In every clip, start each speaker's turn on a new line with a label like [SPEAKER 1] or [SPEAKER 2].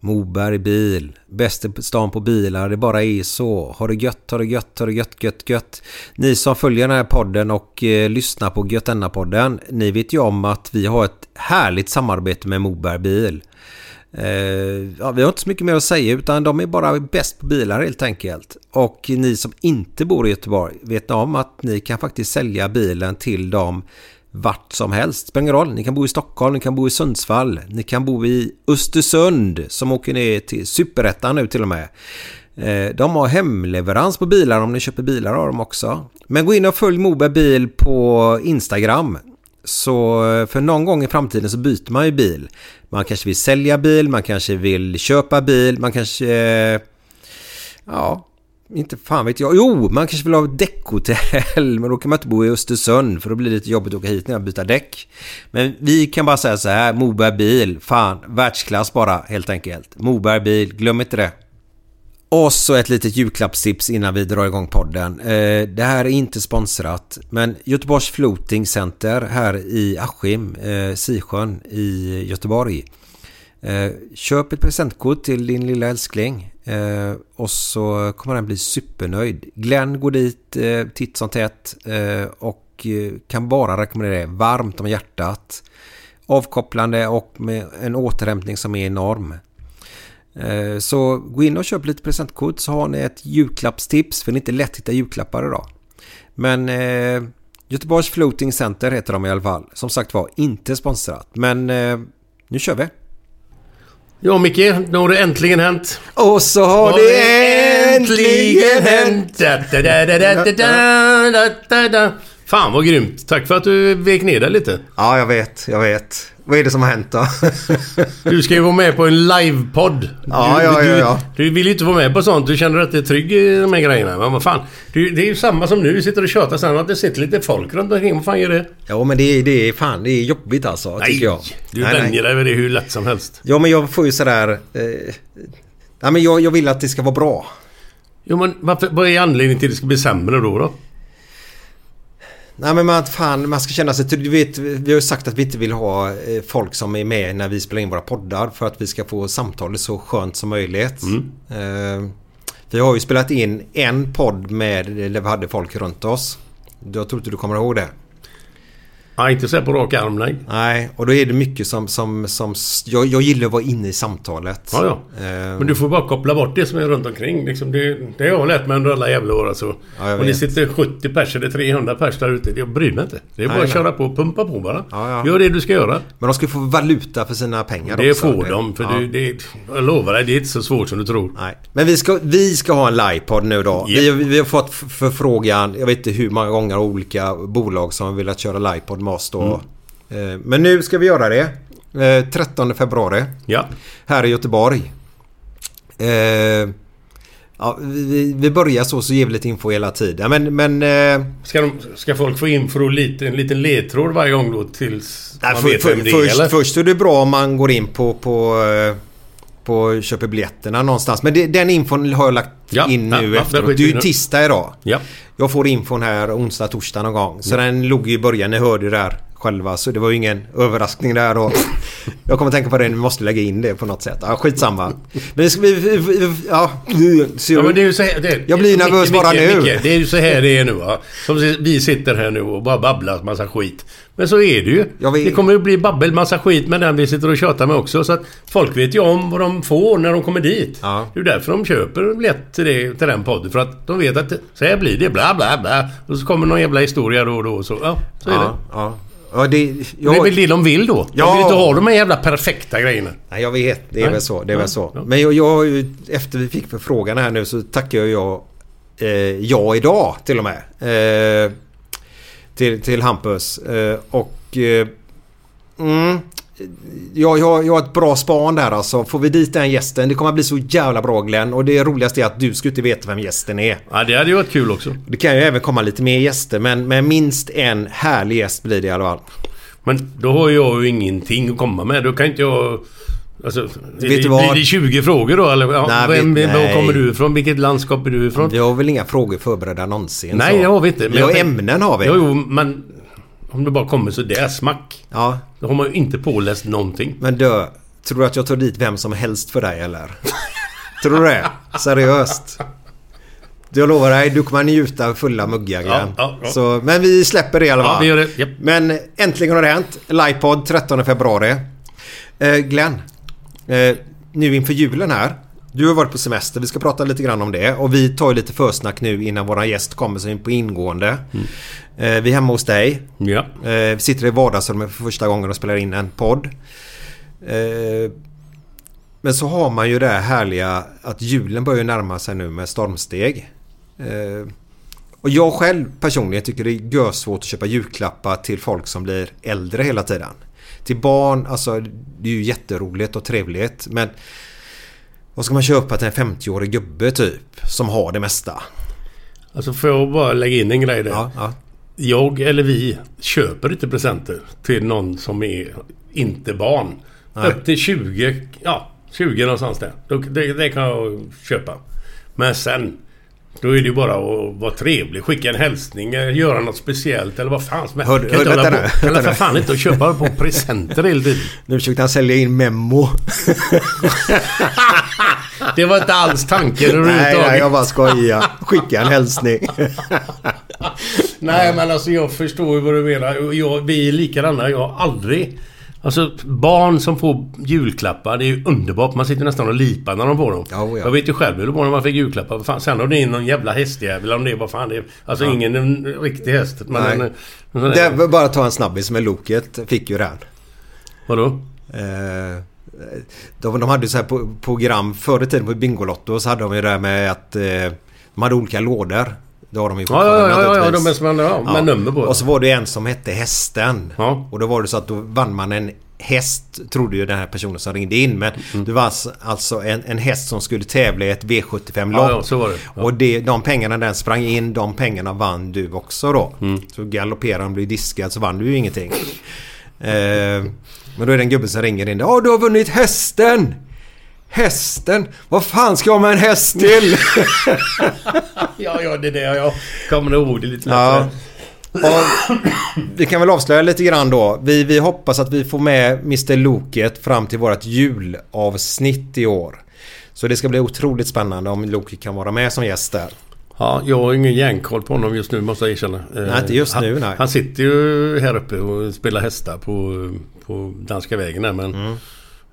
[SPEAKER 1] Moberg bil. Bästa stan på bilar, det bara är så. Har det gött, har det gött, har det gött, gött, gött. Ni som följer den här podden och eh, lyssnar på Götenna-podden, ni vet ju om att vi har ett härligt samarbete med Moberg bil. Eh, ja, vi har inte så mycket mer att säga utan de är bara bäst på bilar helt enkelt. Och ni som inte bor i Göteborg, vet ni om att ni kan faktiskt sälja bilen till dem vart som helst. Spelar ingen roll, ni kan bo i Stockholm, ni kan bo i Sundsvall, ni kan bo i Östersund som åker ner till Superettan nu till och med. Eh, De har hemleverans på bilar om ni köper bilar av dem också. Men gå in och följ Moberg Bil på Instagram. Så eh, för någon gång i framtiden så byter man ju bil. Man kanske vill sälja bil, man kanske vill köpa bil, man kanske... eh, Ja, inte fan vet jag. Jo, man kanske vill ha ett däckhotell. Men då kan man inte bo i Östersund för då blir det lite jobbigt att åka hit när jag byter däck. Men vi kan bara säga så här. Moberg bil. Fan, världsklass bara helt enkelt. Moberg bil, glöm inte det. Och så ett litet julklappstips innan vi drar igång podden. Eh, Det här är inte sponsrat men Göteborgs Floating Center här i Askim, eh, Sisjön i Göteborg. Eh, Köp ett presentkort till din lilla älskling eh, och så kommer den bli supernöjd. Glenn går dit eh, titt som tätt eh, och eh, kan bara rekommendera det varmt om hjärtat. Avkopplande och med en återhämtning som är enorm. Eh, Så gå in och köp lite presentkort så har ni ett julklappstips för det är inte lätt att hitta julklappar idag. Men eh, Göteborgs Floating Center heter de i alla fall. Som sagt var, inte sponsrat. Men eh, nu kör vi!
[SPEAKER 2] Ja, Micke. Nu har det äntligen hänt.
[SPEAKER 1] Och så har det äntligen hänt!
[SPEAKER 2] Da, da, da, da, da, da, da, da, da. Fan vad grymt. Tack för att du vek ner dig lite.
[SPEAKER 1] Ja, jag vet, jag vet. Vad är det som har hänt då?
[SPEAKER 2] Du ska ju vara med på en livepodd.
[SPEAKER 1] Ja,
[SPEAKER 2] du,
[SPEAKER 1] ja, ja, ja.
[SPEAKER 2] Du, du vill ju inte vara med på sånt. Du känner att det är trygg i de här grejerna. Men vad fan. Du, det är ju samma som nu. Du sitter och tjatar sen att det sitter lite folk runt omkring. Vad fan gör det?
[SPEAKER 1] ja, men det är, det är fan, det är jobbigt alltså, tycker jag.
[SPEAKER 2] Du vänjer dig vid det hur lätt som helst.
[SPEAKER 1] Ja, men jag får ju sådär... Eh, nej, men jag, jag vill att det ska vara bra.
[SPEAKER 2] Jo men varför, vad är anledningen till att det ska bli sämre då? då?
[SPEAKER 1] Nej men man, fan, man ska känna sig trygg. Du vet, vi har ju sagt att vi inte vill ha eh, folk som är med när vi spelar in våra poddar för att vi ska få samtalet så skönt som möjligt.
[SPEAKER 2] Mm.
[SPEAKER 1] Eh, vi har ju spelat in en podd med där vi hade folk runt oss. Jag tror inte du kommer ihåg det.
[SPEAKER 2] Ja, inte så här på rak arm nej.
[SPEAKER 1] Nej, och då är det mycket som... som, som s- jag, jag gillar att vara inne i samtalet.
[SPEAKER 2] Ja, ja.
[SPEAKER 1] Eh,
[SPEAKER 2] Men du får bara koppla bort det som är runt omkring. Liksom det, det har jag lärt mig under alla jävla år alltså.
[SPEAKER 1] Ja, jag
[SPEAKER 2] Om det
[SPEAKER 1] vet.
[SPEAKER 2] sitter 70 pers eller 300 pers där ute. Jag bryr mig inte. Det är bara
[SPEAKER 1] Nej,
[SPEAKER 2] att
[SPEAKER 1] nej.
[SPEAKER 2] köra på och pumpa på bara.
[SPEAKER 1] Ja, ja.
[SPEAKER 2] Gör det du ska göra.
[SPEAKER 1] Men de ska ju få valuta för sina pengar
[SPEAKER 2] Det
[SPEAKER 1] också.
[SPEAKER 2] får de. För
[SPEAKER 1] ja.
[SPEAKER 2] du, det, jag lovar dig, det är inte så svårt som du tror.
[SPEAKER 1] Nej. Men vi ska, vi ska ha en livepodd nu då. Vi, vi har fått f- förfrågan, jag vet inte hur många gånger, av olika bolag som har velat köra livepodd med oss då. Eh, Men nu ska vi göra det. Eh, 13 februari
[SPEAKER 2] Ja.
[SPEAKER 1] här i Göteborg. Eh, Ja, vi- vi, vi börjar så, så ger vi lite info hela tiden. Men, men eh,
[SPEAKER 2] Ska, de, ska folk få info lite, en liten ledtråd varje gång då tills
[SPEAKER 1] Nej,
[SPEAKER 2] man
[SPEAKER 1] för,
[SPEAKER 2] vet
[SPEAKER 1] för,
[SPEAKER 2] vem det är,
[SPEAKER 1] först,
[SPEAKER 2] eller?
[SPEAKER 1] först är det bra om man går in på, på, eh, på köper biljetterna någonstans. Men det, den infon har jag lagt
[SPEAKER 2] Ja,
[SPEAKER 1] in
[SPEAKER 2] ja,
[SPEAKER 1] nu
[SPEAKER 2] ja, där
[SPEAKER 1] efteråt.
[SPEAKER 2] skiter
[SPEAKER 1] Det är
[SPEAKER 2] vi
[SPEAKER 1] ju
[SPEAKER 2] nu.
[SPEAKER 1] tisdag idag.
[SPEAKER 2] Ja.
[SPEAKER 1] Jag får infon här onsdag, torsdag någon gång. Så den låg ju i början. Ni hörde ju det här själva. Så det var ju ingen överraskning där. Och jag kommer tänka på det. Ni måste lägga in det på något sätt. Ja, skitsamma. Men vi ska, vi, vi, vi, ja, ser
[SPEAKER 2] Ja,
[SPEAKER 1] du?
[SPEAKER 2] men det är ju så här, det är,
[SPEAKER 1] Jag blir nervös bara nu.
[SPEAKER 2] det är ju så här det är nu va. Som si- vi sitter här nu och bara babblar massa skit. Men så är det ju.
[SPEAKER 1] Ja, vi-
[SPEAKER 2] Det kommer ju bli babbel, massa skit med den vi sitter och tjatar med också. Så att folk vet ju om vad de får när de kommer dit.
[SPEAKER 1] Ja.
[SPEAKER 2] Det är ju därför de köper biljett till, det, till den podden. För att de vet att så här blir det, bla bla bla. Och så kommer någon jävla historia då och då. och Så, ja, så är det.
[SPEAKER 1] ja, ja. Ja, det, jag,
[SPEAKER 2] Det är väl det de vill då.
[SPEAKER 1] Ja.
[SPEAKER 2] De vill inte ha de här jävla perfekta grejerna.
[SPEAKER 1] Nej, jag vet. Det är
[SPEAKER 2] Nej.
[SPEAKER 1] väl så. Det är
[SPEAKER 2] Ja,
[SPEAKER 1] väl så.
[SPEAKER 2] ja.
[SPEAKER 1] Men jag, jag, har ju- efter vi fick förfrågan här nu så tackar ju jag eh, ja idag till och med. Eh, till, till Hampus. Eh, och... Eh, mm, jag, jag, jag har ett bra span där alltså. Får vi dit den gästen, det kommer att bli så jävla bra Glenn. Och det roligaste är att du ska inte veta vem gästen är.
[SPEAKER 2] Ja, det hade ju varit kul också.
[SPEAKER 1] Det kan ju även komma lite mer gäster men, men minst en härlig gäst blir det i alla fall.
[SPEAKER 2] Men då har jag ju ingenting att komma med. Då kan inte jag... Alltså,
[SPEAKER 1] du
[SPEAKER 2] blir,
[SPEAKER 1] vad?
[SPEAKER 2] blir det 20 frågor då eller? Ja,
[SPEAKER 1] Nej,
[SPEAKER 2] vem,
[SPEAKER 1] vet-
[SPEAKER 2] vem, var
[SPEAKER 1] nej.
[SPEAKER 2] kommer du ifrån? Vilket landskap är du ifrån?
[SPEAKER 1] Vi har väl inga frågor förberedda någonsin?
[SPEAKER 2] nej,
[SPEAKER 1] så.
[SPEAKER 2] det har vi inte.
[SPEAKER 1] Jo,
[SPEAKER 2] jag tänk-
[SPEAKER 1] ämnen har vi.
[SPEAKER 2] Jo, jo, men... Om du bara kommer så där smack.
[SPEAKER 1] Ja,
[SPEAKER 2] Då har man ju inte påläst någonting.
[SPEAKER 1] Men du, tror du att jag tar dit vem som helst för dig eller? tror du det? Seriöst? Jag lovar dig, du kommer njuta av fulla muggar Glenn.
[SPEAKER 2] ja, ja.
[SPEAKER 1] Så, Men vi släpper det i alla
[SPEAKER 2] Ja,
[SPEAKER 1] fall.
[SPEAKER 2] vi gör det. Japp.
[SPEAKER 1] Men äntligen har det hänt. Lipod 13 februari. Eh, Glenn, eh, nu inför julen här. Du har varit på semester, vi ska prata lite grann om det. Och vi tar ju lite försnack nu innan våran gäst kommer så in på ingående.
[SPEAKER 2] Mm.
[SPEAKER 1] Eh, vi är hemma hos dig.
[SPEAKER 2] Ja.
[SPEAKER 1] Eh, vi sitter i vardagsrummet för första gången och spelar in en podd. Eh, men så har man ju det här härliga att julen börjar ju närma sig nu med stormsteg. Eh, och jag själv personligen tycker det är görsvårt att köpa julklappar till folk som blir äldre hela tiden. Till barn, alltså det är ju jätteroligt och trevligt men vad ska man köpa till en 50-årig gubbe typ som har det mesta?
[SPEAKER 2] Alltså får jag bara lägga in en grej där?
[SPEAKER 1] Ja, ja.
[SPEAKER 2] Jag eller vi köper inte presenter till någon som är inte barn. Upp till 20, ja 20 någonstans där. Då, det, det kan jag köpa. Men sen, då är det ju bara att vara trevlig, skicka en hälsning, eh, göra något speciellt eller vad fan som helst.
[SPEAKER 1] Hör-
[SPEAKER 2] Kan
[SPEAKER 1] hör-
[SPEAKER 2] inte hålla
[SPEAKER 1] vänta
[SPEAKER 2] på-
[SPEAKER 1] nu,
[SPEAKER 2] kan
[SPEAKER 1] vänta
[SPEAKER 2] för
[SPEAKER 1] nu.
[SPEAKER 2] fan inte att köpa på presenter hela tiden.
[SPEAKER 1] Nu försökte han sälja in Memo.
[SPEAKER 2] Det var inte alls tanken
[SPEAKER 1] nej,
[SPEAKER 2] överhuvudtaget.
[SPEAKER 1] nej, jag bara skojar. Skicka en hälsning.
[SPEAKER 2] Nej men alltså jag förstår ju vad du menar. Och Jag, vi är likadana. Jag har aldrig... Alltså barn som får julklappar, det är ju underbart. Man sitter nästan och lipar när de får dem.
[SPEAKER 1] Ja, oh ja.
[SPEAKER 2] Jag vet ju själv hur det var när man fick julklappar. Vad Fan, sen om det är någon jävla hästjävel, om det är vad fan det är. Alltså ingen en riktig häst. Men
[SPEAKER 1] Nej.
[SPEAKER 2] en, en sån
[SPEAKER 1] Det
[SPEAKER 2] där,
[SPEAKER 1] var bara att ta en snabbis med Loket. Fick ju den.
[SPEAKER 2] Vadå?
[SPEAKER 1] Eh, De, de hade ju så här på, program förr i tiden på Bingolotto så hade de ju det här med att eh, de hade olika lådor. Det har de ju
[SPEAKER 2] Ja, ja, ja, ja, ja,
[SPEAKER 1] naturligtvis.
[SPEAKER 2] de är som man, ja, med nummer på.
[SPEAKER 1] Och så var det en som hette Hästen.
[SPEAKER 2] Ja.
[SPEAKER 1] Och då var det så att då vann man en häst, trodde ju den här personen som ringde in. Men
[SPEAKER 2] Mm.
[SPEAKER 1] det var alltså- alltså en, en häst som skulle tävla i ett V75-lopp.
[SPEAKER 2] Ja, ja, så var det. Ja.
[SPEAKER 1] Och det, de pengarna den sprang in, de pengarna vann du också då.
[SPEAKER 2] Mm.
[SPEAKER 1] Så galopperade han, blev diskad, så vann du ju ingenting. eh, men då är det en gubbe som ringer in. Ja, du har vunnit hästen! Hästen? Vad fan ska jag med en häst till?
[SPEAKER 2] Ja, ja, det är det. Jag kommer ihåg det lite
[SPEAKER 1] Ja.
[SPEAKER 2] lättare.
[SPEAKER 1] Och vi kan väl avslöja lite grann då. Vi, vi hoppas att vi får med Mr Loket fram till vårt julavsnitt i år. Så det ska bli otroligt spännande om Loket kan vara med som gäst där.
[SPEAKER 2] Ja, jag har ingen järnkoll på honom just nu måste jag erkänna. Eh,
[SPEAKER 1] Nej, inte just
[SPEAKER 2] han,
[SPEAKER 1] nu, nej.
[SPEAKER 2] Han sitter ju här uppe och spelar hästar på, på Danska vägen här, men...
[SPEAKER 1] Mm.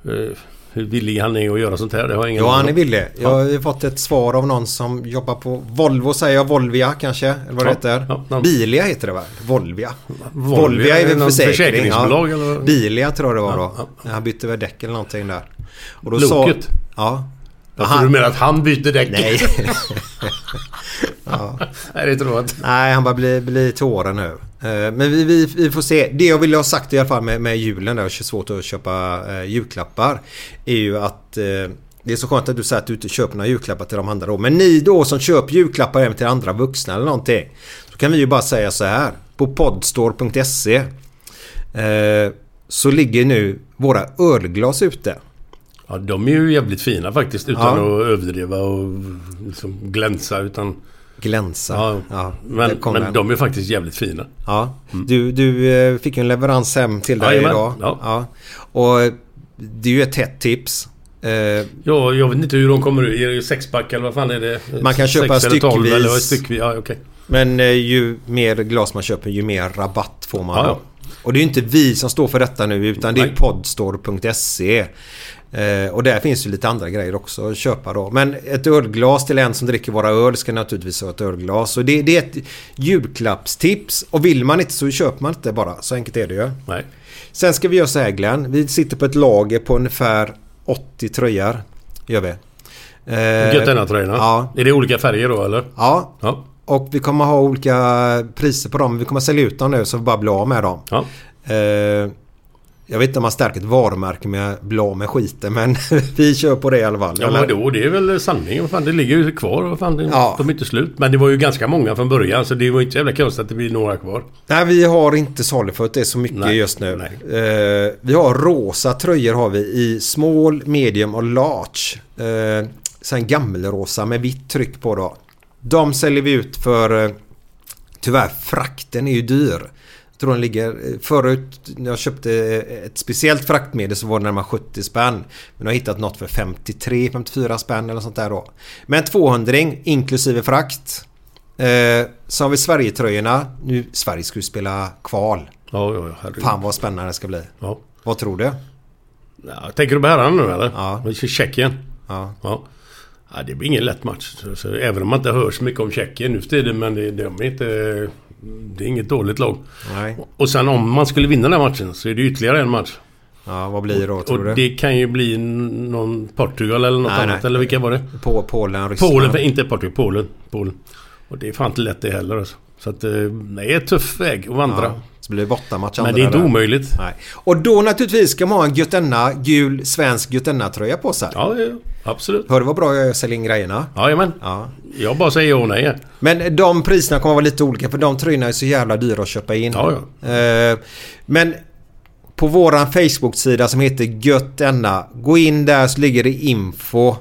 [SPEAKER 2] eh, hur villig han är att göra sånt här, det har jag ingen
[SPEAKER 1] Ja, han är
[SPEAKER 2] om.
[SPEAKER 1] villig. Jag har ju fått ett svar av någon som jobbar på Volvo, säger jag. Volvia kanske? Eller vad det
[SPEAKER 2] Ja,
[SPEAKER 1] heter?
[SPEAKER 2] ja, ja.
[SPEAKER 1] Bilia heter det väl? Volvia.
[SPEAKER 2] Volvia är
[SPEAKER 1] väl
[SPEAKER 2] någon
[SPEAKER 1] försäkring,
[SPEAKER 2] försäkringsbolag, eller vad?
[SPEAKER 1] Bilia tror jag det var då. Han bytte väl däck eller någonting där. Och då sa-
[SPEAKER 2] Loket?
[SPEAKER 1] Ja.
[SPEAKER 2] Jag tror du menar att han byter däck?
[SPEAKER 1] Nej.
[SPEAKER 2] Nej, det tror jag inte.
[SPEAKER 1] Nej, han bara blir, blir tårar nu. Eh, Men vi, vi, vi får se. Det jag ville ha sagt i alla fall med, med julen där, och svårt att köpa eh, julklappar, är ju att eh, Det är så skönt att du säger att du inte köper några julklappar till de andra då. Men ni då som köper julklappar även till andra vuxna eller någonting. Så kan vi ju bara säga så här. På podstore.se eh, så ligger nu våra ölglas ute.
[SPEAKER 2] Ja, de är ju jävligt fina faktiskt utan
[SPEAKER 1] Ja.
[SPEAKER 2] att överdriva och liksom glänsa utan...
[SPEAKER 1] Glänsa.
[SPEAKER 2] Ja,
[SPEAKER 1] där
[SPEAKER 2] men,
[SPEAKER 1] kom
[SPEAKER 2] men
[SPEAKER 1] den.
[SPEAKER 2] de är faktiskt jävligt fina.
[SPEAKER 1] Ja, du, du eh, fick ju en leverans hem till dig
[SPEAKER 2] Mm. Jajamän,
[SPEAKER 1] idag.
[SPEAKER 2] ja.
[SPEAKER 1] Och eh, det är ju ett hett tips. Eh,
[SPEAKER 2] Ja, jag vet inte hur de kommer ut. Är det sexpack eller vad fan är det?
[SPEAKER 1] Man kan
[SPEAKER 2] Sex
[SPEAKER 1] köpa
[SPEAKER 2] eller tolv
[SPEAKER 1] styckvis.
[SPEAKER 2] Eller vad är styckvis? Ja, okej.
[SPEAKER 1] Men eh, ju mer glas man köper ju mer rabatt får man.
[SPEAKER 2] Ja,
[SPEAKER 1] då.
[SPEAKER 2] ja.
[SPEAKER 1] Och det är ju inte vi som står för detta nu utan det är
[SPEAKER 2] Nej.
[SPEAKER 1] podstore.se. Eh, och där finns ju lite andra grejer också att köpa då. Men ett ölglas till en som dricker våra öl ska naturligtvis ha ett ölglas. Så det, det är ett julklappstips. Och vill man inte så köper man inte bara. Så enkelt är det ju.
[SPEAKER 2] Nej.
[SPEAKER 1] Sen ska vi göra så här Glenn. Vi sitter på ett lager på ungefär 80 tröjor. Gör vi. Eh,
[SPEAKER 2] Gött denna tröjorna.
[SPEAKER 1] Ja.
[SPEAKER 2] Är det olika färger då eller?
[SPEAKER 1] Ja,
[SPEAKER 2] Ja.
[SPEAKER 1] och vi kommer ha olika priser på dem. Vi kommer sälja ut dem nu så vi bara blir av med dem.
[SPEAKER 2] ja.
[SPEAKER 1] Eh, jag vet inte om man stärker ett varumärke med att bli av med skiten men vi kör på det i alla fall.
[SPEAKER 2] Ja,
[SPEAKER 1] Eller?
[SPEAKER 2] men då, det är väl sanningen. Vad Fan, det ligger ju kvar. Vad Fan, det,
[SPEAKER 1] Ja.
[SPEAKER 2] De är inte slut. Men det var ju ganska många från början så det var ju inte jävla konstigt att det blir några kvar.
[SPEAKER 1] Nej vi har inte salufört det så mycket
[SPEAKER 2] Nej,
[SPEAKER 1] just nu. Eh, vi har rosa tröjor har vi i small, medium och large. Eh, sen gammelrosa med vitt tryck på då. De säljer vi ut för eh, Tyvärr frakten är ju dyr. Jag tror den ligger eh, förut när jag köpte eh, ett speciellt fraktmedel så var det närmare 70 spänn. Men jag har hittat något för 53-54 spänn eller sånt där då. Men 200 inklusive frakt. Eh, så har vi Sverigetröjorna. Nu, Sverige ska ju spela kval.
[SPEAKER 2] Ja, ja, ja. herregud.
[SPEAKER 1] Fan vad spännande det ska bli.
[SPEAKER 2] Ja.
[SPEAKER 1] Vad tror du?
[SPEAKER 2] Ja, tänker du på herrarna nu eller?
[SPEAKER 1] Ja.
[SPEAKER 2] Tjeckien?
[SPEAKER 1] Ja.
[SPEAKER 2] Ja. ja. Det blir ingen lätt match. Så, så, även om man inte hör så mycket om Tjeckien nu för tiden men det, de är inte... Det är inget dåligt lag.
[SPEAKER 1] Nej.
[SPEAKER 2] Och sen om man skulle vinna den här matchen så är det ytterligare en match.
[SPEAKER 1] Ja, vad blir det då tror
[SPEAKER 2] Och
[SPEAKER 1] du?
[SPEAKER 2] det kan ju bli n- någon Portugal eller något
[SPEAKER 1] Nej,
[SPEAKER 2] annat.
[SPEAKER 1] nej.
[SPEAKER 2] Eller vilka var det?
[SPEAKER 1] På Polen, Ryssland.
[SPEAKER 2] Polen, för- inte Portugal, Polen. Polen. Och det är fan inte lätt det heller alltså. Så att eh, det är en tuff väg att vandra.
[SPEAKER 1] Ja, så blir det bortamatch
[SPEAKER 2] Men
[SPEAKER 1] andra
[SPEAKER 2] det är inte
[SPEAKER 1] där.
[SPEAKER 2] omöjligt.
[SPEAKER 1] Nej. Och då naturligtvis ska man ha en Götenna gul svensk Götenna-tröja på sig.
[SPEAKER 2] Ja, ja, absolut.
[SPEAKER 1] Hör du vad bra jag säljer in grejerna?
[SPEAKER 2] Jajamän.
[SPEAKER 1] Ja.
[SPEAKER 2] Jag bara säger ja och nej.
[SPEAKER 1] Men de priserna kommer vara lite olika för de tröjorna är så jävla dyra att köpa in.
[SPEAKER 2] Ja,
[SPEAKER 1] Eh, Men på våran Facebook-sida som heter Göttenna. Gå in där så ligger det info.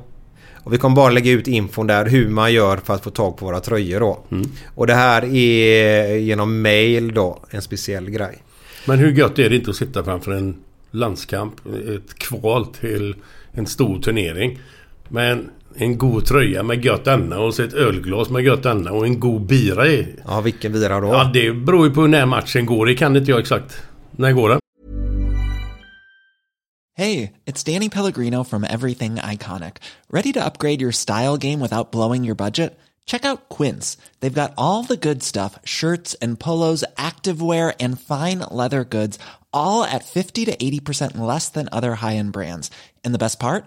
[SPEAKER 1] Och vi kommer bara lägga ut infon där hur man gör för att få tag på våra tröjor då.
[SPEAKER 2] Mm.
[SPEAKER 1] Och det här är genom mail då. En speciell grej.
[SPEAKER 2] Men hur gött är det inte att sitta framför en landskamp, ett kval till en stor turnering. Men en god tröja med gött enna och så ett ölglas med gött enna och en god bira i.
[SPEAKER 1] Ja, vilken vira då?
[SPEAKER 2] Ja, det beror ju på när matchen går. Det kan inte jag exakt. När går den?
[SPEAKER 3] Hey, it's Danny Pellegrino from Everything Iconic. Ready to upgrade your style game without blowing your budget? Check out Quince. They've got all the good stuff shirts and polos, activewear, and fine leather goods, all at 50 to 80% less than other high end brands. And the best part?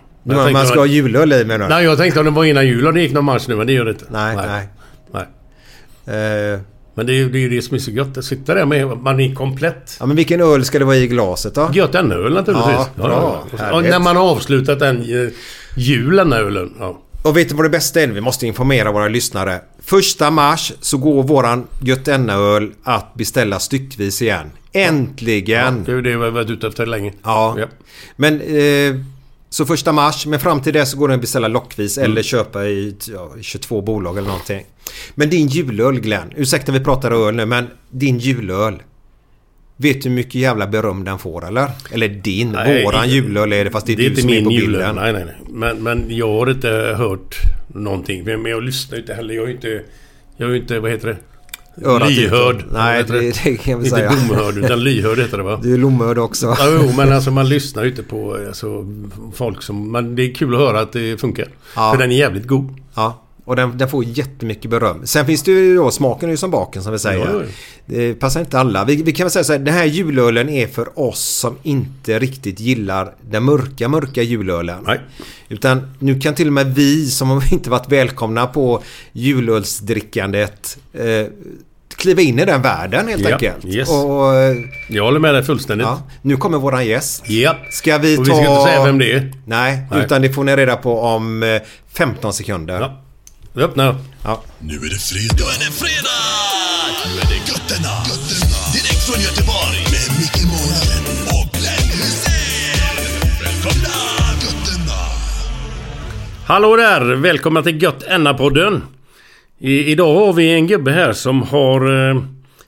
[SPEAKER 1] Nu
[SPEAKER 2] Jag
[SPEAKER 1] man,
[SPEAKER 2] tänkte
[SPEAKER 1] man ska ha
[SPEAKER 2] om-
[SPEAKER 1] julöl i menar du?
[SPEAKER 2] Nej, jag tänkte om det var innan jul och det gick någon match nu, men det gör det inte.
[SPEAKER 1] Nej, nej.
[SPEAKER 2] nej.
[SPEAKER 1] Eh,
[SPEAKER 2] Men det är ju det, är ju det som är så gött. Att sitta där med... Man är komplett.
[SPEAKER 1] Ja, men vilken öl ska det vara i glaset då?
[SPEAKER 2] Gött en öl naturligtvis.
[SPEAKER 1] Ja, bra.
[SPEAKER 2] Och- och
[SPEAKER 1] Härligt.
[SPEAKER 2] när man har avslutat den eh, julen, ölen. Ja.
[SPEAKER 1] Och vet du vad det bästa är? Vi måste informera våra lyssnare. Första mars så går våran Götennaöl att beställa styckvis igen. Äntligen!
[SPEAKER 2] Det är ju det vi har varit ute efter länge.
[SPEAKER 1] Ja.
[SPEAKER 2] Ja.
[SPEAKER 1] Men... Eh, så första mars, men fram till det så går den att beställa lockvis
[SPEAKER 2] Mm.
[SPEAKER 1] eller köpa i ja, 22 bolag eller någonting. Men din julöl Glenn, ursäkta vi pratar öl nu men din julöl. Vet du hur mycket jävla beröm den får eller? Eller din,
[SPEAKER 2] Nej,
[SPEAKER 1] våran
[SPEAKER 2] inte-
[SPEAKER 1] julöl är det fast det är, du som är på bilden.
[SPEAKER 2] Nej, nej, nej. Men, men jag har inte hört någonting. Men men jag lyssnar ju inte heller. Jag är ju inte... Jag är ju inte... Vad heter det?
[SPEAKER 1] Örat ut.
[SPEAKER 2] lyhörd.
[SPEAKER 1] Nej,
[SPEAKER 2] Heter
[SPEAKER 1] det- det kan vi
[SPEAKER 2] inte
[SPEAKER 1] säga.
[SPEAKER 2] domhörd, utan lyhörd heter det va?
[SPEAKER 1] Du är lomhörd också.
[SPEAKER 2] Ja, jo, men alltså man lyssnar ju inte på alltså, folk som... Men det är kul att höra att det funkar.
[SPEAKER 1] Ja.
[SPEAKER 2] För den är jävligt god.
[SPEAKER 1] Ja, och den, den får jättemycket beröm. Sen finns det ju då, smaken är ju som baken som vi säger.
[SPEAKER 2] Ja, ja.
[SPEAKER 1] Det passar inte alla. Vi, vi kan väl säga så här, den här julölen är för oss som inte riktigt gillar den mörka, mörka julölen.
[SPEAKER 2] Nej.
[SPEAKER 1] Utan nu kan till och med vi som har inte varit välkomna på julölsdrickandet eh, kliva in i den världen helt
[SPEAKER 2] Ja,
[SPEAKER 1] enkelt.
[SPEAKER 2] yes.
[SPEAKER 1] Och, eh,
[SPEAKER 2] Jag håller med dig fullständigt.
[SPEAKER 1] ja, nu kommer våran gäst.
[SPEAKER 2] Ja.
[SPEAKER 1] Ska vi
[SPEAKER 2] Och
[SPEAKER 1] ta...
[SPEAKER 2] vi ska inte säga vem det är.
[SPEAKER 1] Nej,
[SPEAKER 2] Nej.
[SPEAKER 1] utan det får ni reda på om eh, 15 sekunder.
[SPEAKER 2] Ja. Då öppnar jag.
[SPEAKER 1] Ja.
[SPEAKER 4] Nu är det fredag. Nu är det fredag! Nu är det götterna. götterna. Direkt från Göteborg. Med Micke Månaden och Glenn Hysén. Välkomna! Götterna.
[SPEAKER 2] Hallå där! Välkomna till Gött Enna-podden. I, idag har vi en gubbe här som har... eh,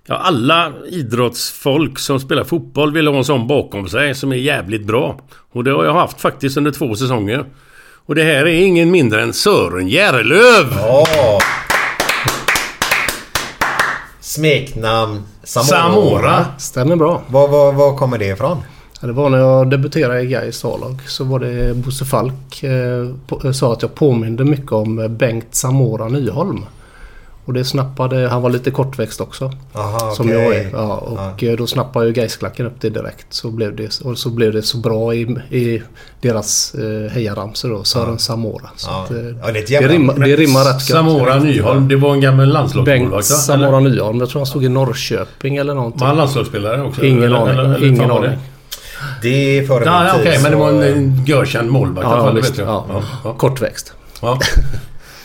[SPEAKER 2] Ja, alla idrottsfolk som spelar fotboll vill ha en sån bakom sig som är jävligt bra. Och det har jag haft faktiskt under två säsonger. Och det här är ingen mindre än Sören Järlöv!
[SPEAKER 1] Smeknamn Samora.
[SPEAKER 2] Samora.
[SPEAKER 5] Stämmer bra.
[SPEAKER 1] Var, var, var kommer det ifrån?
[SPEAKER 5] Ja, Det var när jag debuterade i Gais A-lag så var det Bosse Falk eh, på- eh, sa att jag påminde mycket om eh, Bengt Samora Nyholm. Och det snappade, han var lite kortväxt också.
[SPEAKER 1] Aha,
[SPEAKER 5] Som
[SPEAKER 1] okej.
[SPEAKER 5] jag är. Ja, och eh, då snappade ju Gaisklacken upp det direkt. Så blev det, och så blev det så bra i, i deras eh, hejaramsor då. Sören Samora. Så
[SPEAKER 1] Ja.
[SPEAKER 5] att, eh,
[SPEAKER 1] Ja, det är ett jävla-
[SPEAKER 5] det, rimmar, det rimmar rätt gött.
[SPEAKER 2] Samora Nyholm, det var en gammal
[SPEAKER 5] Bengt
[SPEAKER 2] landslagsmålvakt va?
[SPEAKER 5] Samora Nyholm. Jag tror han stod i Norrköping eller någonting.
[SPEAKER 2] Var han landslagsspelare också?
[SPEAKER 5] Ingen
[SPEAKER 2] Eller-
[SPEAKER 5] aning.
[SPEAKER 2] eller- eller
[SPEAKER 5] Ingen
[SPEAKER 2] fan var det?
[SPEAKER 5] aning.
[SPEAKER 1] Det är före
[SPEAKER 2] Ja,
[SPEAKER 1] min
[SPEAKER 2] ja,
[SPEAKER 1] tid,
[SPEAKER 2] Okej, men det
[SPEAKER 1] så-
[SPEAKER 2] var en, eh, en görkänd målvakt i alla
[SPEAKER 5] Ja,
[SPEAKER 2] fall, det
[SPEAKER 5] visst.
[SPEAKER 2] vet jag.
[SPEAKER 5] Ja.
[SPEAKER 2] Ja.
[SPEAKER 5] Kortväxt.
[SPEAKER 2] Ja.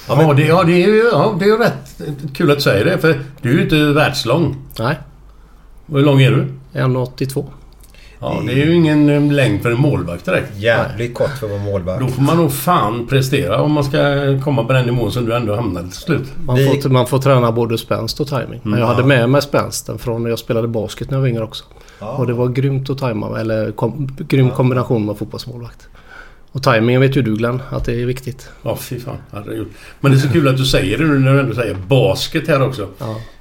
[SPEAKER 2] Ja, men... det, ja, det är ju ja, det är ju rätt kul att du säger det. För du är ju inte världslång.
[SPEAKER 5] Nej,
[SPEAKER 2] Hur lång är du?
[SPEAKER 5] 1,82.
[SPEAKER 2] Ja, det är
[SPEAKER 5] Mm.
[SPEAKER 2] ju ingen eh, längd för en målvakt direkt.
[SPEAKER 1] Jävligt kort för att vara målvakt.
[SPEAKER 2] Då får man nog fan prestera om man ska komma på den nivån som du ändå hamnade till slut.
[SPEAKER 5] Man,
[SPEAKER 1] Vi-
[SPEAKER 5] får, man får träna både spänst och timing. Men jag
[SPEAKER 2] Mm,
[SPEAKER 5] hade med mig spänsten från när jag spelade basket när jag var yngre också. Och det var grymt att tajma, eller kom, grym kombination med fotbollsmålvakt. Och tajmingen vet ju du Glenn, att det är viktigt.
[SPEAKER 2] Ja, fy fan. Herregud. Men det är så kul att du säger det nu när du ändå säger basket här också.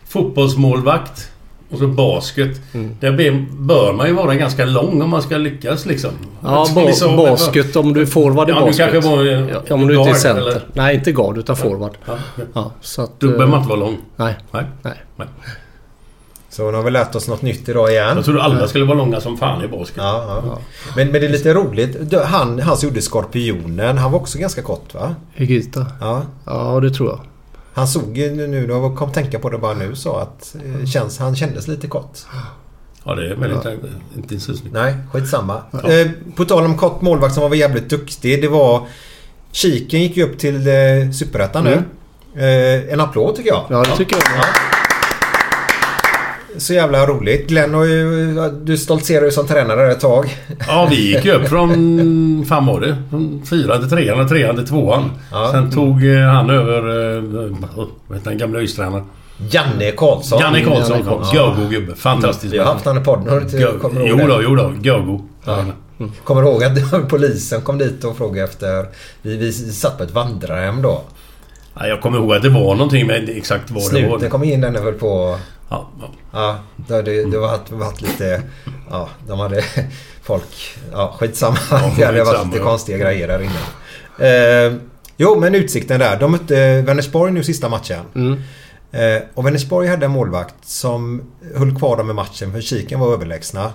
[SPEAKER 2] Fotbollsmålvakt och så basket.
[SPEAKER 5] Mm.
[SPEAKER 2] Där be- bör man ju vara ganska lång om man ska lyckas liksom.
[SPEAKER 5] Ja,
[SPEAKER 2] Som vi sa-
[SPEAKER 5] ba- basket om du är forward i
[SPEAKER 2] Ja, du
[SPEAKER 5] basket.
[SPEAKER 2] kanske var, eh,
[SPEAKER 5] Ja, om du inte är
[SPEAKER 2] guard,
[SPEAKER 5] center.
[SPEAKER 2] eller?
[SPEAKER 5] Nej, inte guard utan forward.
[SPEAKER 2] Ja, ja.
[SPEAKER 5] Ja, så att,
[SPEAKER 2] Då
[SPEAKER 5] eh,
[SPEAKER 2] behöver man inte vara lång.
[SPEAKER 5] Nej,
[SPEAKER 2] Nej.
[SPEAKER 5] nej.
[SPEAKER 2] Nej.
[SPEAKER 1] Så nu har vi lärt oss något nytt idag igen.
[SPEAKER 2] Jag trodde alla skulle vara långa som fan i basket.
[SPEAKER 1] Eh. Ja, ja. Men, men det är lite roligt. Du, Han, han som gjorde Skorpionen, han var också ganska kort va?
[SPEAKER 5] Hygita.
[SPEAKER 1] Ja.
[SPEAKER 5] Ja, det tror jag.
[SPEAKER 1] Han såg ju nu, nu jag kom tänka på det bara nu, så att eh, känns, han kändes lite kort.
[SPEAKER 2] Ja, det är väldigt eh, intensivt.
[SPEAKER 1] Nej, skitsamma. Eh, på tal om kort målvakt som var jävligt duktig. Det var... Kiken gick ju upp till eh, Superettan
[SPEAKER 2] Mm.
[SPEAKER 1] nu. Eh, en applåd tycker jag.
[SPEAKER 5] Ja, det tycker jag.
[SPEAKER 1] Så jävla roligt. Glenn har ju... Du stoltserar ju som tränare ett tag.
[SPEAKER 2] Ja, vi gick ju upp från... fan var det? Från fyran till trean och trean till tvåan.
[SPEAKER 1] Ja.
[SPEAKER 2] Sen tog eh, han över... eh, Vad heter den gamla Ystränaren?
[SPEAKER 1] Janne Karlsson. Mm.
[SPEAKER 2] Janne Karlsson.
[SPEAKER 5] Janne Karlsson.
[SPEAKER 2] Görgo gubbe. Fantastisk
[SPEAKER 1] Vi har haft han i podden. Har du inte-
[SPEAKER 2] Gör-
[SPEAKER 1] Kommer du
[SPEAKER 2] Jo
[SPEAKER 1] ihåg
[SPEAKER 2] då,
[SPEAKER 1] det?
[SPEAKER 2] jo då. Görgo.
[SPEAKER 1] Kommer du ihåg att polisen kom dit och frågade efter... Vi, vi satt på ett vandrarhem då.
[SPEAKER 2] Ja, jag kommer ihåg att det var någonting men exakt vad det var.
[SPEAKER 1] Snuten kom in den är väl på...
[SPEAKER 2] Ja, ja.
[SPEAKER 1] Ja, det, det, det var att- varit lite... Ja, de hade folk... Ja, skitsamma. det hade varit
[SPEAKER 2] skitsamma,
[SPEAKER 1] lite
[SPEAKER 2] ja.
[SPEAKER 1] konstiga grejer där inne. Eh, jo, men utsikten där. De mötte eh, Vänersborg nu sista matchen.
[SPEAKER 2] Mm.
[SPEAKER 1] Eh, och Vänersborg hade en målvakt som höll kvar dem i matchen för kiken var överlägsna.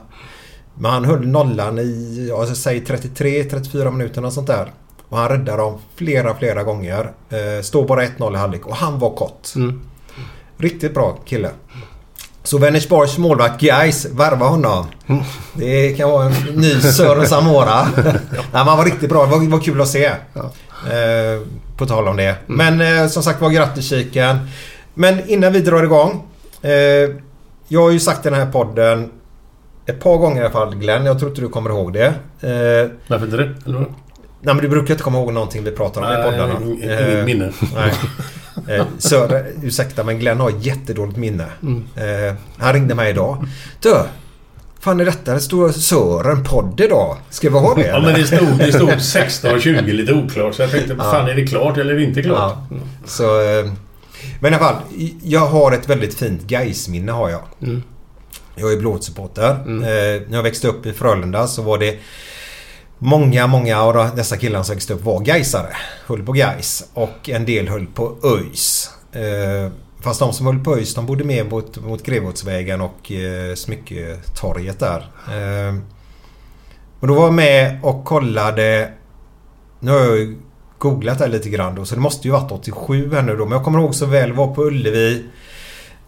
[SPEAKER 1] Men han höll nollan i, ja, alltså, säg 33-34 minuter och sånt där. Och han
[SPEAKER 2] Mm.
[SPEAKER 1] räddade dem flera, flera gånger. Eh, står bara 1-0 i halvlek och han var kort. Riktigt bra kille. Så Vänersborgs målvakt Gais, värva honom. Det kan vara en ny Sören Samora. Nej, man var riktigt bra. Det var, var kul att se. Eh, på tal om det. Men eh, som sagt var, grattis Kiken. Men innan vi drar igång. Eh, jag har ju sagt i den här podden ett par gånger i alla fall Glenn. Jag tror inte du kommer ihåg det. Eh,
[SPEAKER 2] Varför inte det? Eller vad?
[SPEAKER 1] Nej men du brukar inte komma ihåg någonting vi pratar om i
[SPEAKER 2] Nej,
[SPEAKER 1] poddarna.
[SPEAKER 2] ing- inget
[SPEAKER 1] Eh,
[SPEAKER 2] minne.
[SPEAKER 1] Nej. Eh, Sören, ursäkta men Glenn har jättedåligt minne.
[SPEAKER 2] Mm.
[SPEAKER 1] Eh, han ringde mig idag. Du! Fan är detta det stora Sören-podd idag? Ska vi ha det
[SPEAKER 2] Ja,
[SPEAKER 1] eller?
[SPEAKER 2] men det stod, det stod 16.20 lite oklart. Så jag tänkte, fan är det klart eller är det inte klart?
[SPEAKER 1] Ja. Så, eh, men i alla fall, jag har ett väldigt fint Gais-minne har jag. Jag är blåsupporter. Eh, när jag växte upp i Frölunda så var det Många, många av de- dessa killarna som växte upp var Gaisare. Höll på Gais och en del höll på ÖIS. Eh, fast de som höll på ÖIS de bodde mer mot, mot Grevotsvägen och eh, Smycketorget där. Eh, och då var jag med och kollade nu har jag ju googlat det här lite grann då, så det måste ju varit 87 här nu då. Men jag kommer ihåg så väl, var på Ullevi.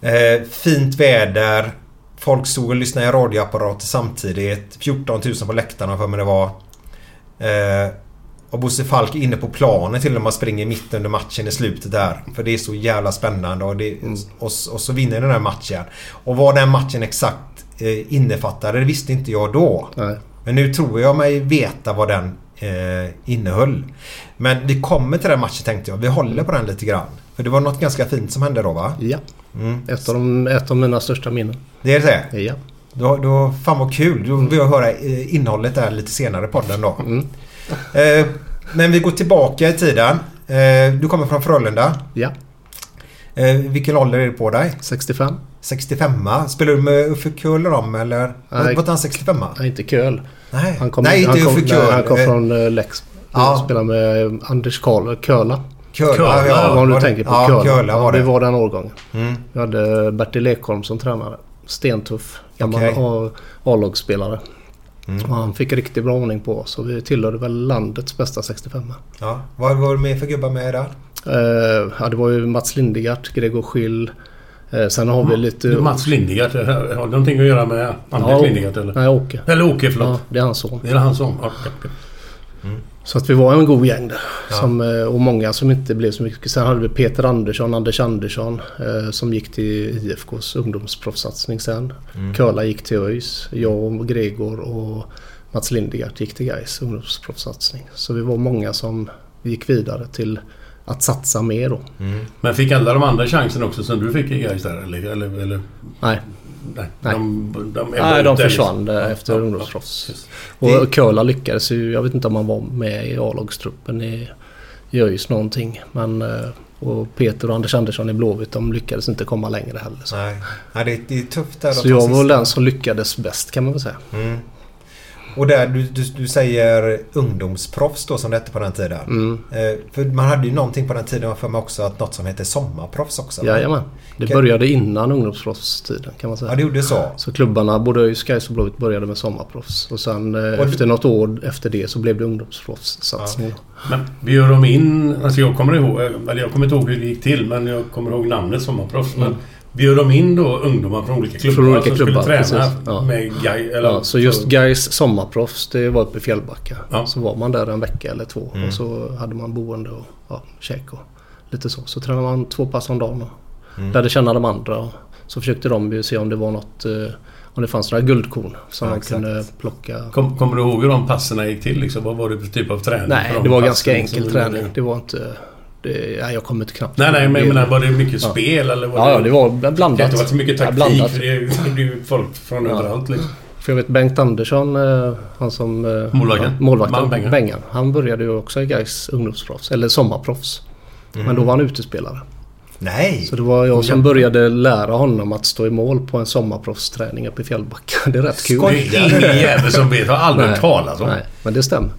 [SPEAKER 1] Eh, fint väder. Folk stod och lyssnade i radioapparater samtidigt. 14 000 på läktarna för mig det var. Eh, och Bosse Falk är inne på planen till och med. Man springer mitt under matchen i slutet där. För det är så jävla spännande. Och, det,
[SPEAKER 5] Mm.
[SPEAKER 1] och, och så vinner den här matchen. Och vad den matchen exakt eh, innefattade, det visste inte jag då.
[SPEAKER 5] Nej.
[SPEAKER 1] Men nu tror jag mig veta vad den eh, innehöll. Men vi kommer till den matchen tänkte jag. Vi håller på den lite grann. För det var något ganska fint som hände då va?
[SPEAKER 5] Ja.
[SPEAKER 1] Mm.
[SPEAKER 5] Ett av, de, ett av mina största minnen.
[SPEAKER 1] Det är det.
[SPEAKER 5] Ja.
[SPEAKER 1] Då, då, fan vad kul. Då vill jag höra eh, innehållet där lite senare i podden då.
[SPEAKER 5] Mm.
[SPEAKER 1] Eh, men vi går tillbaka i tiden. Eh, du kommer från Frölunda.
[SPEAKER 5] Ja.
[SPEAKER 1] Eh, vilken ålder är det på dig?
[SPEAKER 5] 65.
[SPEAKER 1] 65 Spelar du med Uffe Köhl och dem eller?
[SPEAKER 5] Nej.
[SPEAKER 1] Var inte han 65
[SPEAKER 5] Nej, inte Köl.
[SPEAKER 1] Nej,
[SPEAKER 5] Han kom,
[SPEAKER 1] Nej inte
[SPEAKER 5] han kom,
[SPEAKER 1] Uffe
[SPEAKER 5] nej,
[SPEAKER 1] Köhl.
[SPEAKER 5] han kom
[SPEAKER 1] Eh,
[SPEAKER 5] från eh, Leksand.
[SPEAKER 1] Ja.
[SPEAKER 5] Ja. Spelade med eh, Anders Karl, Köla.
[SPEAKER 1] Köhl.
[SPEAKER 2] Köhla,
[SPEAKER 1] ja,
[SPEAKER 5] Ja, vad
[SPEAKER 1] var
[SPEAKER 5] du
[SPEAKER 1] det-
[SPEAKER 5] tänker på.
[SPEAKER 1] Ja,
[SPEAKER 5] Köla.
[SPEAKER 1] Köhla var det.
[SPEAKER 5] Vi var den årgången.
[SPEAKER 1] Mm.
[SPEAKER 5] Vi hade Bertil Ekholm som tränare. Stentuff. Gammal
[SPEAKER 1] Okej. Mm.
[SPEAKER 5] A- A-lagsspelare. Och han fick riktigt bra ordning på oss. Så vi tillhörde väl landets bästa 65
[SPEAKER 1] Ja. Vad var det mer för gubbar med där?
[SPEAKER 5] eh, ja, Det var ju Mats Lindegard, Gregor Schill. Eh, sen har vi lite...
[SPEAKER 2] Du, Mats Lindegat, har det någonting att göra med Anders
[SPEAKER 5] Ja,
[SPEAKER 2] Lindegat eller?
[SPEAKER 5] Nej, Åke.
[SPEAKER 2] Eller Åke,
[SPEAKER 5] Ja,
[SPEAKER 2] förlåt.
[SPEAKER 5] det är hans son.
[SPEAKER 2] Det är han som... Ja, ja, ja.
[SPEAKER 5] Så att vi var en god gäng där. Som, eh, och många som inte blev så mycket. Sen hade vi Peter Andersson, Anders Andersson eh, som gick till IFKs ungdomsproffssatsning sen. Köla gick till ÖIS. Jag och Gregor och Mats Lindegard gick till Gais ungdomsproffssatsning. Så vi var många som gick vidare till att satsa mer då.
[SPEAKER 2] Men fick alla de andra chansen också som du fick i Gais där? Eller, eller, eller,
[SPEAKER 5] Nej,
[SPEAKER 2] nej,
[SPEAKER 5] Nej.
[SPEAKER 2] de, de, de,
[SPEAKER 5] nej de försvann eh,
[SPEAKER 2] Ja,
[SPEAKER 5] efter
[SPEAKER 2] ja,
[SPEAKER 5] ungdomsproffs.
[SPEAKER 2] precis.
[SPEAKER 5] Och Köla lyckades ju. Jag vet inte om han var med i A-lagstruppen i i ÖIS någonting. Men, eh, och Peter och Anders Andersson i Blåvitt de lyckades inte komma längre heller. Så,
[SPEAKER 1] Nej, Nej det, det är tufft där. att
[SPEAKER 5] så
[SPEAKER 1] ta
[SPEAKER 5] jag
[SPEAKER 1] sista.
[SPEAKER 5] var väl den som lyckades bäst kan man väl säga.
[SPEAKER 1] Mm. Och där du, du, du säger ungdomsproffs då som det hette på den tiden.
[SPEAKER 5] Mm.
[SPEAKER 1] Eh, för man hade ju någonting på den tiden, jag för mig också, att något som hette sommarproffs också. va?
[SPEAKER 5] Jajamän. Det
[SPEAKER 1] Okej.
[SPEAKER 5] började innan ungdomsproffstiden kan man säga.
[SPEAKER 1] Ja, det gjorde så.
[SPEAKER 5] Så klubbarna, både ÖIS, Gais och Blåvitt började med sommarproffs. Och sen eh,
[SPEAKER 1] Och-
[SPEAKER 5] efter något år efter det så blev det ungdomsproffssatsning.
[SPEAKER 2] Men bjöd de in... Alltså jag kommer ihåg... Eller jag kommer inte ihåg hur det gick till men jag kommer ihåg namnet Sommarproffs. Men bjöd de in då ungdomar från olika klubbar
[SPEAKER 5] Mm. Från
[SPEAKER 2] som
[SPEAKER 5] olika klubbar,
[SPEAKER 2] skulle träna
[SPEAKER 5] precis. Ja.
[SPEAKER 2] med Gai, eller,
[SPEAKER 5] Ja, så just Gais sommarproffs, det var uppe i Fjällbacka.
[SPEAKER 2] Ja.
[SPEAKER 5] Så var man där en vecka eller två och så hade man boende och ja, käk och lite så. Så tränade man två pass om dagen och lärde känna de andra. Och så försökte de ju se om det var något, eh, om det fanns några guldkorn som
[SPEAKER 1] Ja,
[SPEAKER 5] man
[SPEAKER 1] exakt.
[SPEAKER 5] kunde plocka.
[SPEAKER 2] Kom, kommer du ihåg hur de passerna gick till? Liksom? Vad var det för typ av träning?
[SPEAKER 5] Nej,
[SPEAKER 2] på de
[SPEAKER 5] det var
[SPEAKER 2] passen
[SPEAKER 5] ganska
[SPEAKER 2] som
[SPEAKER 5] enkel
[SPEAKER 2] du
[SPEAKER 5] träning.
[SPEAKER 2] gjorde?
[SPEAKER 5] Det var inte... Det, nej, jag kommer inte knappt
[SPEAKER 2] Nej, nej, men jag
[SPEAKER 5] ihåg det.
[SPEAKER 2] menar var det mycket spel eller? Var
[SPEAKER 5] Ja, ja, det var blandat.
[SPEAKER 2] Det har inte varit så mycket
[SPEAKER 5] Ja,
[SPEAKER 2] taktik.
[SPEAKER 5] blandat.
[SPEAKER 2] för det är det är ju folk från överallt liksom.
[SPEAKER 5] För jag vet Bengt Andersson, eh, han som... eh,
[SPEAKER 2] Målvakten.
[SPEAKER 5] Ja, målvakten
[SPEAKER 2] Man, Bengan.
[SPEAKER 5] Bengan. Han började ju också i Gais ungdomsproffs, eller sommarproffs. Men då var han utespelare.
[SPEAKER 1] Nej!
[SPEAKER 5] Så det var jag som började lära honom att stå i mål på en sommarproffsträning uppe i Fjällbacka. Det är rätt kul.
[SPEAKER 2] Det är ingen jävel som vet. Har aldrig hört talas om.
[SPEAKER 5] Nej, men det stämmer.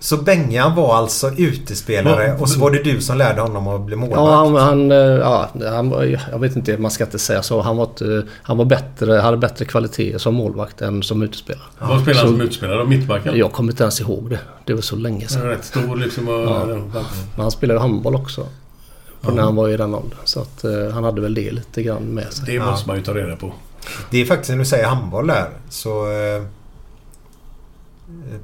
[SPEAKER 1] Så Bengan var alltså utespelare
[SPEAKER 2] Va?
[SPEAKER 1] och så var det du som lärde honom att bli målvakt?
[SPEAKER 5] Ja, han, han, eh, ja, han var, jag vet inte, man ska inte säga så. Han var, inte- han var bättre, hade bättre kvalitet som målvakt än som utespelare.
[SPEAKER 2] Vad spelar han som utspelare? Och Mittback? eller?
[SPEAKER 5] Jag kommer inte ens ihåg det. Det var så länge
[SPEAKER 2] Han
[SPEAKER 5] sedan.
[SPEAKER 2] är Rätt stor liksom. Och,
[SPEAKER 5] Men han spelade ju handboll också. på när han var i den åldern. Så att eh, han hade väl det lite grann med sig.
[SPEAKER 2] Det måste man ju ta reda på.
[SPEAKER 1] Det är faktiskt när du säger handboll där så... Eh,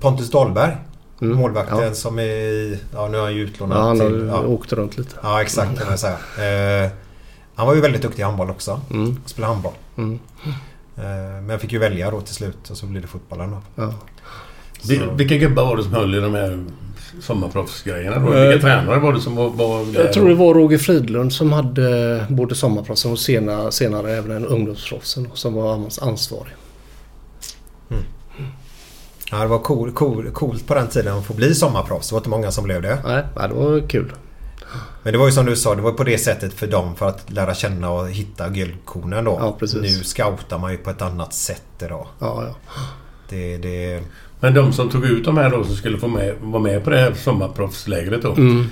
[SPEAKER 1] Pontus Dahlberg.
[SPEAKER 5] Mm,
[SPEAKER 1] Målvakten
[SPEAKER 5] ja.
[SPEAKER 1] som är i... Ja, nu är han ju utlånad
[SPEAKER 5] Ja, han
[SPEAKER 1] till...
[SPEAKER 5] har
[SPEAKER 1] Ja,
[SPEAKER 5] åkt runt lite.
[SPEAKER 1] ja exakt kan man säga. Eh, han var ju väldigt duktig i handboll också.
[SPEAKER 5] Mm.
[SPEAKER 1] Spelade handboll.
[SPEAKER 5] Mm.
[SPEAKER 1] Eh, men fick ju välja då till slut och så blev det fotbollen då.
[SPEAKER 5] Ja.
[SPEAKER 2] Det, vilka gubbar var det som höll i de här sommarproffsgrejerna då? Vilka
[SPEAKER 5] Eh,
[SPEAKER 2] tränare var det som var, var där?
[SPEAKER 5] Jag tror det var Roger Fridlund som hade både sommarproffsen och senare, senare även en ungdomsproffsen då, som var hans ansvarig.
[SPEAKER 1] Ja, det var cool, cool, coolt på den tiden att få bli sommarproffs. Det var inte många som blev det.
[SPEAKER 5] Nej, ja, det var kul.
[SPEAKER 1] Men det var ju som du sa, det var på det sättet för dem för att lära känna och hitta guldkornen då.
[SPEAKER 5] Ja, precis.
[SPEAKER 1] nu scoutar man ju på ett annat sätt idag.
[SPEAKER 5] Ja, ja.
[SPEAKER 1] Det, det,
[SPEAKER 2] Men de som tog ut de här då som skulle få med, vara med på det här sommarproffslägret då.
[SPEAKER 5] Mm.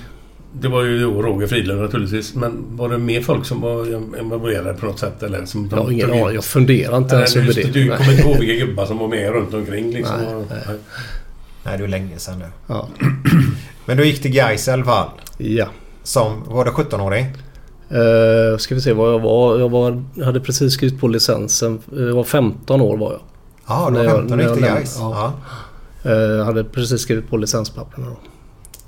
[SPEAKER 2] Det var ju då Roger Fridlund naturligtvis. Men var det mer folk som var involverade på något sätt? Eller som de
[SPEAKER 5] Jag har ingen
[SPEAKER 2] tog in?
[SPEAKER 5] aning. Jag funderar inte
[SPEAKER 2] Nej,
[SPEAKER 5] ens
[SPEAKER 2] du-
[SPEAKER 5] över det.
[SPEAKER 2] Du
[SPEAKER 5] Nej.
[SPEAKER 2] kommer inte ihåg vilka gubbar som var med runt omkring liksom.
[SPEAKER 5] Nej,
[SPEAKER 2] nej.
[SPEAKER 1] nej, det är ju länge sedan nu.
[SPEAKER 5] Ja.
[SPEAKER 1] Men då gick det Gais i alla fall.
[SPEAKER 5] ja.
[SPEAKER 1] Som, var det 17-åring?
[SPEAKER 5] Uh, ska vi se vad jag var. Jag var, hade precis skrivit på licensen. Eh, Jag var 15 år var jag.
[SPEAKER 1] Ja,
[SPEAKER 5] När
[SPEAKER 1] du
[SPEAKER 5] jag-
[SPEAKER 1] var 15
[SPEAKER 5] när
[SPEAKER 1] gick
[SPEAKER 5] jag
[SPEAKER 1] till
[SPEAKER 5] lämnade,
[SPEAKER 1] Gais. Ja.
[SPEAKER 5] ja. Eh, hade precis skrivit på licenspapperna då.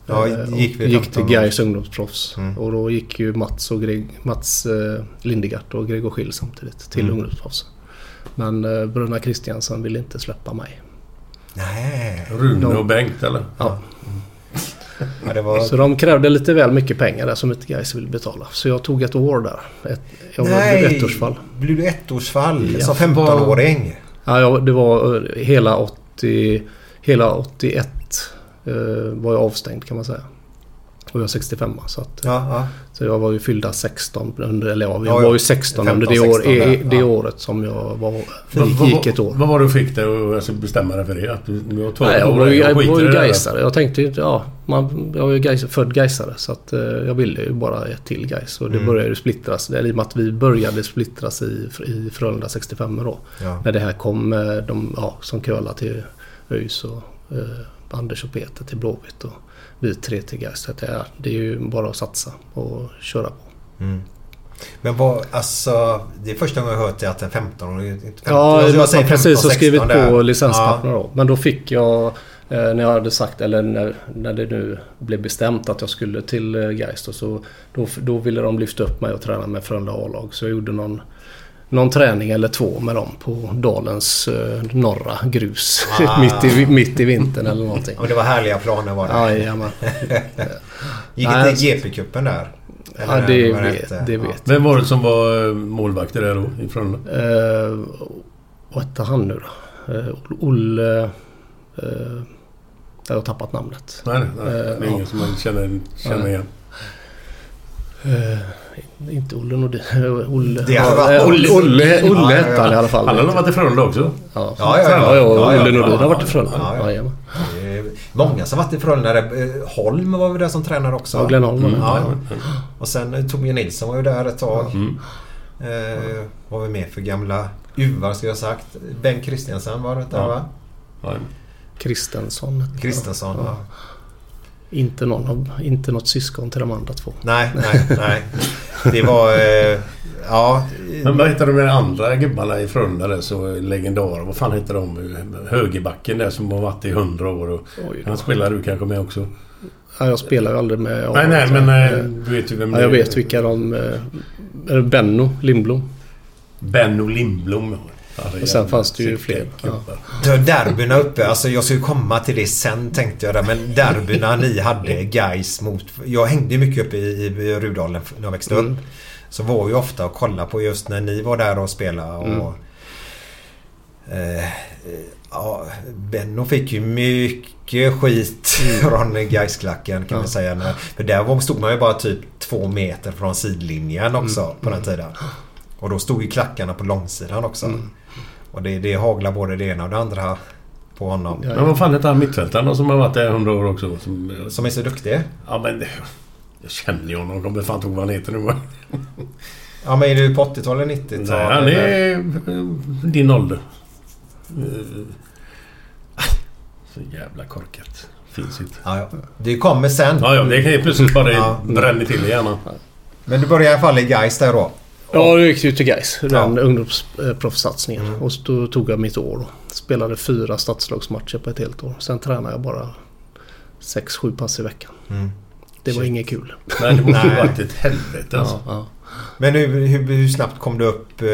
[SPEAKER 1] Ja,
[SPEAKER 5] Eh, och
[SPEAKER 1] gick vi
[SPEAKER 5] gick
[SPEAKER 1] 15
[SPEAKER 5] till
[SPEAKER 1] år.
[SPEAKER 5] Gais ungdomsproffs.
[SPEAKER 1] Mm.
[SPEAKER 5] Och då gick ju Mats, och Greg, Mats eh, Lindegard och Gregor Schill samtidigt till
[SPEAKER 1] Mm.
[SPEAKER 5] ungdomsproffs. Men eh, Bruna Kristiansen ville inte släppa mig.
[SPEAKER 1] Nej.
[SPEAKER 2] Rune
[SPEAKER 5] De-
[SPEAKER 2] och Bengt eller?
[SPEAKER 5] Ja.
[SPEAKER 1] Ja, det var...
[SPEAKER 5] Så de krävde lite väl mycket pengar där som inte Gais ville betala. Så jag tog ett år där. Ett, jag blev ett årsfall.
[SPEAKER 1] Blev du ettårsfall
[SPEAKER 5] Ja.
[SPEAKER 1] som 15-åring?
[SPEAKER 5] Ja, jag, det var eh, hela, 80, hela 81 eh, var jag avstängd kan man säga. Och jag är 65 så, att,
[SPEAKER 1] Ja, ja.
[SPEAKER 5] så jag var ju fyllda 16 under, eller jag,
[SPEAKER 1] Ja,
[SPEAKER 5] jag
[SPEAKER 1] ja.
[SPEAKER 5] var ju 16 under det,
[SPEAKER 1] 15,
[SPEAKER 5] år, i-
[SPEAKER 1] 16 där,
[SPEAKER 5] det
[SPEAKER 1] ja.
[SPEAKER 5] året som jag var,
[SPEAKER 2] Vad-
[SPEAKER 5] gick ett år.
[SPEAKER 2] Vad var det du fick dig att alltså, bestämma dig för det? Att du, du har två
[SPEAKER 5] Nej, jag
[SPEAKER 2] år
[SPEAKER 5] var ju,
[SPEAKER 2] och
[SPEAKER 5] jag
[SPEAKER 2] skiter
[SPEAKER 5] var
[SPEAKER 2] i
[SPEAKER 5] ju
[SPEAKER 2] det där.
[SPEAKER 5] Gaisare. Jag tänkte ju inte, ja, man, jag var ju Gais, född Gaisare så att eh, jag ville ju bara ett till Gais. Och det
[SPEAKER 1] Mm.
[SPEAKER 5] började ju splittras, eller i och med att vi började splittras i, i Frölunda 65 då.
[SPEAKER 1] Ja.
[SPEAKER 5] När det här kom, eh, de ja, som curlade till ÖIS och eh, Anders och Peter till Blåvitt och vi tre till Gais. Så att det, är, det är ju bara att satsa och köra på.
[SPEAKER 1] Mm. Men vad, alltså, det är första gången jag hört det att en 15-åring... inte 15,
[SPEAKER 5] Ja,
[SPEAKER 1] jag
[SPEAKER 5] jag har
[SPEAKER 1] säger
[SPEAKER 5] precis
[SPEAKER 1] 15,
[SPEAKER 5] och skrivit
[SPEAKER 1] 16 där.
[SPEAKER 5] på licenspapperen då. Men då fick jag, eh, när jag hade sagt, eller när, när det nu blev bestämt att jag skulle till eh, Gais då, så då, då ville de lyfta upp mig och träna med Frölunda A-lag. Så jag gjorde någon, någon träning eller två med dem på Dalens eh, norra grus.
[SPEAKER 1] Ah.
[SPEAKER 5] mitt, i, mitt i vintern eller någonting.
[SPEAKER 1] Ja, men det var härliga planer var det.
[SPEAKER 5] Jajamän.
[SPEAKER 1] Gick
[SPEAKER 5] Nej,
[SPEAKER 1] inte GP-cupen där? Eller
[SPEAKER 5] Ja,
[SPEAKER 1] när
[SPEAKER 5] det
[SPEAKER 1] var
[SPEAKER 5] vet,
[SPEAKER 1] rätt,
[SPEAKER 5] det
[SPEAKER 1] ja.
[SPEAKER 5] vet.
[SPEAKER 2] Vem var det som var eh, målvakter där då? Ifrån?
[SPEAKER 5] Uh, vad hette han nu då? Eh, Olle... eh, jag har tappat namnet.
[SPEAKER 2] Nej, nej, nej.
[SPEAKER 5] Eh,
[SPEAKER 2] det är ingen som man känner, känner igen.
[SPEAKER 5] Eh, inte Olle Nordin. Olle,
[SPEAKER 1] Det hade varit-
[SPEAKER 5] ja, eh, Olle, Olle, Olle
[SPEAKER 1] Ja, ja,
[SPEAKER 5] hette han i alla fall.
[SPEAKER 2] Alla har varit i Frölunda också.
[SPEAKER 5] Ja,
[SPEAKER 1] Ja, ja, ja.
[SPEAKER 5] ja,
[SPEAKER 1] Ja, ja,
[SPEAKER 5] Olle Nordin
[SPEAKER 1] ja,
[SPEAKER 5] har varit i
[SPEAKER 1] ja,
[SPEAKER 5] Frölunda.
[SPEAKER 1] ja, ja.
[SPEAKER 5] Ja, jajamän.
[SPEAKER 1] Det är Många som varit i Frölunda. Eh, Holm var väl där som tränare också?
[SPEAKER 5] Ja, Mm. Glenn Holm var
[SPEAKER 1] Mm,
[SPEAKER 5] med.
[SPEAKER 1] ja. Och sen eh, Torbjörn Nilsson var ju där ett tag. Eh, vad var vi mer för gamla uvar skulle jag ha sagt. Bengt Kristiansen var det där
[SPEAKER 2] Ja.
[SPEAKER 1] va?
[SPEAKER 2] Ja.
[SPEAKER 5] Kristensson. hette han.
[SPEAKER 1] Kristensson. Ja.
[SPEAKER 5] Inte, någon av, inte något syskon till de andra två.
[SPEAKER 1] Nej, nej, nej. Det var... Eh, ja.
[SPEAKER 2] Men vad heter de där andra gubbarna i Frölunda där så legendarer? Vad fan heter de? Högerbacken där som har varit i hundra år. Och
[SPEAKER 5] Oj då.
[SPEAKER 2] han spelar du kanske med också?
[SPEAKER 5] Ja, jag spelar ju aldrig med
[SPEAKER 2] nej, nej, men eh,
[SPEAKER 5] Eh,
[SPEAKER 2] du vet ju vem
[SPEAKER 5] ja, jag vet vilka de... eh, är det Benno Lindblom.
[SPEAKER 2] Benno Lindblom. Ja, det är
[SPEAKER 5] Och sen
[SPEAKER 2] jävla
[SPEAKER 5] fanns det ju
[SPEAKER 2] sick
[SPEAKER 5] fler.
[SPEAKER 2] gubbar.
[SPEAKER 1] Du, Derbyna uppe, alltså jag skulle komma till det sen tänkte jag där, men derbyna ni hade guys mot... Jag hängde ju mycket uppe i, i Rudalen när jag växte
[SPEAKER 5] Mm.
[SPEAKER 1] upp. Så var ju ofta och kolla på just när ni var där och spelade och...
[SPEAKER 5] Mm.
[SPEAKER 1] Eh, eh, ja, Benno fick ju mycket skit
[SPEAKER 5] Mm.
[SPEAKER 1] från Gaisklacken kan man säga. När- För där var- stod man ju bara typ två meter från sidlinjen
[SPEAKER 5] Mm.
[SPEAKER 1] också på den tiden. Och då stod ju klackarna på långsidan också.
[SPEAKER 5] Mm.
[SPEAKER 1] Och det, det haglar både det ena och det andra på honom.
[SPEAKER 5] Ja.
[SPEAKER 2] Men vad fan heter han mittfältaren som har varit där i hundra år också? Som,
[SPEAKER 1] Som är så duktig.
[SPEAKER 2] ja, men det, jag känner ju honom. Jag kommer fan inte ihåg vad han heter nu.
[SPEAKER 1] Ja men är du på 80-talet, 90-talet?
[SPEAKER 2] Nej, han
[SPEAKER 1] eller?
[SPEAKER 2] är eh, din ålder. Eh, Så jävla korkat. Finns inte.
[SPEAKER 1] Ja, ja. Det kommer sen.
[SPEAKER 2] Ja, ja, det kan ju plötsligt bara
[SPEAKER 1] Ja.
[SPEAKER 2] bränna till i hjärnan.
[SPEAKER 1] Men du började i alla fall i Gais där då?
[SPEAKER 5] Ja, då gick jag till Gais. Den ungdomsproffssatsningen.
[SPEAKER 1] Mm.
[SPEAKER 5] Och så då tog jag mitt år. Då. Spelade fyra stadslagsmatcher på ett helt år. Sen tränade jag bara sex, sju pass i veckan. Det var inget kul.
[SPEAKER 2] Nej, det måste ju
[SPEAKER 1] Nej.
[SPEAKER 2] varit ett helvete alltså.
[SPEAKER 5] Ja,
[SPEAKER 1] Men hur, hur, hur snabbt kom du upp? eh,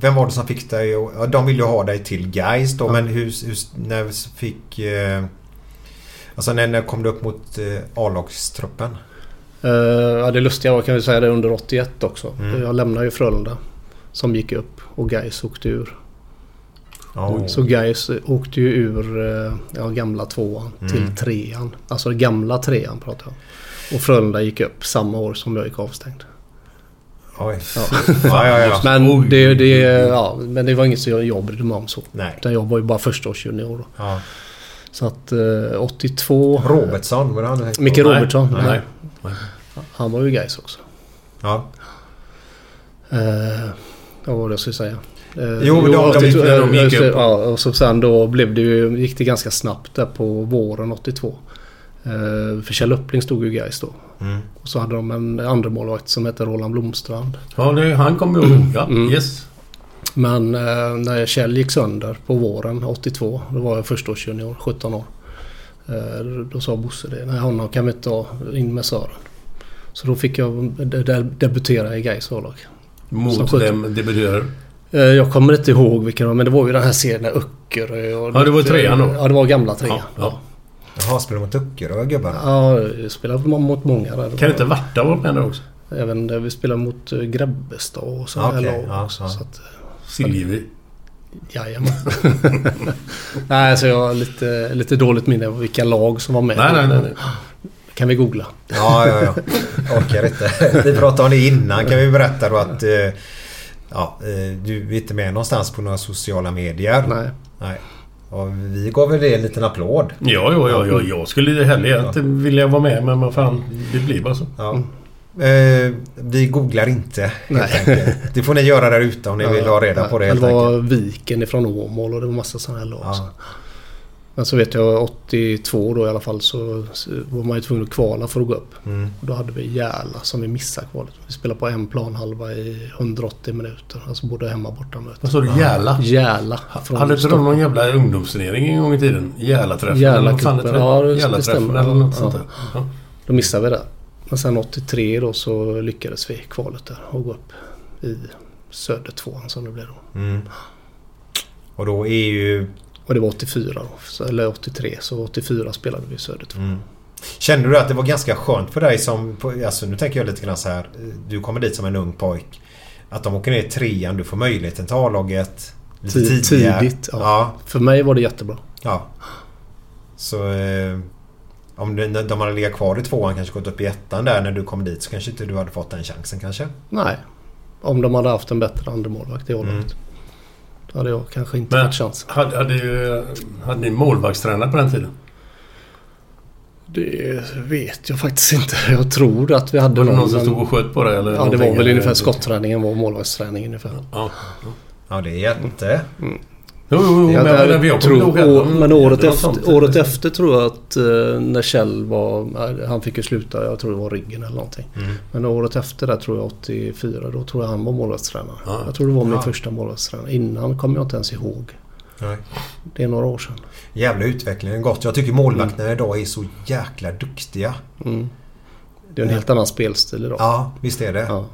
[SPEAKER 1] Vem var det som fick dig? att- Ja, de ville ju ha dig till Gais då, men hur, hur när fick... eh, Alltså när, när kom du upp mot eh, A-lagstruppen?
[SPEAKER 5] Eh, ja, det lustiga var kan vi säga det under 81 också.
[SPEAKER 2] Mm.
[SPEAKER 5] Jag lämnade ju Frölunda. Som gick upp och Gais åkte ur.
[SPEAKER 1] Ja.
[SPEAKER 5] Så Gais åkte ju ur eh, ja, gamla tvåan till trean. Alltså den gamla trean pratar jag om. Och Frölunda gick upp samma år som jag gick avstängd.
[SPEAKER 1] Oj. Ja, ja, ja.
[SPEAKER 5] Men det, det, ja, men det var inget som jag- jag brydde mig om så.
[SPEAKER 1] Nej.
[SPEAKER 5] Utan jag var ju bara förstaårsjunior då.
[SPEAKER 1] ja.
[SPEAKER 5] Så att eh, 82...
[SPEAKER 1] Robertsson, var det han du tänkte på?
[SPEAKER 5] Micke Robertsson.
[SPEAKER 2] Nej.
[SPEAKER 5] Nej.
[SPEAKER 2] Nej.
[SPEAKER 5] Han var ju Gais också.
[SPEAKER 1] Ja.
[SPEAKER 5] Eh, vad var det jag skulle säga? Eh,
[SPEAKER 1] Jo, men de- de
[SPEAKER 5] 82
[SPEAKER 2] gick ju- de gick
[SPEAKER 5] eh,
[SPEAKER 2] upp.
[SPEAKER 5] Ja, och så sen då blev det ju, gick det ganska snabbt där på våren 82. Eh, för Kjell Uppling stod ju i Gais då.
[SPEAKER 2] Mm.
[SPEAKER 5] Och så hade de en andra målvakt som hette Roland Blomstrand. Mm.
[SPEAKER 2] Ja, det, han kom ju ihåg. Ja, yes.
[SPEAKER 5] Men eh, när Kjell gick sönder på våren 82, då var jag förstaårsjunior, 17 år. Eh, då- då sa Bosse det, nej honom kan vi inte ta in med Sören. Så då fick jag de- de- debutera i Gais A-lag. Som
[SPEAKER 2] Mot
[SPEAKER 5] sjutton.
[SPEAKER 2] dem debuterade
[SPEAKER 5] Eh, Jag kommer inte ihåg vilken det var, men det var ju den här serien där Öckerö och...
[SPEAKER 2] Ja, det var trean då.
[SPEAKER 5] Ja, det var gamla trean.
[SPEAKER 2] ja, ja.
[SPEAKER 1] Jaha, spelade mot Öckerö gubbarna?
[SPEAKER 5] Ja, vi spelade mot många där.
[SPEAKER 2] Kan inte Varta vara med där också?
[SPEAKER 5] Även där vi spelade mot eh, Grebbestad och sådana
[SPEAKER 1] Okej,
[SPEAKER 5] här lag
[SPEAKER 1] ja,
[SPEAKER 5] också.
[SPEAKER 1] ja.
[SPEAKER 5] Så att,
[SPEAKER 2] Siljevi.
[SPEAKER 5] Jajamän. nej, så jag har lite, lite dåligt minne av vilka lag som var med.
[SPEAKER 2] Nej, nej, nej. nej.
[SPEAKER 5] Kan vi googla?
[SPEAKER 1] Ja, ja, ja. Orkar inte. Vi pratade om det innan kan vi berätta då att... eh, Ja, eh, du är inte med någonstans på några sociala medier.
[SPEAKER 5] Nej.
[SPEAKER 1] Nej. Och vi gav väl det en liten applåd.
[SPEAKER 2] Ja, ja, ja, ja, jag skulle ju hellre inte vilja vara med men vad fan, det blir bara så.
[SPEAKER 1] Ja. Eh, vi googlar inte helt
[SPEAKER 5] Mm. Nej.
[SPEAKER 1] enkelt. Det får ni göra där ute om ni vill ha reda på det helt
[SPEAKER 5] Det var
[SPEAKER 1] enkelt.
[SPEAKER 5] Viken ifrån Åmål och det var massa sådana här
[SPEAKER 2] Ah.
[SPEAKER 5] lag. också. Men så vet jag 82 då i alla fall så så var man ju tvungen att kvala för att gå upp. Och då hade vi Järla som vi missade kvalet. Vi spelade på en planhalva i 180 minuter. Alltså både hemma och bortamöte.
[SPEAKER 2] Vad sa du? Järla?
[SPEAKER 5] Järla.
[SPEAKER 2] Hade inte de någon jävla ungdomsturnering en gång i tiden? Järlaträffen eller vad fan det
[SPEAKER 5] Järlacupen. Ja, det- det
[SPEAKER 2] Järlaträffen
[SPEAKER 5] stämmer.
[SPEAKER 2] eller något
[SPEAKER 5] Ja.
[SPEAKER 2] sånt där. Ja.
[SPEAKER 5] Då missade vi det. Men sen 83 då så lyckades vi i kvalet där och gå upp i Södertvåan som det blev då.
[SPEAKER 1] Och då är ju...
[SPEAKER 5] Och det var 84 då, så- eller 83. Så 84 spelade vi i Södertvåan.
[SPEAKER 1] Kände du att det var ganska skönt för dig som... på- Alltså nu tänker jag lite grann så här. eh, Du kommer dit som en ung pojk. Att de åker ner i trean, du får möjligheten till A-laget. lite
[SPEAKER 5] Ti-
[SPEAKER 1] tidigare.
[SPEAKER 5] Tidigt. Ja.
[SPEAKER 1] ja.
[SPEAKER 5] För mig var det jättebra.
[SPEAKER 1] Ja. Så eh, om de, när de hade legat kvar i tvåan, kanske gått upp i ettan där när du kom dit så kanske inte du hade fått den chansen kanske?
[SPEAKER 5] Nej. Om de hade haft en bättre andra målvakt i året. Då hade jag kanske inte
[SPEAKER 2] Mm. Men
[SPEAKER 5] fått chansen.
[SPEAKER 2] hade, hade, ju- hade ni målvaktstränare på den tiden?
[SPEAKER 5] Det vet jag faktiskt inte. Jag tror att vi hade
[SPEAKER 2] Var det någon som
[SPEAKER 5] men-
[SPEAKER 2] stod och sköt på dig? Eller
[SPEAKER 5] Ja, det var
[SPEAKER 2] någonting?
[SPEAKER 5] väl ungefär
[SPEAKER 2] Eller-
[SPEAKER 5] skotträningen var målvaktsträning ungefär.
[SPEAKER 2] Ja.
[SPEAKER 1] Ja, det är
[SPEAKER 5] Mm.
[SPEAKER 1] jätte.
[SPEAKER 2] Jo, jo, jo,
[SPEAKER 5] Jag,
[SPEAKER 2] men, men
[SPEAKER 5] jag
[SPEAKER 2] jag kommer
[SPEAKER 5] tror,
[SPEAKER 2] ihåg heller.
[SPEAKER 5] å- men året,
[SPEAKER 2] Det var
[SPEAKER 5] efter,
[SPEAKER 2] sånt.
[SPEAKER 5] året efter tror jag att eh, när Kjell var... eh, Han fick ju sluta, jag tror det var ryggen eller någonting. Men året efter där tror jag 84, då tror jag han var målvaktstränare.
[SPEAKER 2] Ja.
[SPEAKER 5] Jag tror det var min första målvaktstränare. Innan kommer jag inte ens ihåg.
[SPEAKER 1] Nej.
[SPEAKER 5] Det är några år sedan.
[SPEAKER 1] Jävla utvecklingen gått. Jag tycker målvakterna
[SPEAKER 5] Mm.
[SPEAKER 1] idag är så jäkla duktiga.
[SPEAKER 5] Det är en helt annan spelstil idag.
[SPEAKER 1] Ja, visst är det.
[SPEAKER 5] Ja.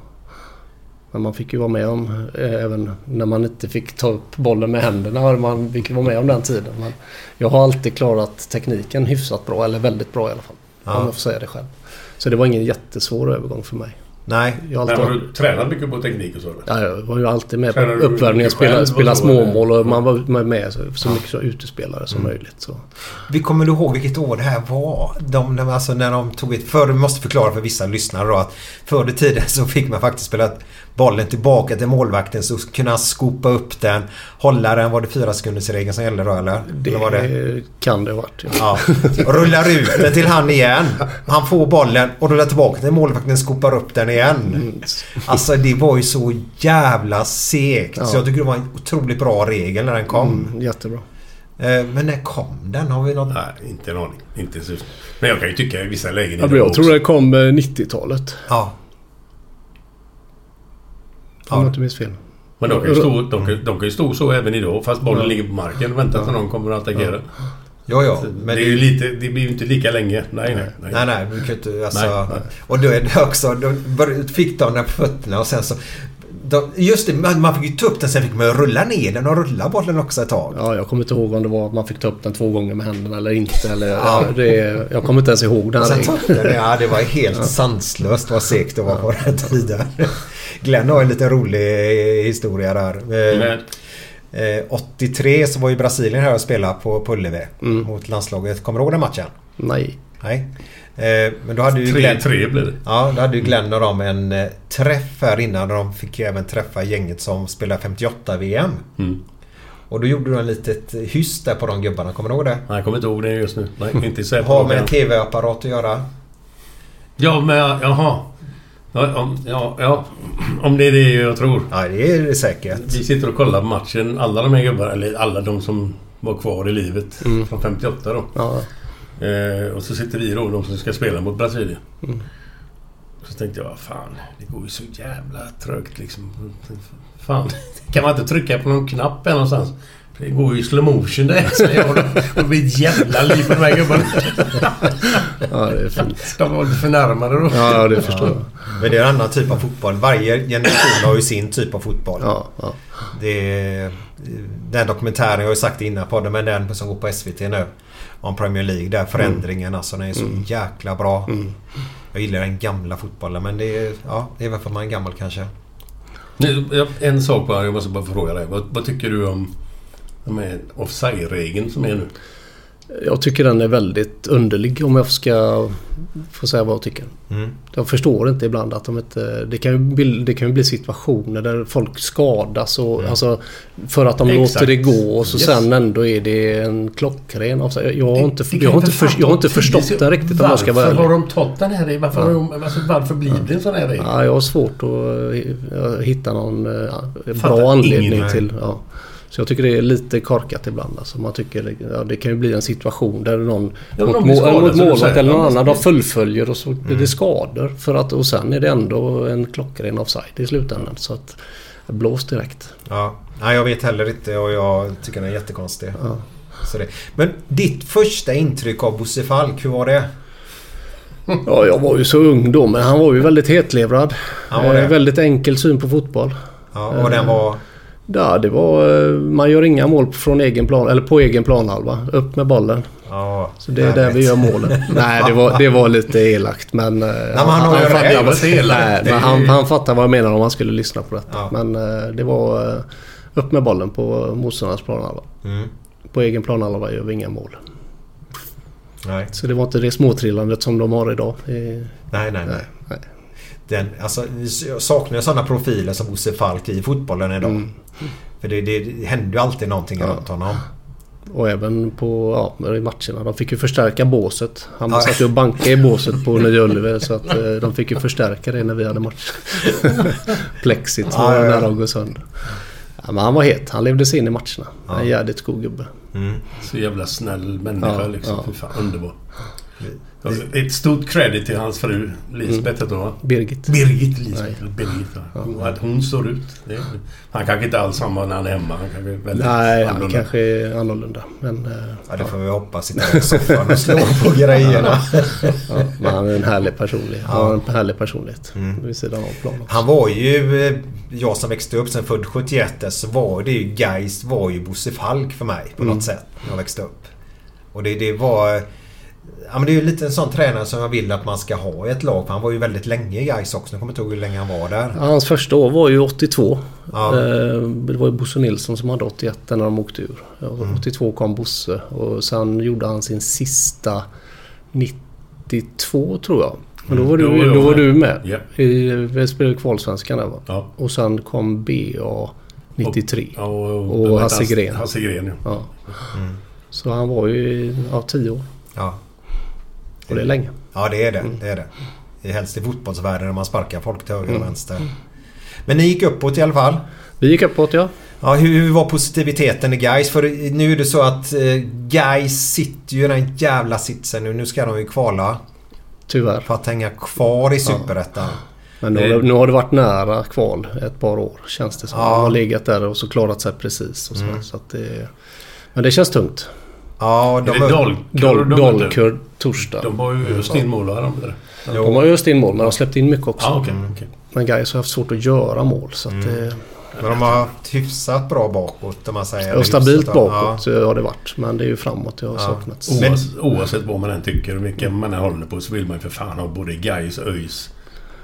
[SPEAKER 5] Men man fick ju vara med om, eh, även när man inte fick ta upp bollen med händerna, man fick vara med om den tiden. Men jag har alltid klarat tekniken hyfsat bra, eller väldigt bra i alla fall. Om jag får säga det själv. Så det var ingen jättesvår övergång för mig.
[SPEAKER 1] Nej.
[SPEAKER 5] Jag, har
[SPEAKER 2] Men
[SPEAKER 5] alltid,
[SPEAKER 2] har du tränat mycket på teknik och så? eller?
[SPEAKER 5] ja, jag var ju alltid med på
[SPEAKER 2] Tränade du
[SPEAKER 5] uppvärmningen,
[SPEAKER 2] mycket själv
[SPEAKER 5] spela,
[SPEAKER 2] och
[SPEAKER 5] spela
[SPEAKER 2] så,
[SPEAKER 5] småmål och man var med så, så mycket som utespelare som möjligt. Så.
[SPEAKER 1] Vi kommer du ihåg vilket år det här var? De, de, alltså när de tog ett... Förr, vi måste förklara för vissa lyssnare då att förr i tiden så fick man faktiskt spela bollen tillbaka till målvakten så kunde han skopa upp den, hålla den. Var det fyra sekunders regeln som gällde då eller?
[SPEAKER 5] Det,
[SPEAKER 1] eller var det?
[SPEAKER 5] Eh, kan det ha varit. Ja.
[SPEAKER 1] Ja. Och rullar ut den till han igen. Han får bollen och rullar tillbaka till målvakten skopar upp den igen.
[SPEAKER 5] Mm.
[SPEAKER 1] Alltså det var ju så jävla segt. Så jag tycker det var en otroligt bra regel när den kom.
[SPEAKER 5] Mm, Jättebra.
[SPEAKER 1] Eh, Men när kom den? Har vi något...
[SPEAKER 2] Nej, inte en aning. Inte så. Men jag kan ju tycka i vissa lägen...
[SPEAKER 1] Mm.
[SPEAKER 5] Ja, men
[SPEAKER 2] idag
[SPEAKER 5] jag tror
[SPEAKER 2] också.
[SPEAKER 5] det kom eh, 90-talet.
[SPEAKER 1] Ja.
[SPEAKER 5] Om jag inte minns fel.
[SPEAKER 2] Men de kan, ju stå,
[SPEAKER 5] Mm.
[SPEAKER 2] de, kan, de kan ju stå så även idag fast bollen ligger på marken och väntar tills någon kommer att attackera.
[SPEAKER 1] Ja, ja.
[SPEAKER 2] Så
[SPEAKER 1] Men
[SPEAKER 2] det, är ju lite, det blir ju inte lika länge. Nej, nej. nej.
[SPEAKER 1] Nej, nej. Du kan ju inte, alltså,
[SPEAKER 2] Nej, nej.
[SPEAKER 1] Och då är det också... Då bör- fick de den på fötterna och sen så... De, just det, man, man fick ju ta upp den sen fick man ju rulla ner den och rulla bollen också ett tag.
[SPEAKER 5] Ja, jag kommer inte ihåg om det var att man fick ta upp den två gånger med händerna eller inte. Eller, det är, jag kommer inte ens ihåg den
[SPEAKER 1] Och
[SPEAKER 5] här
[SPEAKER 1] sen
[SPEAKER 5] regeln.
[SPEAKER 1] tappade den. Ja, det var helt sanslöst vad segt det var på den tiden. Glenn har en liten rolig eh, historia där. Eh,
[SPEAKER 2] Men-
[SPEAKER 1] Eh, 83 så var ju Brasilien här och spelade på, på Ullevi
[SPEAKER 5] Mm.
[SPEAKER 1] mot landslaget. Kommer du ihåg den matchen?
[SPEAKER 5] Nej.
[SPEAKER 1] Nej. Eh, men då hade ju Glenn...
[SPEAKER 2] 3-3 blir det.
[SPEAKER 1] Ja, då hade ju Glenn och dem en eh, träff här innan. Och de fick ju även träffa gänget som spelar 58-VM. Och då gjorde de en litet eh, hyss där på de gubbarna. Kommer du ihåg det?
[SPEAKER 2] Nej, jag kommer inte ihåg det just nu. Nej, inte i
[SPEAKER 1] Har
[SPEAKER 2] Säpo.
[SPEAKER 1] med en TV-apparat att göra.
[SPEAKER 2] Ja, men jaha. Ja, om, ja, ja, om det är det jag tror.
[SPEAKER 1] Ja, det är det säkert.
[SPEAKER 2] Vi sitter och kollar på matchen. Alla de här gubbarna, eller alla de som var kvar i livet från 58 då.
[SPEAKER 5] Mm. Ja.
[SPEAKER 2] Eh, och så sitter vi då, de som ska spela mot Brasilien.
[SPEAKER 5] Mm.
[SPEAKER 2] Så tänkte jag, fan, det går ju så jävla trögt liksom. Fan, kan man inte trycka på någon knapp här någonstans? Det går ju i slow motion det här, säger jag. då. Det blir ett jävla liv på de här gubbarna.
[SPEAKER 5] Ja, det är fint.
[SPEAKER 2] De var lite förnärmade då.
[SPEAKER 5] Ja, ja, det förstår jag.
[SPEAKER 1] Men det är en annan typ av fotboll. Varje generation har ju sin typ av fotboll.
[SPEAKER 5] Ja, ja.
[SPEAKER 1] Det är, den dokumentären, jag har ju sagt det innan på podden, men den som går på SVT nu. Om Premier League, där förändringen
[SPEAKER 5] Mm.
[SPEAKER 1] alltså. Den är så jäkla bra. Jag gillar den gamla fotbollen men det är, ja, det är väl för att man är gammal kanske.
[SPEAKER 2] Nu, jag- En sak bara, jag måste bara fråga dig. Vad, vad tycker du om de här offside-regeln som är nu?
[SPEAKER 5] Jag tycker den är väldigt underlig om jag ska få säga vad jag tycker. Jag förstår inte ibland att de inte... Det kan ju bli, det kan ju bli situationer där folk skadas och, alltså, för att de
[SPEAKER 2] Exakt.
[SPEAKER 5] låter det gå och så
[SPEAKER 2] Yes.
[SPEAKER 5] sen ändå är det en klockren offside. Jag har inte,
[SPEAKER 2] Det kan ju
[SPEAKER 5] jag har inte,
[SPEAKER 2] för fan
[SPEAKER 5] för, jag har inte
[SPEAKER 2] ta
[SPEAKER 5] förstått
[SPEAKER 2] tid.
[SPEAKER 5] den riktigt om jag ska vara
[SPEAKER 2] Varför har
[SPEAKER 5] ärlig.
[SPEAKER 2] de tagit den här regeln? Varför, har de, alltså, varför blir det en sån här regel?
[SPEAKER 5] Ja, jag har svårt att eh, hitta någon eh,
[SPEAKER 2] Fattar
[SPEAKER 5] bra anledning
[SPEAKER 1] eh,
[SPEAKER 2] ingen.
[SPEAKER 5] till... Ja. Så jag tycker det är lite korkat ibland. Alltså man tycker, ja, det kan ju bli en situation där någon
[SPEAKER 2] Ja, men
[SPEAKER 5] mot,
[SPEAKER 2] de blir
[SPEAKER 5] mål,
[SPEAKER 2] skadade,
[SPEAKER 5] mot
[SPEAKER 2] som du
[SPEAKER 5] målvakt
[SPEAKER 2] säger.
[SPEAKER 5] eller
[SPEAKER 2] Ja,
[SPEAKER 5] någon
[SPEAKER 2] men- Mm.
[SPEAKER 5] annan de fullföljer och så blir det skador. För att, och sen är det ändå en klockren offside i slutändan. Så att blås direkt.
[SPEAKER 1] Ja. Nej, jag vet heller inte och jag tycker den är jättekonstig. Så det. Men ditt första intryck av Bosse Falk, hur var det?
[SPEAKER 5] Ja, jag var ju så ung då men han var ju väldigt hetlevrad.
[SPEAKER 1] Han var det.
[SPEAKER 5] Eh, väldigt enkel syn på fotboll. Eh.
[SPEAKER 1] Ja, och den var...
[SPEAKER 5] Ja, det var, eh, man gör inga mål från egen plan, eller på egen planhalva. Upp med bollen.
[SPEAKER 1] Ja,
[SPEAKER 5] Så det är där vi gör målen. Nej, det var, det var lite elakt men... eh,
[SPEAKER 1] han har ju rätt. Det var inte
[SPEAKER 5] nej,
[SPEAKER 1] elakt.
[SPEAKER 5] men han, han fattar vad jag menar om han skulle lyssna på detta.
[SPEAKER 1] Ja.
[SPEAKER 5] Men eh, det var eh, upp med bollen på motståndarnas planhalva.
[SPEAKER 1] Mm.
[SPEAKER 5] På egen planhalva gör vi inga mål.
[SPEAKER 1] Nej,
[SPEAKER 5] Så det var inte det småtrillandet som de har idag. Eh,
[SPEAKER 1] nej, nej. nej.
[SPEAKER 5] nej, nej.
[SPEAKER 1] Den, alltså, jag saknar sådana profiler som Bosse Falk i fotbollen idag.
[SPEAKER 5] Mm.
[SPEAKER 1] För det, det händer ju alltid någonting runt honom.
[SPEAKER 5] Och även på ja, i matcherna. De fick ju förstärka båset. Han satt ju och bankade i båset på Nya Ullevi så att eh, de fick ju förstärka det när vi hade match. Plexit som var
[SPEAKER 1] Ja, ja, ja.
[SPEAKER 5] nära att gå sönder. Ja, men han var het. Han levde sig in i matcherna. En jädrigt god gubbe.
[SPEAKER 1] Mm.
[SPEAKER 2] Så jävla snäll människa
[SPEAKER 5] Ja,
[SPEAKER 2] liksom.
[SPEAKER 5] ja.
[SPEAKER 2] Fy fan, underbar. Ja, Ett stort credit till hans fru Lisbeth hette hon va?
[SPEAKER 5] Birgit.
[SPEAKER 2] Birgit Lisbeth. Birgit, ja. Jo, Att hon står ut. Det, han kanske inte alls samma när han är hemma. Han kanske är väldigt
[SPEAKER 5] Nej, han
[SPEAKER 2] annorlunda.
[SPEAKER 5] kanske är annorlunda. Men, eh,
[SPEAKER 1] Ja, det får vi hoppas. Sitta här i soffan och slå på grejerna.
[SPEAKER 5] ja, men han är en härlig personlighet. Han har en härlig personlighet. Vid sidan av planen. också.
[SPEAKER 1] Han var ju... eh, Jag som växte upp sen född 71 så var det ju... Geist var ju Bosse Falk för mig på något sätt. När jag växte upp. Och det, det var... eh, Ja, men det är ju lite en sån tränare som jag vill att man ska ha i ett lag. För han var ju väldigt länge i Gais också. Jag kommer inte ihåg hur länge han var där.
[SPEAKER 5] Ja, Hans första år var ju 82.
[SPEAKER 1] Ja.
[SPEAKER 5] Eh, Det var ju Bosse Nilsson som hade 81 när de åkte ur. Och 82 kom Bosse och sen gjorde han sin sista 92 tror jag. Men då var du,
[SPEAKER 2] Mm, då var jag
[SPEAKER 5] då var
[SPEAKER 2] med.
[SPEAKER 5] du med.
[SPEAKER 2] Ja.
[SPEAKER 5] I, vi spelade kvalsvenskan där va?
[SPEAKER 2] Ja.
[SPEAKER 5] Och sen kom BA 93.
[SPEAKER 2] Ja, och,
[SPEAKER 5] Och
[SPEAKER 2] och
[SPEAKER 5] Hasse Gren.
[SPEAKER 2] Hasse Gren, ja.
[SPEAKER 5] Ja. Så han var ju ja, 10 år.
[SPEAKER 1] Ja.
[SPEAKER 5] Och det är länge. Mm.
[SPEAKER 1] Ja, det är det. det, är det. det är helst i fotbollsvärlden när man sparkar folk till höger och vänster. Men ni gick uppåt i alla fall.
[SPEAKER 5] Mm. Vi gick uppåt ja.
[SPEAKER 1] Ja, hur, hur var positiviteten i Gais? För nu är det så att eh, Gais sitter ju i den jävla sitsen nu. Nu ska de ju kvala
[SPEAKER 5] Tyvärr.
[SPEAKER 1] för att hänga kvar i Superettan.
[SPEAKER 5] Men nu,
[SPEAKER 2] Eh,
[SPEAKER 5] har det, nu har det varit nära kval ett par år känns det som.
[SPEAKER 1] Ja.
[SPEAKER 5] De har legat där och så klarat sig precis. Och så,
[SPEAKER 1] Mm.
[SPEAKER 5] så att det, men det känns tungt.
[SPEAKER 1] Ja,
[SPEAKER 2] de Är det har- Dalkurd
[SPEAKER 5] Dal,
[SPEAKER 2] de möter?
[SPEAKER 5] Dalkurd torsdag.
[SPEAKER 2] De har ju öst in mål, har de inte det?
[SPEAKER 5] De har öst in mål men de har släppt in mycket också. Mm.
[SPEAKER 2] Ja, okej. okej.
[SPEAKER 5] Men Gais har haft svårt att göra mål. Så att det,
[SPEAKER 1] Men de har haft hyfsat bra bakåt om man säger. Eller
[SPEAKER 5] och stabilt
[SPEAKER 1] hyfsat, ja.
[SPEAKER 5] bakåt har det varit. Men det är ju framåt det har
[SPEAKER 1] Ja.
[SPEAKER 5] saknats.
[SPEAKER 1] Men-
[SPEAKER 2] Oavsett, oavsett vad man än tycker och vilka man än håller på så vill man ju för fan ha både Gais, ÖIS,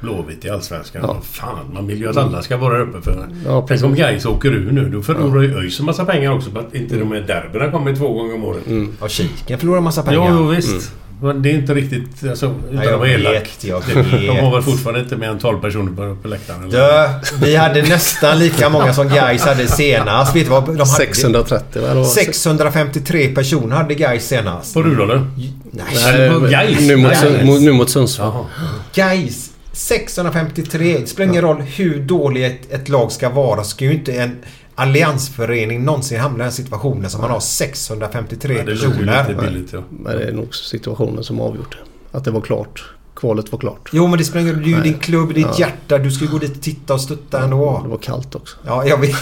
[SPEAKER 2] Blåvitt i Allsvenskan.
[SPEAKER 5] Ja.
[SPEAKER 2] Fan, man vill ju att alla ska vara där uppe för...
[SPEAKER 5] Ja,
[SPEAKER 2] Tänk
[SPEAKER 5] precis.
[SPEAKER 2] om Gais åker ur nu. Då förlorar ju ÖIS en massa pengar också för att inte de här derbyna kommer två gånger om året.
[SPEAKER 5] Mm.
[SPEAKER 1] Ja, Kiken förlorar massa pengar.
[SPEAKER 2] Ja, jo, visst. Men det är inte riktigt... Alltså, utan
[SPEAKER 1] Ja,
[SPEAKER 2] att
[SPEAKER 1] Mm. jag
[SPEAKER 2] vara elak.
[SPEAKER 1] vet, jag
[SPEAKER 2] De har väl
[SPEAKER 1] vet.
[SPEAKER 2] fortfarande inte mer än 12 personer på, på läktaren? Eller?
[SPEAKER 1] Du, vi hade nästan lika många som Gais hade senast. Vet du vad de hade?
[SPEAKER 5] 630 va?
[SPEAKER 1] 653 personer hade Gais senast.
[SPEAKER 2] På Rudolfen?
[SPEAKER 1] Nej,
[SPEAKER 5] Nej,
[SPEAKER 2] på Gais.
[SPEAKER 5] Eh, nu, mot,
[SPEAKER 2] Nej.
[SPEAKER 5] Sun- mot, nu mot Sundsvall.
[SPEAKER 2] Jaha.
[SPEAKER 1] Gais 653. Det spelar ingen roll hur dåligt ett, ett lag ska vara. Ska ju inte en alliansförening någonsin hamna i den situationen som man har 653
[SPEAKER 2] Ja, det låter ju
[SPEAKER 1] personer.
[SPEAKER 2] lite billigt ja.
[SPEAKER 5] Men det är nog situationen som avgjort det. Att det var klart. Kvalet var klart.
[SPEAKER 1] Jo men det spelar ingen roll. Det är ju
[SPEAKER 5] Nej.
[SPEAKER 1] din klubb, ditt
[SPEAKER 5] Ja.
[SPEAKER 1] hjärta. Du ska ju gå dit och titta och stötta
[SPEAKER 5] Det
[SPEAKER 1] ändå.
[SPEAKER 5] var kallt också.
[SPEAKER 1] Ja, jag vet.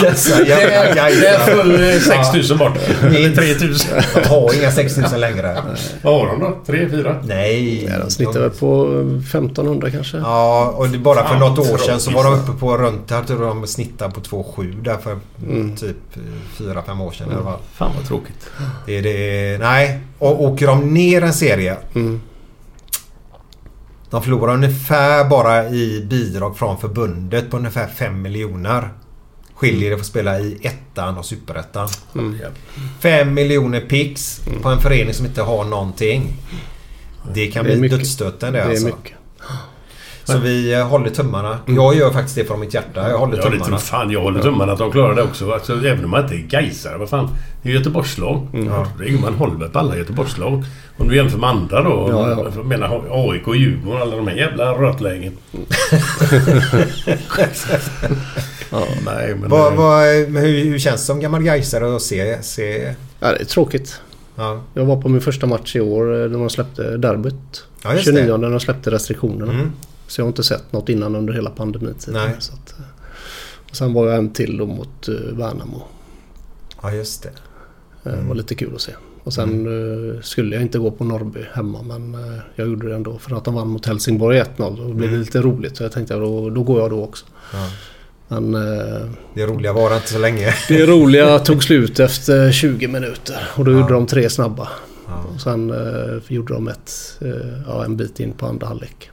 [SPEAKER 1] Dessa jävla Gaisar.
[SPEAKER 2] föll 6000 bort. Eller
[SPEAKER 1] Minst.
[SPEAKER 2] 3000.
[SPEAKER 1] Jag har inga 6000 längre.
[SPEAKER 2] Vad har de då? 3, 4?
[SPEAKER 1] Nej.
[SPEAKER 5] Ja, Den snittar väl på 1500 kanske.
[SPEAKER 1] Ja, och det bara
[SPEAKER 2] Fan,
[SPEAKER 1] för något år sedan
[SPEAKER 2] tråkigt.
[SPEAKER 1] så var de uppe på runt... Här tror jag de snittade på 2,7 där för typ 4-5 år sedan i alla fall.
[SPEAKER 2] Fan vad tråkigt.
[SPEAKER 1] Det är det, nej, och åker de ner en serie.
[SPEAKER 5] Mm.
[SPEAKER 1] De förlorar ungefär bara i bidrag från förbundet på ungefär 5 miljoner. Skiljer det för att spela i ettan och superettan.
[SPEAKER 5] Mm.
[SPEAKER 1] 5 miljoner pix på en förening som inte har någonting. Det kan
[SPEAKER 5] Det är
[SPEAKER 1] bli
[SPEAKER 5] mycket.
[SPEAKER 1] dödsstöten
[SPEAKER 5] Det
[SPEAKER 1] det,
[SPEAKER 5] är
[SPEAKER 1] alltså.
[SPEAKER 5] mycket.
[SPEAKER 1] Så vi eh, håller tummarna. Jag gör faktiskt det från mitt hjärta. Jag håller
[SPEAKER 2] Jag håller,
[SPEAKER 1] tummarna.
[SPEAKER 2] lite, fan, jag håller tummarna att de klarar det också. Alltså, även om man inte är Gaisare. Vad fan. Det är Göteborgslag.
[SPEAKER 5] Mm.
[SPEAKER 2] Herregud, Man håller väl på alla Göteborgslag. Om du jämför med andra då.
[SPEAKER 5] Ja, ja.
[SPEAKER 2] Jag menar AIK, Djurgården alla de här jävla rötlägen. Nej, men... eh,
[SPEAKER 1] Vad, vad, men hur, hur känns det som gammal Gaisare att se? se
[SPEAKER 5] Ja, det är tråkigt.
[SPEAKER 1] ja.
[SPEAKER 5] Jag var på min första match i år eh, när de släppte derbyt.
[SPEAKER 1] Ja, just det.
[SPEAKER 5] 29 när de släppte restriktionerna.
[SPEAKER 1] Mm.
[SPEAKER 5] Så jag har inte sett något innan under hela pandemitiden.
[SPEAKER 1] Nej.
[SPEAKER 5] Så att, eh, och sen var jag en till då mot eh, Värnamo.
[SPEAKER 1] ja, just det.
[SPEAKER 5] Det var lite kul att se. Och sen eh, skulle jag inte gå på Norrby hemma men eh, jag gjorde det ändå för att de vann mot Helsingborg 1-0. Och det blev lite roligt så jag tänkte att då, då går jag då också.
[SPEAKER 1] Ja.
[SPEAKER 5] Men eh,
[SPEAKER 1] Det roliga var inte så länge.
[SPEAKER 5] det roliga tog slut efter 20 minuter och då gjorde de tre snabba.
[SPEAKER 1] Ja.
[SPEAKER 5] Och sen eh, gjorde de ett, eh, ja, en bit in på andra halvlek.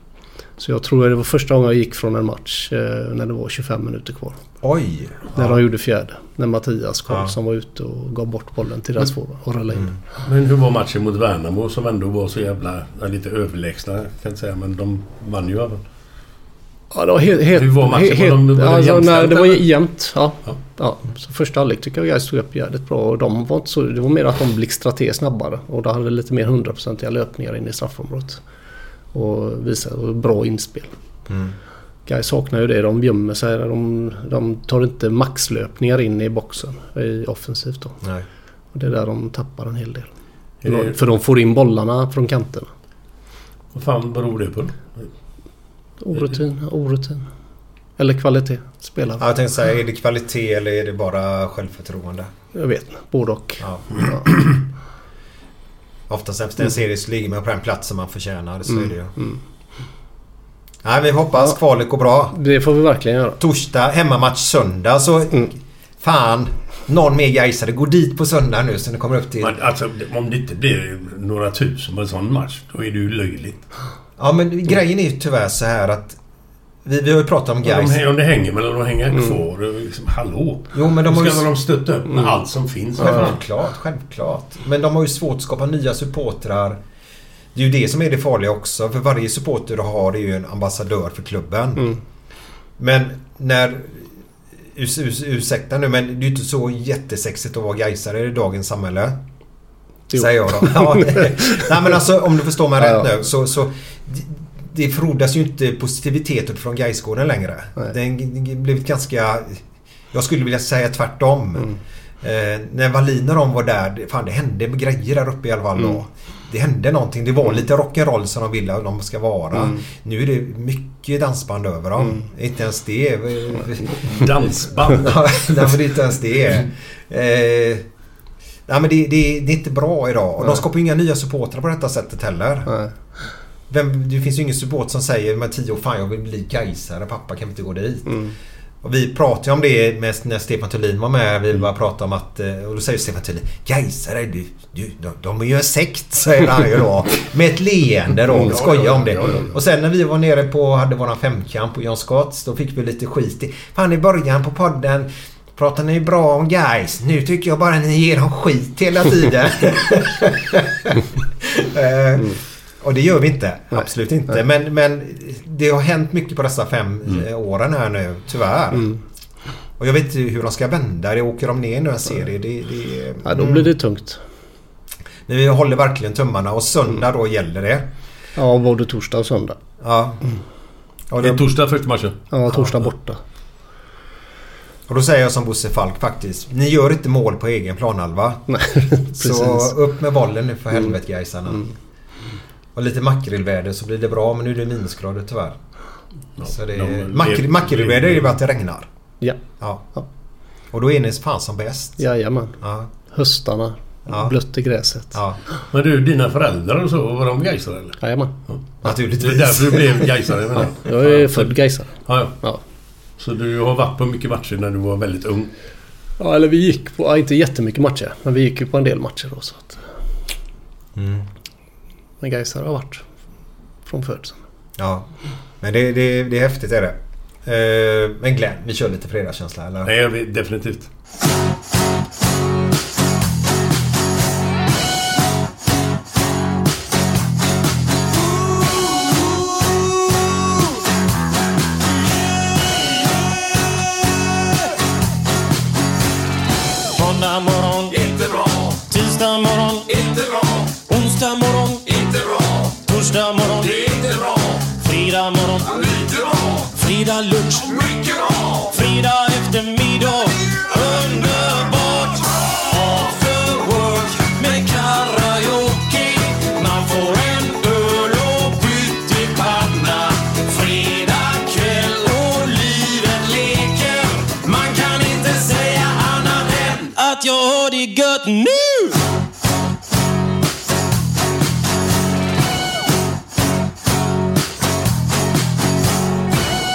[SPEAKER 5] Så jag tror det var första gången jag gick från en match eh, när det var 25 minuter kvar.
[SPEAKER 1] Oj!
[SPEAKER 5] När de gjorde fjärde. När Mattias Karlsson var ute och gav bort bollen till deras forward och rullade in.
[SPEAKER 2] Men hur var matchen mot Värnamo som ändå var så jävla... ja, Lite överlägsna kan jag inte säga men de vann ju även.
[SPEAKER 5] Ja, det var helt... helt
[SPEAKER 2] Hur var matchen?
[SPEAKER 5] helt-
[SPEAKER 2] Var de- var det
[SPEAKER 5] alltså,
[SPEAKER 2] jämställt,
[SPEAKER 5] nej, det var
[SPEAKER 2] eller?
[SPEAKER 5] jämnt. Ja.
[SPEAKER 2] Ja.
[SPEAKER 5] Ja. Så första halvlek tycker jag Gais tog upp jävligt bra. Och de var inte så, det var mer att de blixtrade till snabbare. Och de hade lite mer hundraprocentiga löpningar in i straffområdet. Och visade och bra inspel. Mm. Gais saknar ju det. De gömmer sig. De, de tar inte maxlöpningar in i boxen i offensivt. Då.
[SPEAKER 1] Nej.
[SPEAKER 5] Och det är där de tappar en hel del.
[SPEAKER 2] Är det-
[SPEAKER 5] För de får in bollarna från kanterna.
[SPEAKER 2] Vad fan beror det på?
[SPEAKER 5] Orutin, orutin. Eller kvalitet. Spelare.
[SPEAKER 1] Ja, jag tänkte säga, är det kvalitet eller är det bara självförtroende?
[SPEAKER 5] Jag vet inte. Både och.
[SPEAKER 1] Ja.
[SPEAKER 5] Ja.
[SPEAKER 1] Oftast efter
[SPEAKER 2] Mm.
[SPEAKER 1] en serie så ligger man på den plats som man förtjänar. Så är det ju. Nej, vi hoppas kvalet går bra.
[SPEAKER 5] Det får vi verkligen göra.
[SPEAKER 1] Torsdag, hemmamatch söndag. Så
[SPEAKER 2] Mm.
[SPEAKER 1] fan, någon mer Gaisare. Gå dit på söndag nu så ni kommer upp till...
[SPEAKER 2] Men alltså, om det inte blir några tusen på en sån match, då är det ju löjligt.
[SPEAKER 1] Ja, men grejen är ju tyvärr så här att... Vi, vi har ju pratat om
[SPEAKER 2] De,
[SPEAKER 1] Gais.
[SPEAKER 2] hä- om det hänger mellan de hänger kvar. och Liksom, hallå!
[SPEAKER 1] Mm. Jo, men de
[SPEAKER 2] Då
[SPEAKER 1] har
[SPEAKER 2] ska
[SPEAKER 1] ju... Mm.
[SPEAKER 2] väl de stötta upp med allt som finns. Vad fan?
[SPEAKER 1] Självklart, självklart. Men de har ju svårt att skapa nya supportrar. Det är ju det som är det farliga också. För varje supporter du har är ju en ambassadör för klubben.
[SPEAKER 5] Mm.
[SPEAKER 1] Men när... Us, us, ursäkta nu men det är ju inte så jättesexigt att vara gaisare i dagens samhälle.
[SPEAKER 5] Jo.
[SPEAKER 1] Säger jag då. Ja, nej. nej men alltså om du förstår mig
[SPEAKER 5] Ja,
[SPEAKER 1] rätt
[SPEAKER 5] ja.
[SPEAKER 1] nu så... så det- det frodas ju inte positivitet uppifrån Gaisgården längre.
[SPEAKER 5] Nej.
[SPEAKER 1] Den g- g- blivit ganska... Jag skulle vilja säga
[SPEAKER 5] Mm. Mm.
[SPEAKER 1] tvärtom. Eh, när Wallin och de var där, det- fan det hände grejer där uppe i alla fall då. det hände någonting. Det var lite rock'n'roll som de vill att de ska vara.
[SPEAKER 2] Mm.
[SPEAKER 1] Nu är det mycket dansband över dem.
[SPEAKER 5] Mm.
[SPEAKER 1] Inte ens det.
[SPEAKER 2] Dansband?
[SPEAKER 1] Ja, Nej, men det är inte ens det.
[SPEAKER 5] Mm.
[SPEAKER 1] Eh, nej, men det, det, det är inte bra idag. Och de
[SPEAKER 5] Nej.
[SPEAKER 1] skapar ju inga nya supportrar på detta sättet heller. Vem, det finns ju ingen support som säger med tio år, fan jag vill bli Gaisare, pappa kan vi inte gå dit? Och vi pratade ju om det med, när Stefan Thulin var med. Vi bara pratade om att... eh, Och då säger Stefan Thulin Gaisare, du, du, de, de är ju en sekt, säger han ju då. Med ett leende då. Vi skojar om det. Och sen när vi var nere på, hade våran femkamp på John Scotts. Då fick vi lite skit i... Fan i början på podden pratar ni bra om guys. Nu tycker jag bara ni ger dem skit hela tiden. Eh, Och det gör vi inte. Absolut inte. Men, men det har hänt mycket på dessa fem
[SPEAKER 5] Mm.
[SPEAKER 1] eh, åren här nu, tyvärr. Och jag vet inte hur de ska vända det. Åker de ner nu en serie? Det, det,
[SPEAKER 5] Ja, då blir det tungt.
[SPEAKER 1] Men vi håller verkligen tummarna och söndag då gäller det.
[SPEAKER 5] Ja, både torsdag och söndag.
[SPEAKER 1] Ja.
[SPEAKER 5] Mm.
[SPEAKER 1] Och,
[SPEAKER 2] Det är
[SPEAKER 1] då,
[SPEAKER 2] torsdag första matchen.
[SPEAKER 5] Ja, torsdag borta.
[SPEAKER 1] och då säger jag som Bosse Falk faktiskt. Ni gör inte mål på egen planhalva.
[SPEAKER 5] Nej,
[SPEAKER 1] Så
[SPEAKER 5] precis. Mm.
[SPEAKER 1] upp med bollen nu för helvete Gaisarna. Och lite makrillväder så blir det bra men nu är det minusgrader tyvärr. så det
[SPEAKER 2] de- det-
[SPEAKER 1] är... makri- makrillväder är ju bara att det regnar.
[SPEAKER 5] Ja,
[SPEAKER 1] Ja.
[SPEAKER 5] Ja.
[SPEAKER 1] Och då är ni fan som bäst.
[SPEAKER 5] jajamän.
[SPEAKER 1] Ja.
[SPEAKER 5] Höstarna.
[SPEAKER 1] Ja.
[SPEAKER 5] Blött i gräset.
[SPEAKER 1] ja.
[SPEAKER 2] Men du, dina föräldrar och så, var de Gaisare eller?
[SPEAKER 5] Jajamän.
[SPEAKER 2] Det är
[SPEAKER 1] Naturligtvis.
[SPEAKER 2] därför du blev Gaisare menar
[SPEAKER 5] Jag är född Gaisare.
[SPEAKER 2] Ja, ja.
[SPEAKER 5] Ja.
[SPEAKER 2] Så du har varit på mycket matcher när du var väldigt ung.
[SPEAKER 5] ja, eller vi gick på... Ja, inte jättemycket matcher. Men vi gick ju på en del matcher då. Så att,
[SPEAKER 1] Mm.
[SPEAKER 5] men Gaisare har varit från födseln.
[SPEAKER 1] Ja. Men det, det, det är häftigt är det. Eh, Men Glenn, vi kör lite fredagskänsla eller?
[SPEAKER 2] Nej, jag vet, definitivt.
[SPEAKER 4] Måndag morgon, inte bra. Tisdag morgon, inte bra. Onsdag morgon, inte bra. Torsdag morgon, det är inte bra. Fredag morgon, lite bra. Fredag lunch, mycket bra. Fredag eftermiddag, underbart. After work med karaoke. Man får en öl och pyttipanna. Fredag kväll och livet leker. Man kan inte säga annat än att jag har det gött nu!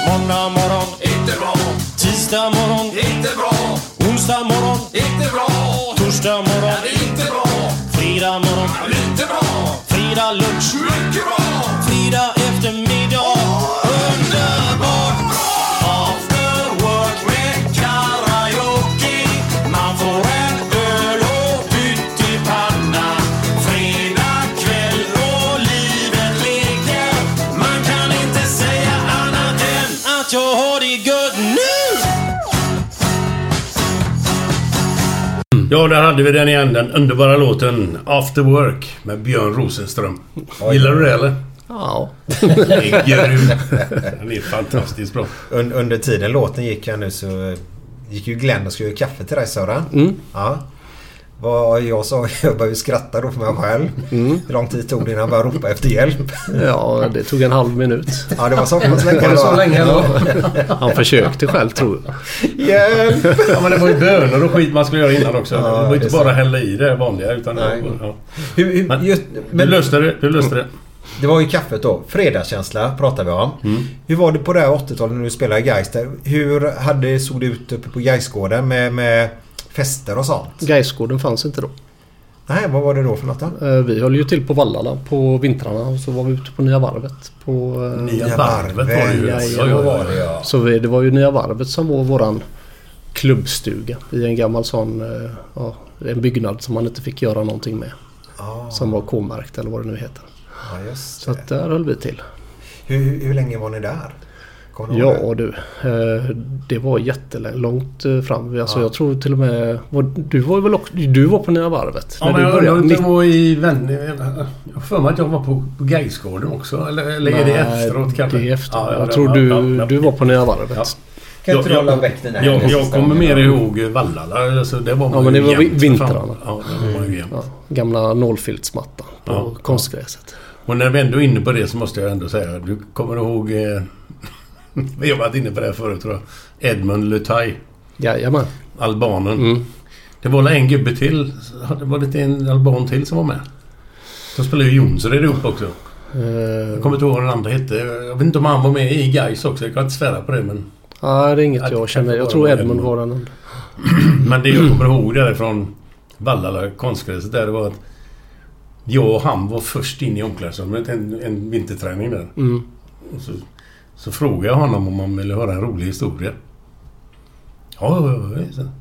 [SPEAKER 4] Måndag morgon, inte bra. Tisdag morgon, inte bra. Onsdag morgon, inte bra. Torsdag morgon, inte bra. Fredag morgon, inte bra. Fredag lunch, mycket bra. Fredag eftermiddag, underbart bra. After work med karaoke. Man får en öl och pyttipanna. Fredag kväll och livet leker. Man kan inte säga annat än att jag har det gött nu!
[SPEAKER 5] Mm.
[SPEAKER 2] Ja, där hade vi den igen. Den underbara låten After Work med Björn Rosenström. Gillar du det eller?
[SPEAKER 5] Ja.
[SPEAKER 2] Den är grym. Den är fantastiskt bra.
[SPEAKER 1] Un- under tiden låten gick här nu så eh, gick ju Glenn och skulle göra kaffe till dig Sören.
[SPEAKER 5] Mm.
[SPEAKER 1] Ja. Vad jag sa, jag började ju skratta då för mig själv.
[SPEAKER 5] Mm.
[SPEAKER 1] Hur lång tid tog det innan jag började ropa efter hjälp?
[SPEAKER 5] Ja, det tog en halv minut.
[SPEAKER 1] Ja, det var så pass länge.
[SPEAKER 5] Var det så
[SPEAKER 1] då.
[SPEAKER 5] länge då? Han försökte själv tror jag.
[SPEAKER 1] Hjälp!
[SPEAKER 2] Ja, men det var ju bönor och skit man skulle göra innan också.
[SPEAKER 1] Ja,
[SPEAKER 2] det var ju inte
[SPEAKER 1] det är
[SPEAKER 2] bara hälla i det vanliga utan...
[SPEAKER 1] Nej.
[SPEAKER 2] Ja.
[SPEAKER 1] Hur, hur,
[SPEAKER 2] Men-
[SPEAKER 1] just,
[SPEAKER 2] Du
[SPEAKER 1] men
[SPEAKER 2] löste det. Du löste det.
[SPEAKER 1] det var ju kaffet då. Fredagskänsla pratar vi om.
[SPEAKER 5] Mm.
[SPEAKER 1] Hur var det på det här 80-talet när du spelade i Gais? där? Hur hade, såg det ut uppe på Gaisgården med, med fester och sånt?
[SPEAKER 5] Gaisgården fanns inte då.
[SPEAKER 1] Nej, vad var det då för något då?
[SPEAKER 5] Eh, Vi höll ju till på Vallala på vintrarna och så var vi ute på Nya Varvet. På, eh,
[SPEAKER 2] Nya varvet var det ju.
[SPEAKER 1] Ja,
[SPEAKER 2] Ja,
[SPEAKER 1] ja,
[SPEAKER 2] ja,
[SPEAKER 1] var det
[SPEAKER 2] ja.
[SPEAKER 1] ja.
[SPEAKER 5] Så vi, det var ju Nya Varvet som var våran klubbstuga i en gammal sån, eh, ja, en byggnad som man inte fick göra någonting med.
[SPEAKER 1] Ja,
[SPEAKER 5] Som var K-märkt eller vad det nu heter.
[SPEAKER 1] Ah. ja, just
[SPEAKER 5] Så
[SPEAKER 1] det.
[SPEAKER 5] att där höll vi till.
[SPEAKER 1] Hur, hur, hur länge var ni där? Kommer du ihåg
[SPEAKER 5] Ja du, eh, det var jättelångt eh, fram. Alltså, Jag tror till och med... var- Du var väl också, du var på Nya Varvet?
[SPEAKER 2] Ja,
[SPEAKER 5] när
[SPEAKER 2] men
[SPEAKER 5] du
[SPEAKER 2] jag
[SPEAKER 5] började?
[SPEAKER 2] undrar om det
[SPEAKER 5] Mitt-
[SPEAKER 2] var i Vänner... Jag har för mig att jag var på, på Gaisgården också. Eller, eller är det
[SPEAKER 5] Nej,
[SPEAKER 2] efteråt kanske?
[SPEAKER 5] Det är efteråt.
[SPEAKER 2] Ja, ja,
[SPEAKER 5] jag
[SPEAKER 2] det-
[SPEAKER 5] tror
[SPEAKER 2] ja,
[SPEAKER 5] du,
[SPEAKER 2] ja, ja.
[SPEAKER 5] du var på Nya Varvet.
[SPEAKER 2] Ja.
[SPEAKER 1] Kan inte du hålla väck den här
[SPEAKER 2] Jag,
[SPEAKER 1] sista
[SPEAKER 2] jag kommer
[SPEAKER 1] gången?
[SPEAKER 2] mer ihåg Vallala. Alltså, det var
[SPEAKER 5] Ja men det var vi-
[SPEAKER 2] vintrarna.
[SPEAKER 5] vintrarna. Mm.
[SPEAKER 2] Ja, det var ju jämnt.
[SPEAKER 5] Ja, gamla nålfiltsmattan på
[SPEAKER 2] Ja.
[SPEAKER 5] konstgräset.
[SPEAKER 2] Och när vi ändå är inne på det så måste jag ändå säga. Du kommer ihåg... Eh, vi har varit inne på det här förut tror jag. Edmund Lutai.
[SPEAKER 5] Jajamän.
[SPEAKER 2] Albanen.
[SPEAKER 5] Mm.
[SPEAKER 2] Det var väl en gubbe till. Det var lite en alban till som var med. De spelade ju Jonsered ihop också. Jag
[SPEAKER 5] Eh,
[SPEAKER 2] kommer inte ihåg vad den andra hette. Jag vet inte om han var med i Gais också. Jag kan inte svära på det men...
[SPEAKER 5] nej, det är inget
[SPEAKER 2] Att-
[SPEAKER 5] jag känner. Jag tror Edmund var den enda.
[SPEAKER 2] Men det jag kommer ihåg därifrån Vallala konstgräset där det var att jag och han var först in i omklädningsrummet en, en vinterträning där.
[SPEAKER 5] Mm.
[SPEAKER 2] Och så, så frågade jag honom om han ville höra en rolig historia. Ja, ja, ja, ja. sa han.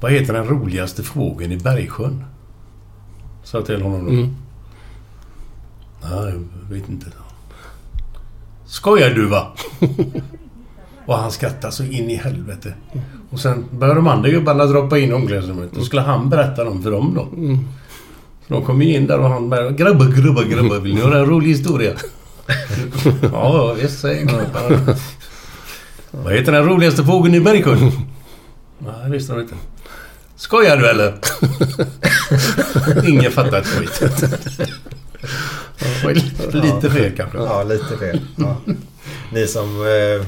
[SPEAKER 2] Vad heter den roligaste fågeln i Bergsjön? Sa jag till honom då.
[SPEAKER 5] Mm.
[SPEAKER 2] Nej, jag vet inte. Skojar du va? och han skrattade så in i helvete. Och sen började de andra gubbarna droppa in i omklädningsrummet. Då skulle han berätta dem för dem då. Så de kom ju in där och han började... Grabbar, grabbar, grabbar. Vill ni höra en rolig historia? ja, visst säger grabbarna. Vad heter den roligaste fågeln i Bergsjön? Nej, det visste de inte. Skojar du eller? Ingen fattar ett skit. Det var Lite fel kanske.
[SPEAKER 1] Ja, lite fel. Ja. Ni som eh,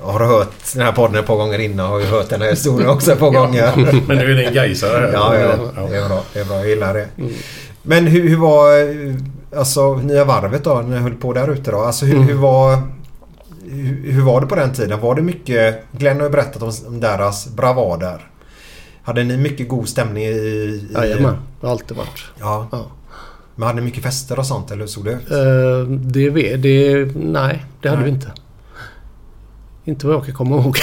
[SPEAKER 1] har hört den här podden ett par gånger innan har ju hört den här historien också ett par gånger.
[SPEAKER 2] Men nu är det en gaisare här.
[SPEAKER 1] Ja, ja, det är bra. Det är bra. Jag gillar det.
[SPEAKER 5] Mm.
[SPEAKER 1] Men hur, hur var eh, alltså, nya varvet då? När ni höll på där ute då? Alltså hur,
[SPEAKER 5] Mm.
[SPEAKER 1] hur var... Hur, hur var det på den tiden? Var det mycket... Glenn har ju berättat om, om deras bravader. Hade ni mycket god stämning i... i
[SPEAKER 5] Jajamän. Det har alltid varit.
[SPEAKER 1] ja.
[SPEAKER 5] Ja.
[SPEAKER 1] Men hade ni mycket fester och sånt eller hur såg det ut?
[SPEAKER 5] Eh, det, ve- det, nej, det hade vi inte. Inte vad jag kan komma ihåg.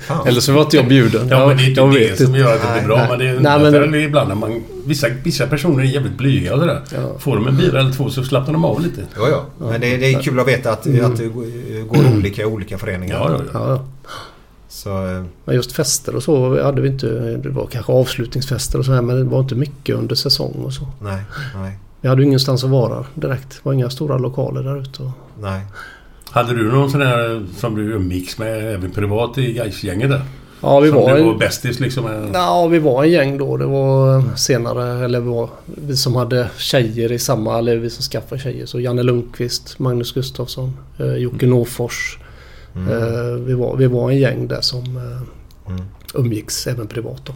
[SPEAKER 1] Fan.
[SPEAKER 5] Eller så var inte jag bjuden.
[SPEAKER 2] Ja, men det är inte
[SPEAKER 5] jag
[SPEAKER 2] det
[SPEAKER 5] vet
[SPEAKER 2] som
[SPEAKER 5] inte.
[SPEAKER 2] gör att det blir bra.
[SPEAKER 1] Nej,
[SPEAKER 2] men det är
[SPEAKER 5] nej,
[SPEAKER 2] underlättar
[SPEAKER 5] men-
[SPEAKER 2] det ibland när man... Vissa, vissa personer är jävligt blyga och sådär.
[SPEAKER 5] Ja.
[SPEAKER 2] Får de en bira eller två så slappnar de av lite.
[SPEAKER 1] Jo, ja. Men det, det är kul att veta att, att det går olika i olika föreningar.
[SPEAKER 2] Ja, ja, ja.
[SPEAKER 5] Mm. Ja, ja.
[SPEAKER 1] Så, eh,
[SPEAKER 5] Men just fester och så hade vi inte. Det var kanske avslutningsfester och så här men det var inte mycket under säsong och så.
[SPEAKER 1] nej, nej,
[SPEAKER 5] Vi hade ju ingenstans att vara direkt. Det var inga stora lokaler där ute. och-
[SPEAKER 1] nej.
[SPEAKER 2] Hade du någon sån där som du umgicks med även privat i Gais-gänget där?
[SPEAKER 5] Ja, vi
[SPEAKER 2] som
[SPEAKER 5] var,
[SPEAKER 2] du
[SPEAKER 5] en,
[SPEAKER 2] var bästis liksom? med-
[SPEAKER 5] ja, vi var en gäng då. Det var eh, senare, eller vi, var, vi som hade tjejer i samma, eller vi som skaffade tjejer. Så Janne Lundqvist, Magnus Gustafsson, eh,
[SPEAKER 1] Mm.
[SPEAKER 5] Jocke Norfors. Eh, vi, var, vi var en gäng där som eh,
[SPEAKER 1] Mm.
[SPEAKER 5] umgicks även privat då.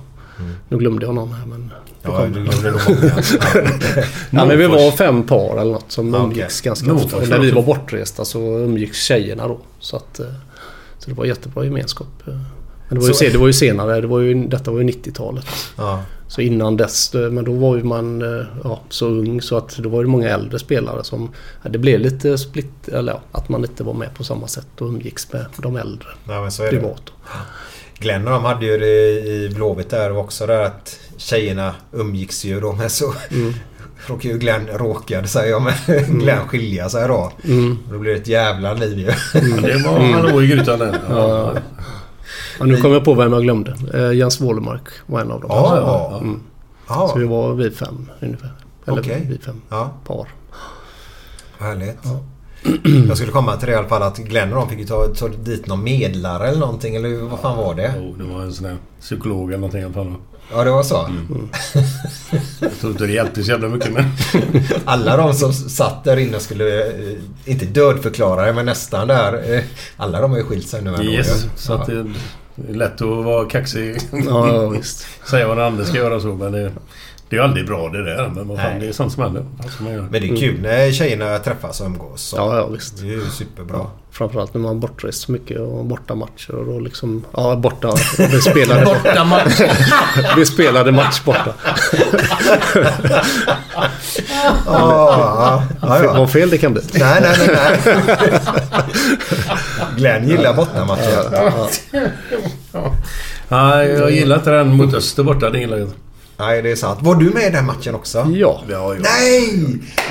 [SPEAKER 5] Nu glömde jag någon här men...
[SPEAKER 1] Ja, det gjorde nog många. Ja.
[SPEAKER 5] Ja, men vi
[SPEAKER 2] Norfors.
[SPEAKER 5] var fem par eller något som
[SPEAKER 1] Ja, okej.
[SPEAKER 5] umgicks ganska
[SPEAKER 2] Norfors,
[SPEAKER 5] ofta. Och när vi var
[SPEAKER 2] förlåt.
[SPEAKER 5] bortresta så umgicks tjejerna då. Så, att, eh, så det var jättebra gemenskap. eh. Men det var, ju,
[SPEAKER 1] Så-
[SPEAKER 5] se- det var ju senare, det var ju, detta var ju 90-talet.
[SPEAKER 1] Ja.
[SPEAKER 5] Så innan dess, eh, men då var ju man eh, ja, så ung så att då var det många äldre spelare som... Ja, det blev lite split, eller ja, att man inte var med på samma sätt och umgicks med de äldre
[SPEAKER 1] Nej, men så är det.
[SPEAKER 5] privat. då.
[SPEAKER 1] Glenn och de hade ju det i Blåvitt där också där att tjejerna umgicks ju då men så
[SPEAKER 5] Mm.
[SPEAKER 1] råkade ju Glenn, råkade säger jag, men Glenn skilja sig då.
[SPEAKER 5] Mm.
[SPEAKER 1] Då blev det ett jävla liv ju.
[SPEAKER 2] Det var hallå i grytan där. Ja.
[SPEAKER 5] Ja, nu kom jag på vem jag glömde. Eh, Jens Wålemark var en av dem.
[SPEAKER 1] Ja,
[SPEAKER 2] ja.
[SPEAKER 5] Mm.
[SPEAKER 1] Ja,
[SPEAKER 5] Så vi var vi fem ungefär. Eller
[SPEAKER 1] Okej.
[SPEAKER 5] vi fem
[SPEAKER 1] ja
[SPEAKER 5] par.
[SPEAKER 1] härligt. Jag skulle komma till det i alla fall att Glenn och de fick ju ta, ta dit någon medlare eller någonting eller hur- vad fan var det?
[SPEAKER 2] Jo, det var en sån där psykolog eller någonting i alla fall.
[SPEAKER 1] Ja det var så.
[SPEAKER 2] Mm. Jag tror inte det hjälpte så jävla mycket men...
[SPEAKER 1] Alla de som satt där inne skulle, eh, inte dödförklara det men nästan där. eh, Alla de har ju skilt sig nu ändå, ju.
[SPEAKER 2] Yes, så att
[SPEAKER 1] Ja.
[SPEAKER 2] det det är lätt att vara kaxig.
[SPEAKER 5] Ja, ja visst.
[SPEAKER 2] Säga vad den andra ska göra och så men det, det är ju aldrig bra det där. Men vad fan,
[SPEAKER 1] Nej.
[SPEAKER 2] det är sånt som händer. Vad ska man göra?
[SPEAKER 1] Men det är kul när tjejerna träffas och umgås. Så.
[SPEAKER 5] Ja, ja visst.
[SPEAKER 1] Det är ju superbra.
[SPEAKER 5] Framförallt när man bortrest så mycket och borta matcher och då liksom... Ja, borta. Vi spelade, borta.
[SPEAKER 2] Bortamatch!
[SPEAKER 5] Vi spelade match borta.
[SPEAKER 1] Ja, ja,
[SPEAKER 5] Vad
[SPEAKER 1] ja.
[SPEAKER 5] fel det kan bli.
[SPEAKER 1] Nej, nej, nej. nej. Glenn gillar bortamatcher.
[SPEAKER 2] Nej, jag gillar inte den mot öster borta. Det gillar jag inte.
[SPEAKER 1] Nej, det är sant. Var du med i den matchen också?
[SPEAKER 5] Ja.
[SPEAKER 2] Ja, ja.
[SPEAKER 1] Nej!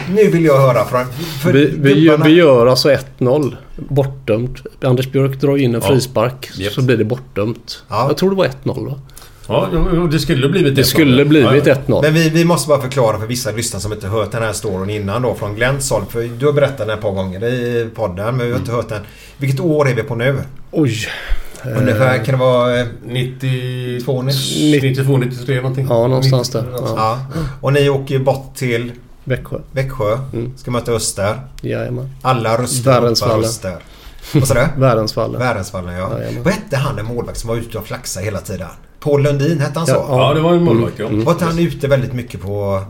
[SPEAKER 1] Nu vill jag höra från... För
[SPEAKER 5] Vi, vi, gör,
[SPEAKER 1] gubbarna-
[SPEAKER 5] vi gör alltså 1-0. Bortdömt. Anders Björk drar in en
[SPEAKER 2] Ja.
[SPEAKER 5] frispark.
[SPEAKER 2] Japp.
[SPEAKER 5] Så blir det bortdömt.
[SPEAKER 1] Ja.
[SPEAKER 5] Jag tror det var 1-0 va?
[SPEAKER 2] Ja, jo, det skulle blivit
[SPEAKER 5] Det skulle blivit 1-0.
[SPEAKER 1] Men vi, vi måste bara förklara för vissa lyssnare som inte hört den här storyn innan då från Glens håll. För du har berättat den ett par gånger i podden men vi har
[SPEAKER 5] Mm.
[SPEAKER 1] inte hört den. Vilket år är vi på nu?
[SPEAKER 5] Oj. Eh,
[SPEAKER 1] Ungefär kan det vara eh,
[SPEAKER 2] 92,
[SPEAKER 1] 90.
[SPEAKER 2] 92, 93 någonting.
[SPEAKER 5] Ja, någonstans där. Ja.
[SPEAKER 1] Ja. Och ni åker ju bort till
[SPEAKER 5] Växjö.
[SPEAKER 1] Växjö.
[SPEAKER 5] Mm.
[SPEAKER 1] Ska möta Öster.
[SPEAKER 5] Jajamän.
[SPEAKER 1] Alla röster ropar
[SPEAKER 5] Värensvallen.
[SPEAKER 1] Öster. Vad sa du?
[SPEAKER 5] Värensvallen.
[SPEAKER 1] Värensvallen ja.
[SPEAKER 5] Jajamän.
[SPEAKER 1] Vad hette han en målvakt som var ute och flaxade hela tiden? Paul Lundin hette han så?
[SPEAKER 5] Ja,
[SPEAKER 2] Ja, det var en målvakt
[SPEAKER 5] Mm.
[SPEAKER 2] ja.
[SPEAKER 1] Var inte han ute väldigt mycket på...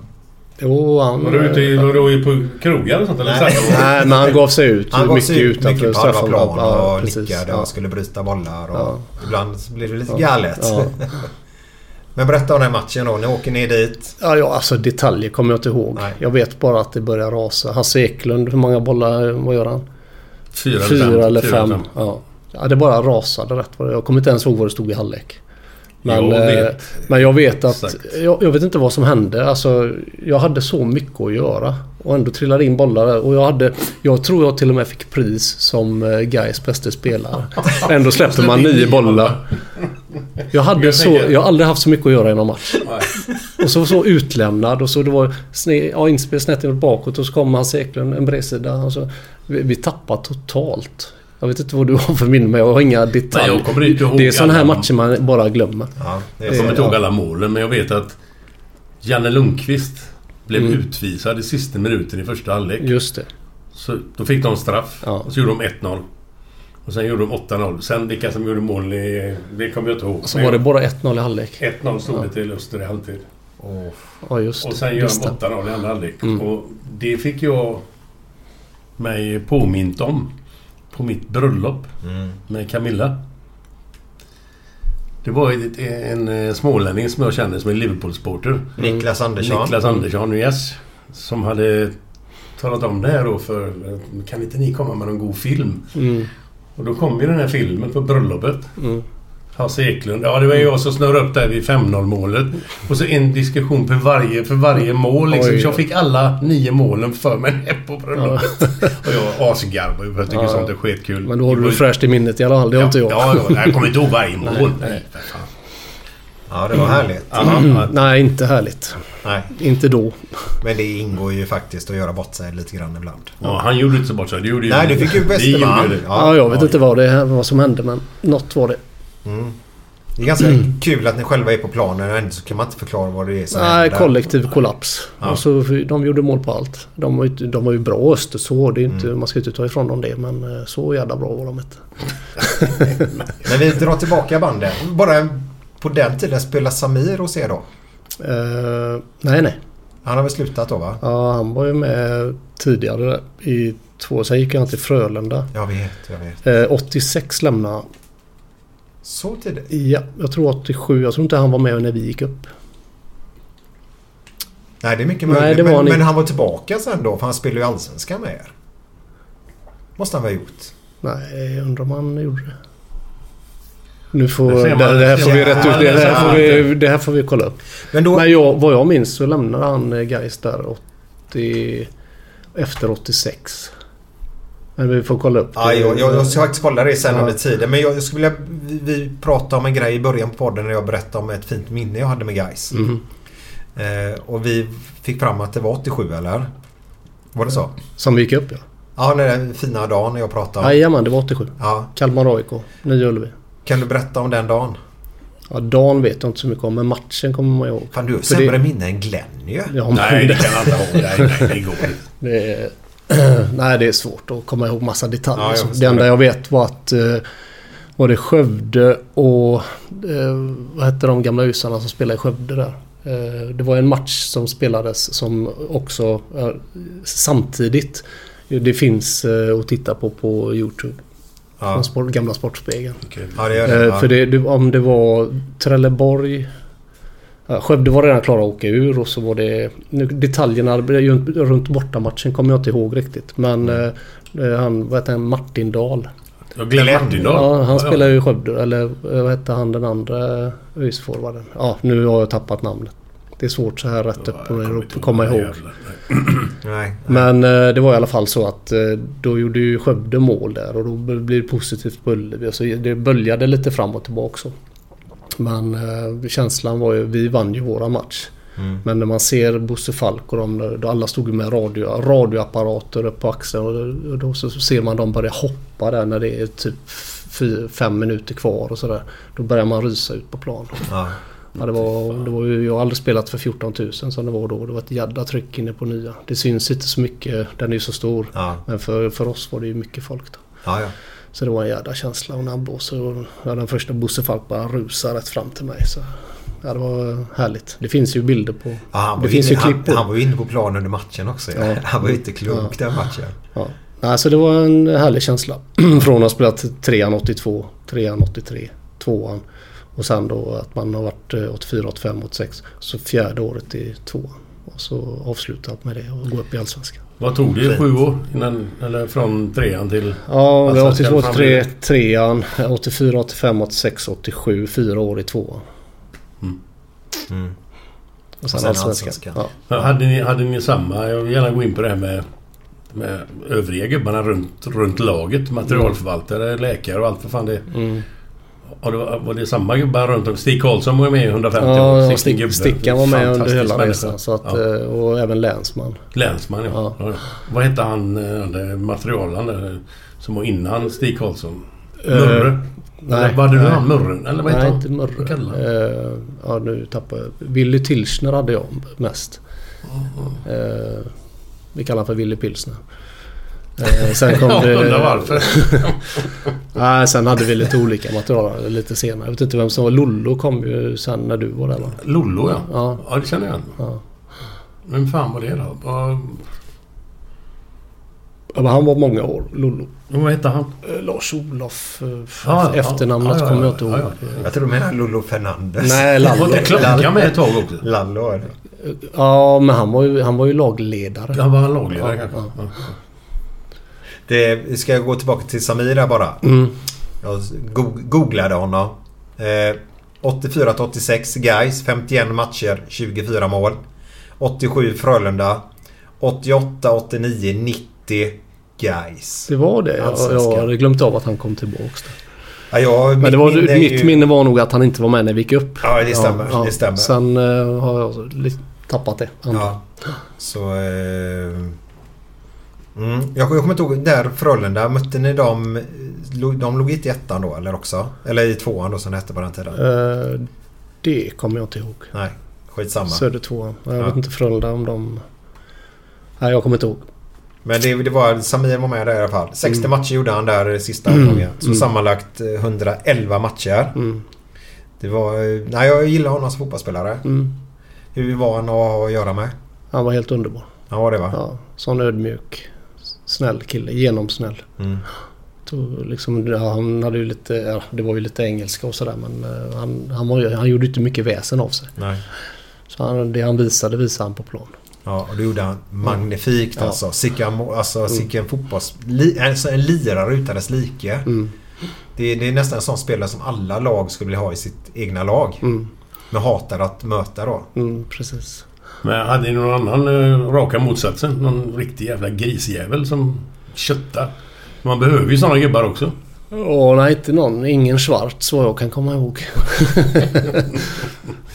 [SPEAKER 5] Jo, han...
[SPEAKER 2] Var du ute i, var du på krogar och sånt eller?
[SPEAKER 1] Nej.
[SPEAKER 2] Nej.
[SPEAKER 5] Nej, men han gav sig ut
[SPEAKER 1] Han gav
[SPEAKER 5] mycket
[SPEAKER 1] sig ut
[SPEAKER 5] utanför
[SPEAKER 1] mycket på halva
[SPEAKER 5] straffområdet.
[SPEAKER 1] plan
[SPEAKER 5] Ja,
[SPEAKER 1] och
[SPEAKER 5] precis.
[SPEAKER 1] nickade
[SPEAKER 5] Ja.
[SPEAKER 1] och skulle bryta bollar. Och
[SPEAKER 5] Ja.
[SPEAKER 1] Ibland så blev det lite
[SPEAKER 5] Ja.
[SPEAKER 1] galet.
[SPEAKER 5] Ja.
[SPEAKER 1] Men berätta om den här matchen då. Ni åker ner dit.
[SPEAKER 5] Ja, ja, alltså detaljer kommer jag inte ihåg.
[SPEAKER 1] Nej.
[SPEAKER 5] Jag vet bara att det börjar rasa. Hasse Eklund, hur många bollar, vad gör han?
[SPEAKER 2] Fyra,
[SPEAKER 5] Fyra eller fem. Ja. ja, det bara rasade rätt vad det- Jag kommer inte ens ihåg vad det stod i halvlek. Men
[SPEAKER 2] Jag
[SPEAKER 5] jag,
[SPEAKER 2] vet.
[SPEAKER 5] vet. men jag vet att...
[SPEAKER 2] Exakt.
[SPEAKER 5] Jag, jag vet inte vad som hände. Alltså, jag hade så mycket att göra. Och ändå trillade in bollar där. Och jag hade... Jag tror jag till och med fick pris som eh, Gais bästa spelare. Ändå släppte man nio bollar. Jag, hade
[SPEAKER 2] Jag
[SPEAKER 5] så,
[SPEAKER 2] tänker-
[SPEAKER 5] jag har aldrig haft så mycket att göra i någon match.
[SPEAKER 2] Nej.
[SPEAKER 5] Och så så utlämnad och så det var sne, ja, inspel snett inåt bakåt och så kom Hans Eklund en bredsida. Och så, vi, vi tappade totalt. Jag vet inte vad du har för minne men jag har inga detaljer.
[SPEAKER 2] Nej, jag kommer inte ihåg
[SPEAKER 5] det är sådana här
[SPEAKER 2] alla.
[SPEAKER 5] matcher man bara glömmer.
[SPEAKER 1] Ja, det är
[SPEAKER 2] Jag
[SPEAKER 1] så.
[SPEAKER 2] kommer inte
[SPEAKER 5] Ja.
[SPEAKER 2] ihåg alla målen men jag vet att Janne Lundqvist blev
[SPEAKER 5] Mm.
[SPEAKER 2] utvisad i sista minuten i första halvlek.
[SPEAKER 5] Just det.
[SPEAKER 2] Så då fick de straff
[SPEAKER 5] Ja.
[SPEAKER 2] och så gjorde de 1-0. Och sen gjorde de 8-0. Sen vilka som gjorde mål, i- det kommer jag inte ihåg.
[SPEAKER 5] Och så var det bara 1-0 i halvlek.
[SPEAKER 2] 1-0 stod det till Öster i halvtid.
[SPEAKER 1] Åh,
[SPEAKER 5] Ja just
[SPEAKER 2] Och
[SPEAKER 5] det.
[SPEAKER 2] sen gör
[SPEAKER 5] Just
[SPEAKER 2] de
[SPEAKER 5] det. Mm.
[SPEAKER 2] 8-0 i andra halvlek. Och det fick jag mig påmint om på mitt bröllop med Camilla. Det var ett, en eh, smålänning som jag kände som en Liverpool-supporter.
[SPEAKER 1] Mm. Niklas Andersson.
[SPEAKER 2] Niklas Andersson, yes. Som hade talat om det här då för... Kan inte ni komma med någon god film?
[SPEAKER 5] Mm.
[SPEAKER 2] Och då kom ju den här filmen på bröllopet.
[SPEAKER 5] Mm.
[SPEAKER 2] Hasse Eklund. Ja, det var jag som snurrade upp där vid 5-0 målet. Och så en diskussion för varje, för varje mål. Liksom.
[SPEAKER 5] Oj.
[SPEAKER 2] Så jag fick alla nio målen för mig här på bröllopet. Och jag asgarvade för jag tycker
[SPEAKER 5] Ja.
[SPEAKER 2] sånt är skitkul.
[SPEAKER 5] Men då har
[SPEAKER 2] Det var
[SPEAKER 5] du
[SPEAKER 2] ju-
[SPEAKER 5] fräscht i minnet i alla fall. Det har
[SPEAKER 2] ja,
[SPEAKER 5] inte jag.
[SPEAKER 2] Ja, ja, jag kommer inte ihåg varje mål. Nej, för fan.
[SPEAKER 1] Ja, det var härligt. Mm.
[SPEAKER 2] Ja,
[SPEAKER 5] Nej, inte härligt.
[SPEAKER 1] Nej,
[SPEAKER 5] Inte då.
[SPEAKER 1] men det ingår ju faktiskt att göra bort sig lite grann ibland.
[SPEAKER 2] ja, han gjorde inte så bort sig. Det gjorde ju-
[SPEAKER 1] Nej, du fick ju
[SPEAKER 2] Ni gjorde
[SPEAKER 1] Westerman.
[SPEAKER 2] det.
[SPEAKER 5] Ja, jag vet inte vad, det, här- vad som hände men något var det.
[SPEAKER 1] Det är ganska kul att ni själva är på planen och ändå så kan man inte förklara vad det är som
[SPEAKER 5] Nej,
[SPEAKER 1] händer.
[SPEAKER 5] kollektiv kollaps.
[SPEAKER 1] Ja.
[SPEAKER 5] Och så, de gjorde mål på allt. De var ju, de var ju bra Öster så. Det är inte,
[SPEAKER 2] Mm.
[SPEAKER 5] Man ska inte ta ifrån dem det men eh, så jävla bra var de inte.
[SPEAKER 1] Men vi drar tillbaka bandet. Bara på den tiden spelade Samir hos er då?
[SPEAKER 5] Eh, nej, nej.
[SPEAKER 1] Han har väl slutat då va?
[SPEAKER 5] Ja, han var ju med tidigare där i två. Sen gick han till Frölunda.
[SPEAKER 1] Jag vet, jag vet.
[SPEAKER 5] Eh, 86 lämnade han.
[SPEAKER 1] Så tidigt?
[SPEAKER 5] Ja, jag tror 87. Jag tror inte han var med när vi gick upp.
[SPEAKER 1] Nej, det är mycket
[SPEAKER 5] Nej,
[SPEAKER 1] möjligt.
[SPEAKER 5] det var
[SPEAKER 1] men,
[SPEAKER 5] han inte.
[SPEAKER 1] men han var tillbaka sen då för han spelade ju Allsvenskan med er. Måste han ha gjort.
[SPEAKER 5] Nej, jag undrar om han gjorde det. Nu får,
[SPEAKER 2] Det ser
[SPEAKER 5] det,
[SPEAKER 2] man.
[SPEAKER 5] det, här får vi rätt ut. Det här får vi,
[SPEAKER 2] Ja.
[SPEAKER 5] det här får vi kolla upp.
[SPEAKER 1] Men då...
[SPEAKER 5] Men jag, vad jag minns så lämnade han eh, Gais där 80, efter 86. Men vi får kolla upp det.
[SPEAKER 1] Ja, jag, jag, jag ska faktiskt kolla det sen
[SPEAKER 5] Ja.
[SPEAKER 1] under tiden. Men jag, jag skulle vilja... Vi, vi pratade om en grej i början på podden när jag berättade om ett fint minne jag hade med guys.
[SPEAKER 5] Mhm.
[SPEAKER 1] Eh, och vi fick fram att det var 87 eller? Var det så?
[SPEAKER 5] Som vi gick upp ja.
[SPEAKER 1] Ja, den där fina dagen när jag pratade om.
[SPEAKER 5] Jajamän, det var 87.
[SPEAKER 1] Ja.
[SPEAKER 5] Kalmar AIK, Nya Ullevi.
[SPEAKER 1] Kan du berätta om den dagen?
[SPEAKER 5] Ja, dagen vet jag inte så mycket om, men matchen kommer man ihåg.
[SPEAKER 1] Fan, du har
[SPEAKER 5] För det-
[SPEAKER 1] sämre minne än Glenn ju.
[SPEAKER 5] Ja, men
[SPEAKER 2] Nej, det
[SPEAKER 5] det,
[SPEAKER 2] kan han inte ha. Nej, nej, det går inte.
[SPEAKER 5] det är, nej, det är svårt att komma ihåg massa detaljer.
[SPEAKER 1] Ja, jag
[SPEAKER 5] så.
[SPEAKER 1] förstår
[SPEAKER 5] det enda
[SPEAKER 1] det.
[SPEAKER 5] jag vet var att eh, var det Skövde och eh, vad hette de gamla usarna som spelade i Skövde där? Eh, det var en match som spelades som också eh, samtidigt. Det finns eh, att titta på på Youtube.
[SPEAKER 1] Ja,
[SPEAKER 5] Från sport, gamla Sportspegeln.
[SPEAKER 1] ja det gör det.
[SPEAKER 5] Eh,
[SPEAKER 1] Ja.
[SPEAKER 5] för det, det, om det var Trelleborg... Ja, Skövde var redan klara att åka ur och så var det... Nu, detaljerna runt- runt bortamatchen kommer jag inte ihåg riktigt. Men eh, han, vad heter han, Martin Dahl.
[SPEAKER 2] Jag glömde Martin då.
[SPEAKER 5] Ja, han spelar ju i Skövde. Eller eh, vad hette han den andra ÖIS-forwarden? Ja, nu har jag tappat namnet. Det är svårt så här rätt upp och ner att komma ihåg.
[SPEAKER 1] Nej.
[SPEAKER 5] Men eh, det var i alla fall så att eh, då gjorde ju Skövde Alltså, mål där och då blir det positivt på Ullevi. Så det böljade lite fram och tillbaka. Så. Men eh, känslan var ju, vi vann ju våra match.
[SPEAKER 1] Mm.
[SPEAKER 5] Men när man ser Bosse Falk och de, då alla stod ju med radio, radioapparater upp på axeln och och då så ser man dem börja hoppa där när det är typ fy, fem minuter kvar och sådär. Då börjar man rysa ut på plan.
[SPEAKER 1] Ja.
[SPEAKER 5] Ja, det var, det var ju, jag har aldrig spelat för 14 000 som det var då. Det var ett jädra tryck inne på nya. Det syns inte så mycket, den är ju så stor.
[SPEAKER 1] Ja.
[SPEAKER 5] Men för, för oss var det ju mycket folk då.
[SPEAKER 1] Ja, ja.
[SPEAKER 5] Så det var en jädra känsla och när han blåser och ja, den första Bosse Falk bara rusar rätt fram till mig. Så, ja, det var härligt. Det finns ju bilder på...
[SPEAKER 1] Ja, han var
[SPEAKER 5] det finns
[SPEAKER 1] inne,
[SPEAKER 5] ju klipp på.
[SPEAKER 1] han, han var ju inne på plan under matchen också. Ja.
[SPEAKER 5] Ja.
[SPEAKER 1] Han var ju inte klok den matchen.
[SPEAKER 5] Ja. Nej, så det var en härlig känsla. Från att ha spelat trean 82, trean 83, tvåan. Och sen då att man har varit eh, 84, 85, 86. Så fjärde året i tvåan. Och så avslutat med det och gå upp i Allsvenskan.
[SPEAKER 2] Vad tog det?
[SPEAKER 1] Fint.
[SPEAKER 2] Sju år? Innan, eller från trean till... Alltså,
[SPEAKER 5] Ja, Alltså, vi
[SPEAKER 2] Allsvenskan
[SPEAKER 5] har 82, 83,
[SPEAKER 2] framöver.
[SPEAKER 5] trean. eh, 84, 85, 86, 87. Fyra år i tvåan.
[SPEAKER 1] Mm.
[SPEAKER 5] Och
[SPEAKER 1] sen
[SPEAKER 5] sen Allsvenskan.
[SPEAKER 1] Allsvenskan.
[SPEAKER 5] Ja.
[SPEAKER 2] Ja, Hade ni, hade ni samma... Jag vill gärna gå in på det här med, med övriga gubbarna runt, runt laget. Materialförvaltare,
[SPEAKER 5] Mm.
[SPEAKER 2] läkare och allt vad fan det är. Har det, var det samma gubbar runt om? Stig Karlsson var ju med i 150 år.
[SPEAKER 5] Ja,
[SPEAKER 2] Sixten Gubbe.
[SPEAKER 5] stick, Stickan var med under
[SPEAKER 2] Fantastisk
[SPEAKER 5] hela
[SPEAKER 2] människa.
[SPEAKER 5] resan. Så att,
[SPEAKER 2] Ja.
[SPEAKER 5] eh, Och även länsman.
[SPEAKER 2] Länsman ja.
[SPEAKER 5] Ja.
[SPEAKER 2] Ja, ja. Vad hette han, eh, det materialen där, som var innan Stig Karlsson?
[SPEAKER 5] Eh,
[SPEAKER 2] Murre?
[SPEAKER 5] nej,
[SPEAKER 2] var det nu
[SPEAKER 5] nej.
[SPEAKER 2] han Murren? Eller vad hette
[SPEAKER 5] Nej,
[SPEAKER 2] han?
[SPEAKER 5] inte
[SPEAKER 2] Vad
[SPEAKER 5] Mörre.
[SPEAKER 2] kallade han?
[SPEAKER 5] Eh, ja, nu tappar jag. Willy Tilschner hade jag mest. Eh, vi kallar han för Willy Pilsner. Eh, sen kom
[SPEAKER 2] Ja,
[SPEAKER 5] det...
[SPEAKER 2] undrar varför.
[SPEAKER 5] Nej, sen hade vi lite olika material lite senare. Jag vet inte vem som var... Lollo kom ju sen när du var där va?
[SPEAKER 2] Lollo ja.
[SPEAKER 5] Ja.
[SPEAKER 2] ja. det känner jag igen.
[SPEAKER 5] Ja.
[SPEAKER 2] Vem fan var det då? Vad-
[SPEAKER 5] Ja, men Han var många år, Lollo.
[SPEAKER 2] Vad hette han?
[SPEAKER 5] Eh, Lars-Olof... Eh,
[SPEAKER 2] Ja, ja,
[SPEAKER 5] efternamnet
[SPEAKER 2] ja, ja,
[SPEAKER 5] kommer jag
[SPEAKER 2] ja,
[SPEAKER 5] inte ihåg.
[SPEAKER 2] ja,
[SPEAKER 1] Jag tror du menar Lolo Fernandes.
[SPEAKER 5] Nej,
[SPEAKER 2] Var
[SPEAKER 5] Lallo.
[SPEAKER 2] inte Klockan med ett tag också?
[SPEAKER 1] Lallo är det.
[SPEAKER 5] Ja, men han var ju, han var ju lagledare.
[SPEAKER 2] Han var lagledare
[SPEAKER 5] Ja,
[SPEAKER 2] kanske?
[SPEAKER 5] ja.
[SPEAKER 2] Ja.
[SPEAKER 1] det. Ska jag gå tillbaka till Samir där bara?
[SPEAKER 5] Mm.
[SPEAKER 1] Jag go- googlade honom. Eh, 84 till 86 Gais, 51 matcher, 24 mål. 87 Frölunda. 88, 89, 90 Gais.
[SPEAKER 5] Det var det. Jag,
[SPEAKER 1] Allsvenskan.
[SPEAKER 5] jag hade glömt av att han kom tillbaks. där.
[SPEAKER 1] Ja, jag,
[SPEAKER 5] Men det var,
[SPEAKER 1] är
[SPEAKER 5] mitt minne var nog att han inte var med när vi gick upp.
[SPEAKER 1] Ja, det stämmer. Det stämmer.
[SPEAKER 5] Sen eh, har jag lite tappat det. andra.
[SPEAKER 1] Ja. Så... Eh, mm. jag, jag kommer inte ihåg. Där Frölunda, mötte ni dem... lo- De låg inte i ettan då eller också? Eller i tvåan då som det hette på den tiden?
[SPEAKER 5] Eh, det kommer jag inte ihåg.
[SPEAKER 1] Nej, skitsamma.
[SPEAKER 5] Södertvåan. Jag
[SPEAKER 1] Ja.
[SPEAKER 5] vet inte Frölunda om de... Nej, jag kommer inte ihåg.
[SPEAKER 1] Men det, det var Samir var med där i alla fall. 60
[SPEAKER 5] Mm.
[SPEAKER 1] matcher gjorde han där eh, sista omgången. Så sammanlagt eh, 111 matcher.
[SPEAKER 5] Mm.
[SPEAKER 1] Det var... eh, Nej, jag gillar honom som fotbollsspelare.
[SPEAKER 5] Mm.
[SPEAKER 1] Hur var han att ha att göra med?
[SPEAKER 5] Han var helt underbar.
[SPEAKER 1] Han var det va?
[SPEAKER 5] Ja, sån ödmjuk, snäll kille. Genomsnäll.
[SPEAKER 1] Mm.
[SPEAKER 5] Tog liksom, ja, han hade ju lite, ja, det var ju lite engelska och sådär men eh, han, han, var, ju- han gjorde inte mycket väsen av sig.
[SPEAKER 1] Nej.
[SPEAKER 5] Så han, det han visade visade han på plan.
[SPEAKER 1] Ja, och det gjorde han magnifikt
[SPEAKER 5] Ja.
[SPEAKER 1] alltså. Sicka, må- alltså, Sicken fotbolls... Li, alltså, en lirare utan dess like. Det, det är nästan en sån spelare som alla lag skulle vilja ha i sitt egna lag. Men hatar att möta då.
[SPEAKER 5] Mm, precis.
[SPEAKER 2] Men hade ni någon annan eh, raka motsatsen? Någon riktig jävla grisjävel som kötta? Man behöver ju sådana gubbar också.
[SPEAKER 5] Åh nej, inte någon. Ingen svart så jag kan komma ihåg.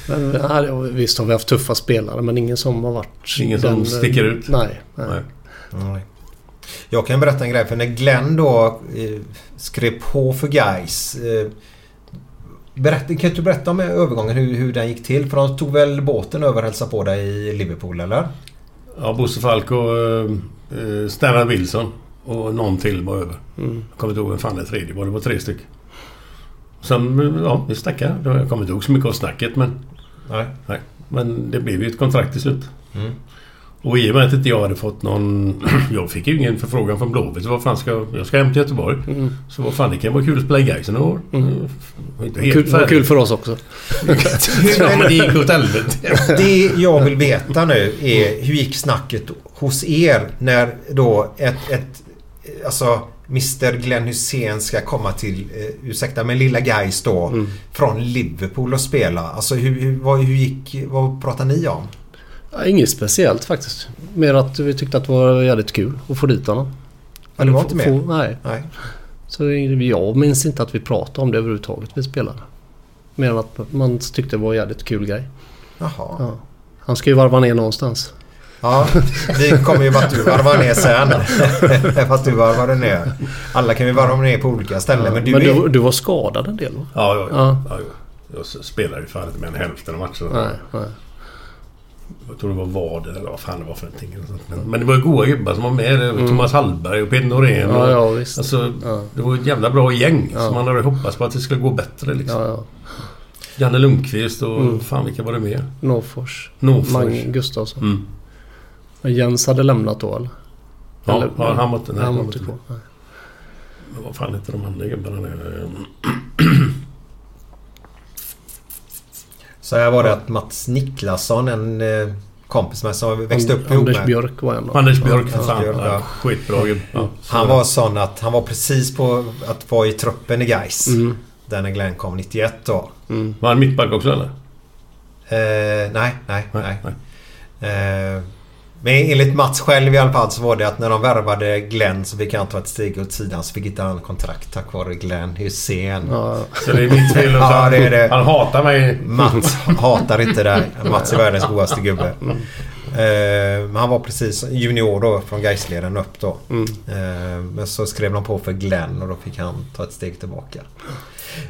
[SPEAKER 5] men, ja, det- visst har vi haft tuffa spelare men ingen som har varit...
[SPEAKER 2] Ingen som sticker ut.
[SPEAKER 5] Nej. nej.
[SPEAKER 2] Nej.
[SPEAKER 1] Nej. Jag kan berätta en grej. För när Glenn då eh, skrev på för Gais. Eh, berätta, kan inte du berätta om övergången? Hur, hur den gick till? För de tog väl båten över och hälsade på dig i Liverpool eller?
[SPEAKER 2] Ja, Bosse Falk och eh, eh, Stellan Wilson och någon till var över.
[SPEAKER 5] Mm.
[SPEAKER 2] Jag kommer inte ihåg vem fan det tredje var. Det var tre stycken. Sen, eh, ja, vi snackade. Då- Jag kommer inte ihåg så mycket av snacket men...
[SPEAKER 1] Nej.
[SPEAKER 2] Nej. Men det blev ju ett kontrakt till slut.
[SPEAKER 5] Mm.
[SPEAKER 2] Och i och med att inte jag hade fått någon... jag fick ju ingen förfrågan från Blåvitt. så Vad fan ska jag... Jag ska hem till Göteborg.
[SPEAKER 5] Mm.
[SPEAKER 2] Så vad fan, det kan vara kul att spela i Gais några år. Mm. Inte helt
[SPEAKER 5] Kul, det var
[SPEAKER 2] färdigt.
[SPEAKER 5] kul för oss också.
[SPEAKER 2] ja, men det gick åt helvete.
[SPEAKER 1] Eh, Det jag vill veta nu är hur gick snacket hos er när då ett, ett alltså Mr Glenn Hussein ska komma till, eh, ursäkta men lilla Gais då,
[SPEAKER 5] Mm.
[SPEAKER 1] från Liverpool och spela. Alltså hur, hur, vad, hur gick, vad pratar ni om?
[SPEAKER 5] Ja, inget speciellt faktiskt. Mer att vi tyckte att det var jävligt kul att få dit honom.
[SPEAKER 1] Ja, det var inte mer?
[SPEAKER 5] Få, nej.
[SPEAKER 1] Nej.
[SPEAKER 5] Så jag minns inte att vi pratade om det överhuvudtaget vi spelade. Mer än att man tyckte det var en jävligt kul grej.
[SPEAKER 1] Jaha.
[SPEAKER 5] Ja. Han ska ju varva ner någonstans.
[SPEAKER 1] Ja, vi kommer ju att du varvar ner sen. Fast du varvade ner. Alla kan ju varva ner på olika ställen. Men du,
[SPEAKER 5] men
[SPEAKER 1] är...
[SPEAKER 5] du, du var skadad en del va?
[SPEAKER 2] Ja, ja,
[SPEAKER 5] Ja.
[SPEAKER 2] ja. ja, ja. Jag spelade ju fan inte mer än hälften av matcherna.
[SPEAKER 5] Nej, nej.
[SPEAKER 2] Jag tror det var vader eller vad fan det var för någonting. eller sånt. Men, men det var ju goa gubbar som var med. Det var Thomas Hallberg och Peter Norén.
[SPEAKER 5] Mm. Ja,
[SPEAKER 2] och-
[SPEAKER 5] ja, visst.
[SPEAKER 2] Alltså,
[SPEAKER 5] Ja.
[SPEAKER 2] Det var ju ett jävla bra gäng. Så man hade hoppats på att det skulle gå bättre liksom.
[SPEAKER 5] Ja, ja. Mm.
[SPEAKER 2] Janne Lundqvist och fan vilka var det mer?
[SPEAKER 5] Norrfors.
[SPEAKER 2] Norfors.
[SPEAKER 5] Mange Gustafsson.
[SPEAKER 2] Mm.
[SPEAKER 5] Men Jens hade lämnat då eller?
[SPEAKER 2] Ja,
[SPEAKER 5] Eller-
[SPEAKER 2] ja, han var inte... Nej, han
[SPEAKER 5] han var
[SPEAKER 2] var
[SPEAKER 5] inte
[SPEAKER 2] inte-
[SPEAKER 5] kvar. Nej.
[SPEAKER 2] Men Vad fan heter de andra gubbarna nu?
[SPEAKER 1] Så här var det att Mats Niklasson, en eh, kompis med som jag växte upp ihop
[SPEAKER 5] Anders
[SPEAKER 1] med.
[SPEAKER 5] Björk var en då.
[SPEAKER 2] Anders Björk för
[SPEAKER 1] Anders
[SPEAKER 2] fan.
[SPEAKER 1] Björk, ja.
[SPEAKER 2] Ja, skitbra gubbe. Ja.
[SPEAKER 1] Han var sån att han var precis på att vara i truppen i Gais.
[SPEAKER 5] Mm.
[SPEAKER 1] Där när Glenn kom 91 då.
[SPEAKER 5] Mm.
[SPEAKER 2] Var han mittback också eller?
[SPEAKER 1] Eh, nej, nej, nej. Eh, men enligt Mats själv i alla fall så var det att när de värvade Glenn så fick han ta ett steg åt sidan så fick inte han kontrakt tack vare Glenn Hussein.
[SPEAKER 5] Ja,
[SPEAKER 2] Så det är mitt fel. och så
[SPEAKER 1] Ja,
[SPEAKER 2] han-
[SPEAKER 1] det är det.
[SPEAKER 2] Han hatar mig.
[SPEAKER 1] Mats hatar inte dig. Mats är världens godaste gubbe. Eh, men han var precis junior då från Gaisleden upp då. Eh, men så skrev de på för Glenn och då fick han ta ett steg tillbaka.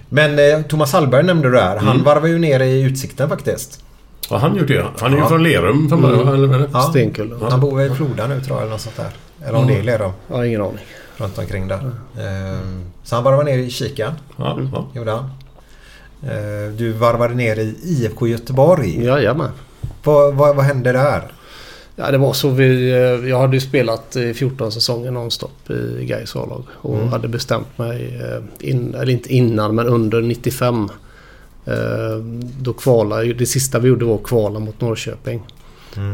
[SPEAKER 1] Men eh, Thomas Hallberg nämnde du där. Han varvade ju ner i Utsikten faktiskt.
[SPEAKER 2] Vad har han gjort det? Han är ju
[SPEAKER 1] Ja. Mm.
[SPEAKER 2] från Lerum från början. Eller vad är det?
[SPEAKER 1] Ja.
[SPEAKER 5] Stenkulla. Ja.
[SPEAKER 1] Han bor väl i Floda nu tror jag eller något sånt där. Eller om det är Lerum.
[SPEAKER 5] ingen aning.
[SPEAKER 1] Runt omkring där. Eh, så han varvade ner i Kikan.
[SPEAKER 2] Ja, ja.
[SPEAKER 1] Gjorde han. Eh, du varvade ner i IFK Göteborg.
[SPEAKER 5] Jajamän.
[SPEAKER 1] Vad, vad, vad hände där?
[SPEAKER 5] Ja, det var så vi... eh, Jag hade ju spelat i 14 säsonger nonstop i Gais A-lag. Och hade bestämt mig, eh, in, eller inte innan, men under 95. eh, Då kvala, det sista vi gjorde var att kvala mot Norrköping.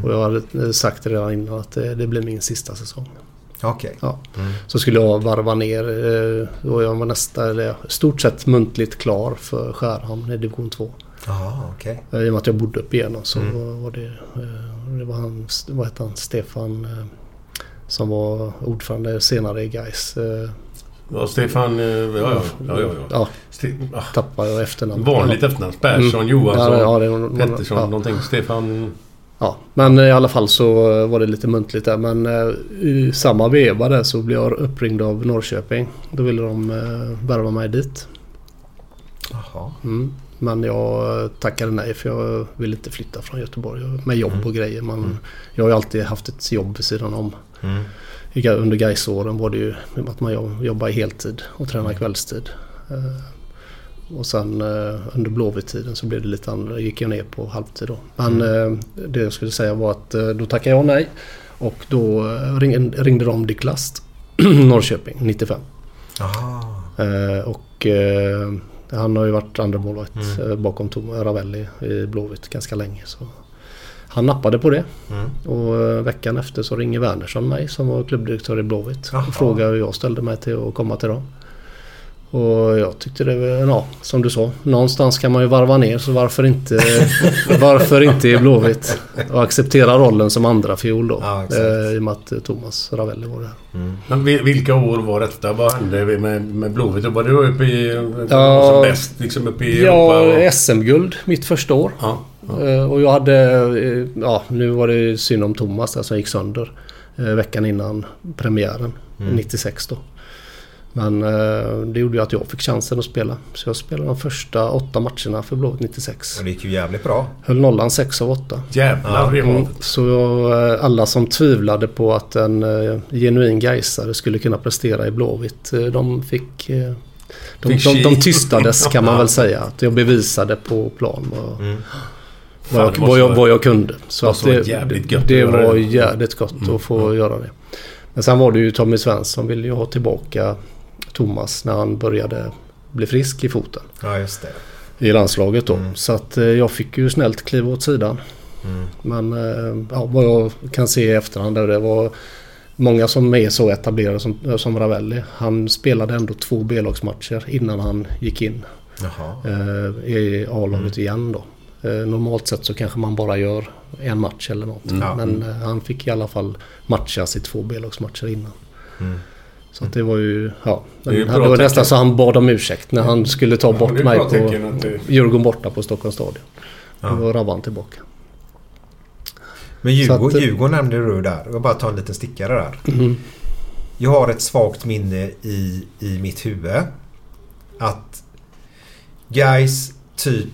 [SPEAKER 5] Och jag hade eh, sagt det redan innan att eh, det, det blir min sista säsong.
[SPEAKER 1] Okej.
[SPEAKER 5] Ja. Så skulle jag varva ner eh, och jag var nästa, eller stort sett muntligt klar för Skärhamn i division 2.
[SPEAKER 1] Jaha, okej.
[SPEAKER 5] Eh, I och med att jag bodde upp igenom så
[SPEAKER 2] Mm.
[SPEAKER 5] var det, eh, det var han, vad hette han, Stefan eh, som var ordförande senare i Gais. Eh,
[SPEAKER 2] ja Stefan... eh, Ja, ja, ja. ja,
[SPEAKER 1] Mm.
[SPEAKER 2] ja.
[SPEAKER 5] Ja,
[SPEAKER 2] Ste- ah,
[SPEAKER 5] tappade jag efternamnet. Mm.
[SPEAKER 2] Vanligt efternamn. Persson, Johansson,
[SPEAKER 5] Ja, ja, det är någon-
[SPEAKER 2] Pettersson,
[SPEAKER 5] ja.
[SPEAKER 2] någonting. Stefan...
[SPEAKER 5] Ja, men i alla fall så eh, var det lite muntligt där. Men eh, i samma veva där så blev jag uppringd av Norrköping. Då ville de eh, värva mig dit.
[SPEAKER 1] Jaha.
[SPEAKER 5] Mm. Men jag eh, tackade nej för jag vill inte flytta från Göteborg med jobb och grejer. Man, Jag har ju alltid haft ett jobb vid sidan om.
[SPEAKER 1] Mm.
[SPEAKER 5] I Ga- Under Gaisåren var det ju att man jobb- jobbar heltid och tränar kvällstid. Eh, Och sen eh, under Blåvitt-tiden så blev det lite andra, gick jag ner på halvtid då. Men eh, det jag skulle säga var att eh, då tackade jag nej. Och då eh, ring- ringde de Dick Last, Norrköping 95.
[SPEAKER 1] Jaha.
[SPEAKER 5] Eh, och eh, han har ju varit andra målvakt eh, bakom Tom Ravelli i Blåvitt ganska länge. Så han nappade på det. Och eh, veckan efter så ringer Wernersson mig som var klubbdirektör i Blåvitt.
[SPEAKER 1] Jaha.
[SPEAKER 5] Och frågar hur jag ställde mig till att komma till dem. Och jag tyckte det var, ja som du sa, någonstans kan man ju varva ner så varför inte, varför inte i Blåvitt? Och acceptera rollen som andra fiol då.
[SPEAKER 1] Ja, exakt.
[SPEAKER 5] eh, I och med att eh, Thomas Ravelli var där.
[SPEAKER 2] Men vi- vilka år var detta? Vad hände med, med Blåvitt? Var det då uppe i...
[SPEAKER 5] Ja.
[SPEAKER 2] Som bäst liksom uppe i Europa? och-
[SPEAKER 5] Ja, SM-guld mitt första år.
[SPEAKER 2] ja.
[SPEAKER 5] Eh, Och jag hade, eh, ja nu var det ju synd om Thomas där som gick sönder eh, veckan innan premiären, 96 då. Men eh, det gjorde ju att jag fick chansen att spela. Så jag spelade de första åtta matcherna för Blåvitt 96.
[SPEAKER 1] Och det gick ju jävligt bra.
[SPEAKER 5] Höll nollan 6 av 8.
[SPEAKER 2] Jävlar i
[SPEAKER 5] Mm,
[SPEAKER 2] havet.
[SPEAKER 5] så eh, alla som tvivlade på att en eh, genuin Gaisare skulle kunna prestera i Blåvitt, eh, de fick... eh, De,
[SPEAKER 2] Fick
[SPEAKER 5] de, de
[SPEAKER 2] shit.
[SPEAKER 5] tystades kan man väl säga. Att jag bevisade på plan vad, vad,
[SPEAKER 2] Mm. Fan, det
[SPEAKER 5] jag,
[SPEAKER 2] måste
[SPEAKER 5] vad, jag,
[SPEAKER 2] vara-
[SPEAKER 5] vad jag kunde. Så
[SPEAKER 2] måste vara jävligt gött att
[SPEAKER 5] det
[SPEAKER 2] göra
[SPEAKER 5] var
[SPEAKER 2] det. Mm.
[SPEAKER 5] jävligt gott att få göra det. Men sen var det ju Tommy Svensson ville ju ha tillbaka Thomas när han började bli frisk i foten
[SPEAKER 1] Ja, just det.
[SPEAKER 5] i landslaget då. Så att eh, jag fick ju snällt kliva åt sidan. Men eh, ja, vad jag kan se i efterhand där det var många som är så etablerade som, som Ravelli. Han spelade ändå två B-lagsmatcher innan han gick in
[SPEAKER 1] Jaha.
[SPEAKER 5] eh, i
[SPEAKER 2] Mm.
[SPEAKER 5] A-laget igen då. Eh, normalt sett så kanske man bara gör en match
[SPEAKER 2] Mm.
[SPEAKER 5] eller något.
[SPEAKER 1] Ja.
[SPEAKER 5] Men eh, han fick i alla fall matchas i två B-lagsmatcher innan. Så att det var ju... Ja.
[SPEAKER 2] Mm. Det är ju
[SPEAKER 5] Det,
[SPEAKER 2] ett bra
[SPEAKER 5] var
[SPEAKER 2] tecken.
[SPEAKER 5] nästan så han bad om ursäkt när han skulle ta
[SPEAKER 2] det är
[SPEAKER 5] bort
[SPEAKER 2] ett
[SPEAKER 5] mig
[SPEAKER 2] bra
[SPEAKER 5] på
[SPEAKER 2] tecken att det-
[SPEAKER 5] Djurgården borta på Stockholms stadion.
[SPEAKER 1] Ja.
[SPEAKER 5] Då var Rabban tillbaka.
[SPEAKER 1] Men Djurgården,
[SPEAKER 5] Så att-
[SPEAKER 1] Djurgården nämnde du där. Jag bara tar en liten stickare där.
[SPEAKER 5] Mm.
[SPEAKER 1] Jag har ett svagt minne i, i mitt huvud. Att guys typ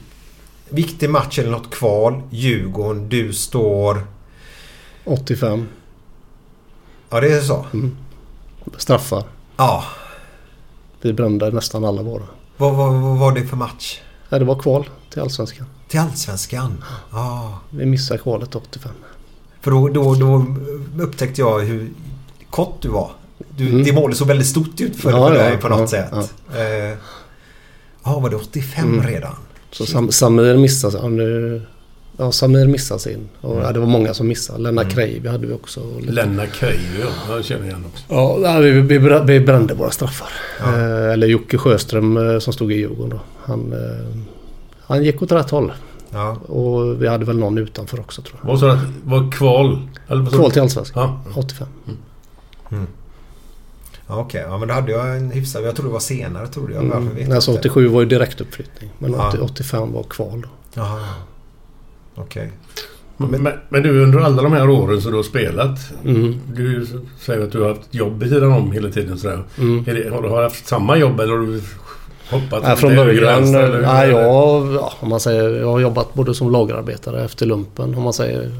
[SPEAKER 1] viktig match eller något kval. Djurgården, du står...
[SPEAKER 5] 85.
[SPEAKER 1] Ja, det är så.
[SPEAKER 5] Straffar.
[SPEAKER 1] Ja.
[SPEAKER 5] Vi brände nästan alla våra.
[SPEAKER 1] Vad, vad, vad var det för match?
[SPEAKER 5] Ja, det var kval till Allsvenskan.
[SPEAKER 1] Till Allsvenskan? Ja.
[SPEAKER 5] Vi missade kvalet 85.
[SPEAKER 1] För då, då, då upptäckte jag hur kort du var. Du,
[SPEAKER 5] Mm.
[SPEAKER 1] Det målet såg väldigt stort ut för,
[SPEAKER 5] Ja,
[SPEAKER 1] för
[SPEAKER 5] ja,
[SPEAKER 1] dig på något
[SPEAKER 5] ja,
[SPEAKER 1] sätt. Ja, eh, ja, var det 85
[SPEAKER 5] Mm.
[SPEAKER 1] redan?
[SPEAKER 5] Så Sam, Samir missade ja, nu, ja, Samir missade sin. Och, ja, det var många som missade. Lennart
[SPEAKER 2] Mm.
[SPEAKER 5] Kreivi hade vi också. Och lite-
[SPEAKER 2] Lennart Keijo, ja. Jag känner igen också.
[SPEAKER 5] Ja, nej, vi, vi, bra- vi brände våra straffar.
[SPEAKER 1] Ja.
[SPEAKER 5] Eh, eller Jocke Sjöström eh, som stod i Djurgården då. Han, eh, han gick åt rätt håll.
[SPEAKER 1] Ja.
[SPEAKER 5] Och vi hade väl någon utanför också tror jag.
[SPEAKER 2] Vad sa du? att- Var kval? Eller vad sa du?
[SPEAKER 5] Kval till Allsvenskan.
[SPEAKER 2] Ja.
[SPEAKER 5] 85.
[SPEAKER 1] Ja, Okej, ja, men då hade jag en hyfsad... Jag trodde det var senare trodde jag. Varför vet
[SPEAKER 5] Mm.
[SPEAKER 1] jag
[SPEAKER 5] Alltså
[SPEAKER 1] inte.
[SPEAKER 5] 87 var ju direktuppflyttning. Men
[SPEAKER 1] Ja.
[SPEAKER 5] 80, 85 var kval då.
[SPEAKER 1] Jaha. Okej.
[SPEAKER 2] Men, men- men du under alla de här åren som du har spelat.
[SPEAKER 5] Mm.
[SPEAKER 2] Du säger att du har haft jobb vid sidan om hela tiden. Sådär.
[SPEAKER 5] Mm.
[SPEAKER 2] Är det, har du har du haft samma jobb eller har du hoppat?
[SPEAKER 5] Nej, från
[SPEAKER 2] till höger,
[SPEAKER 5] början... eh,
[SPEAKER 2] vänster, eller hur
[SPEAKER 5] Nej,
[SPEAKER 2] är det?
[SPEAKER 5] jag, ja, om man säger, jag har jobbat både som lagerarbetare efter lumpen. Om man säger,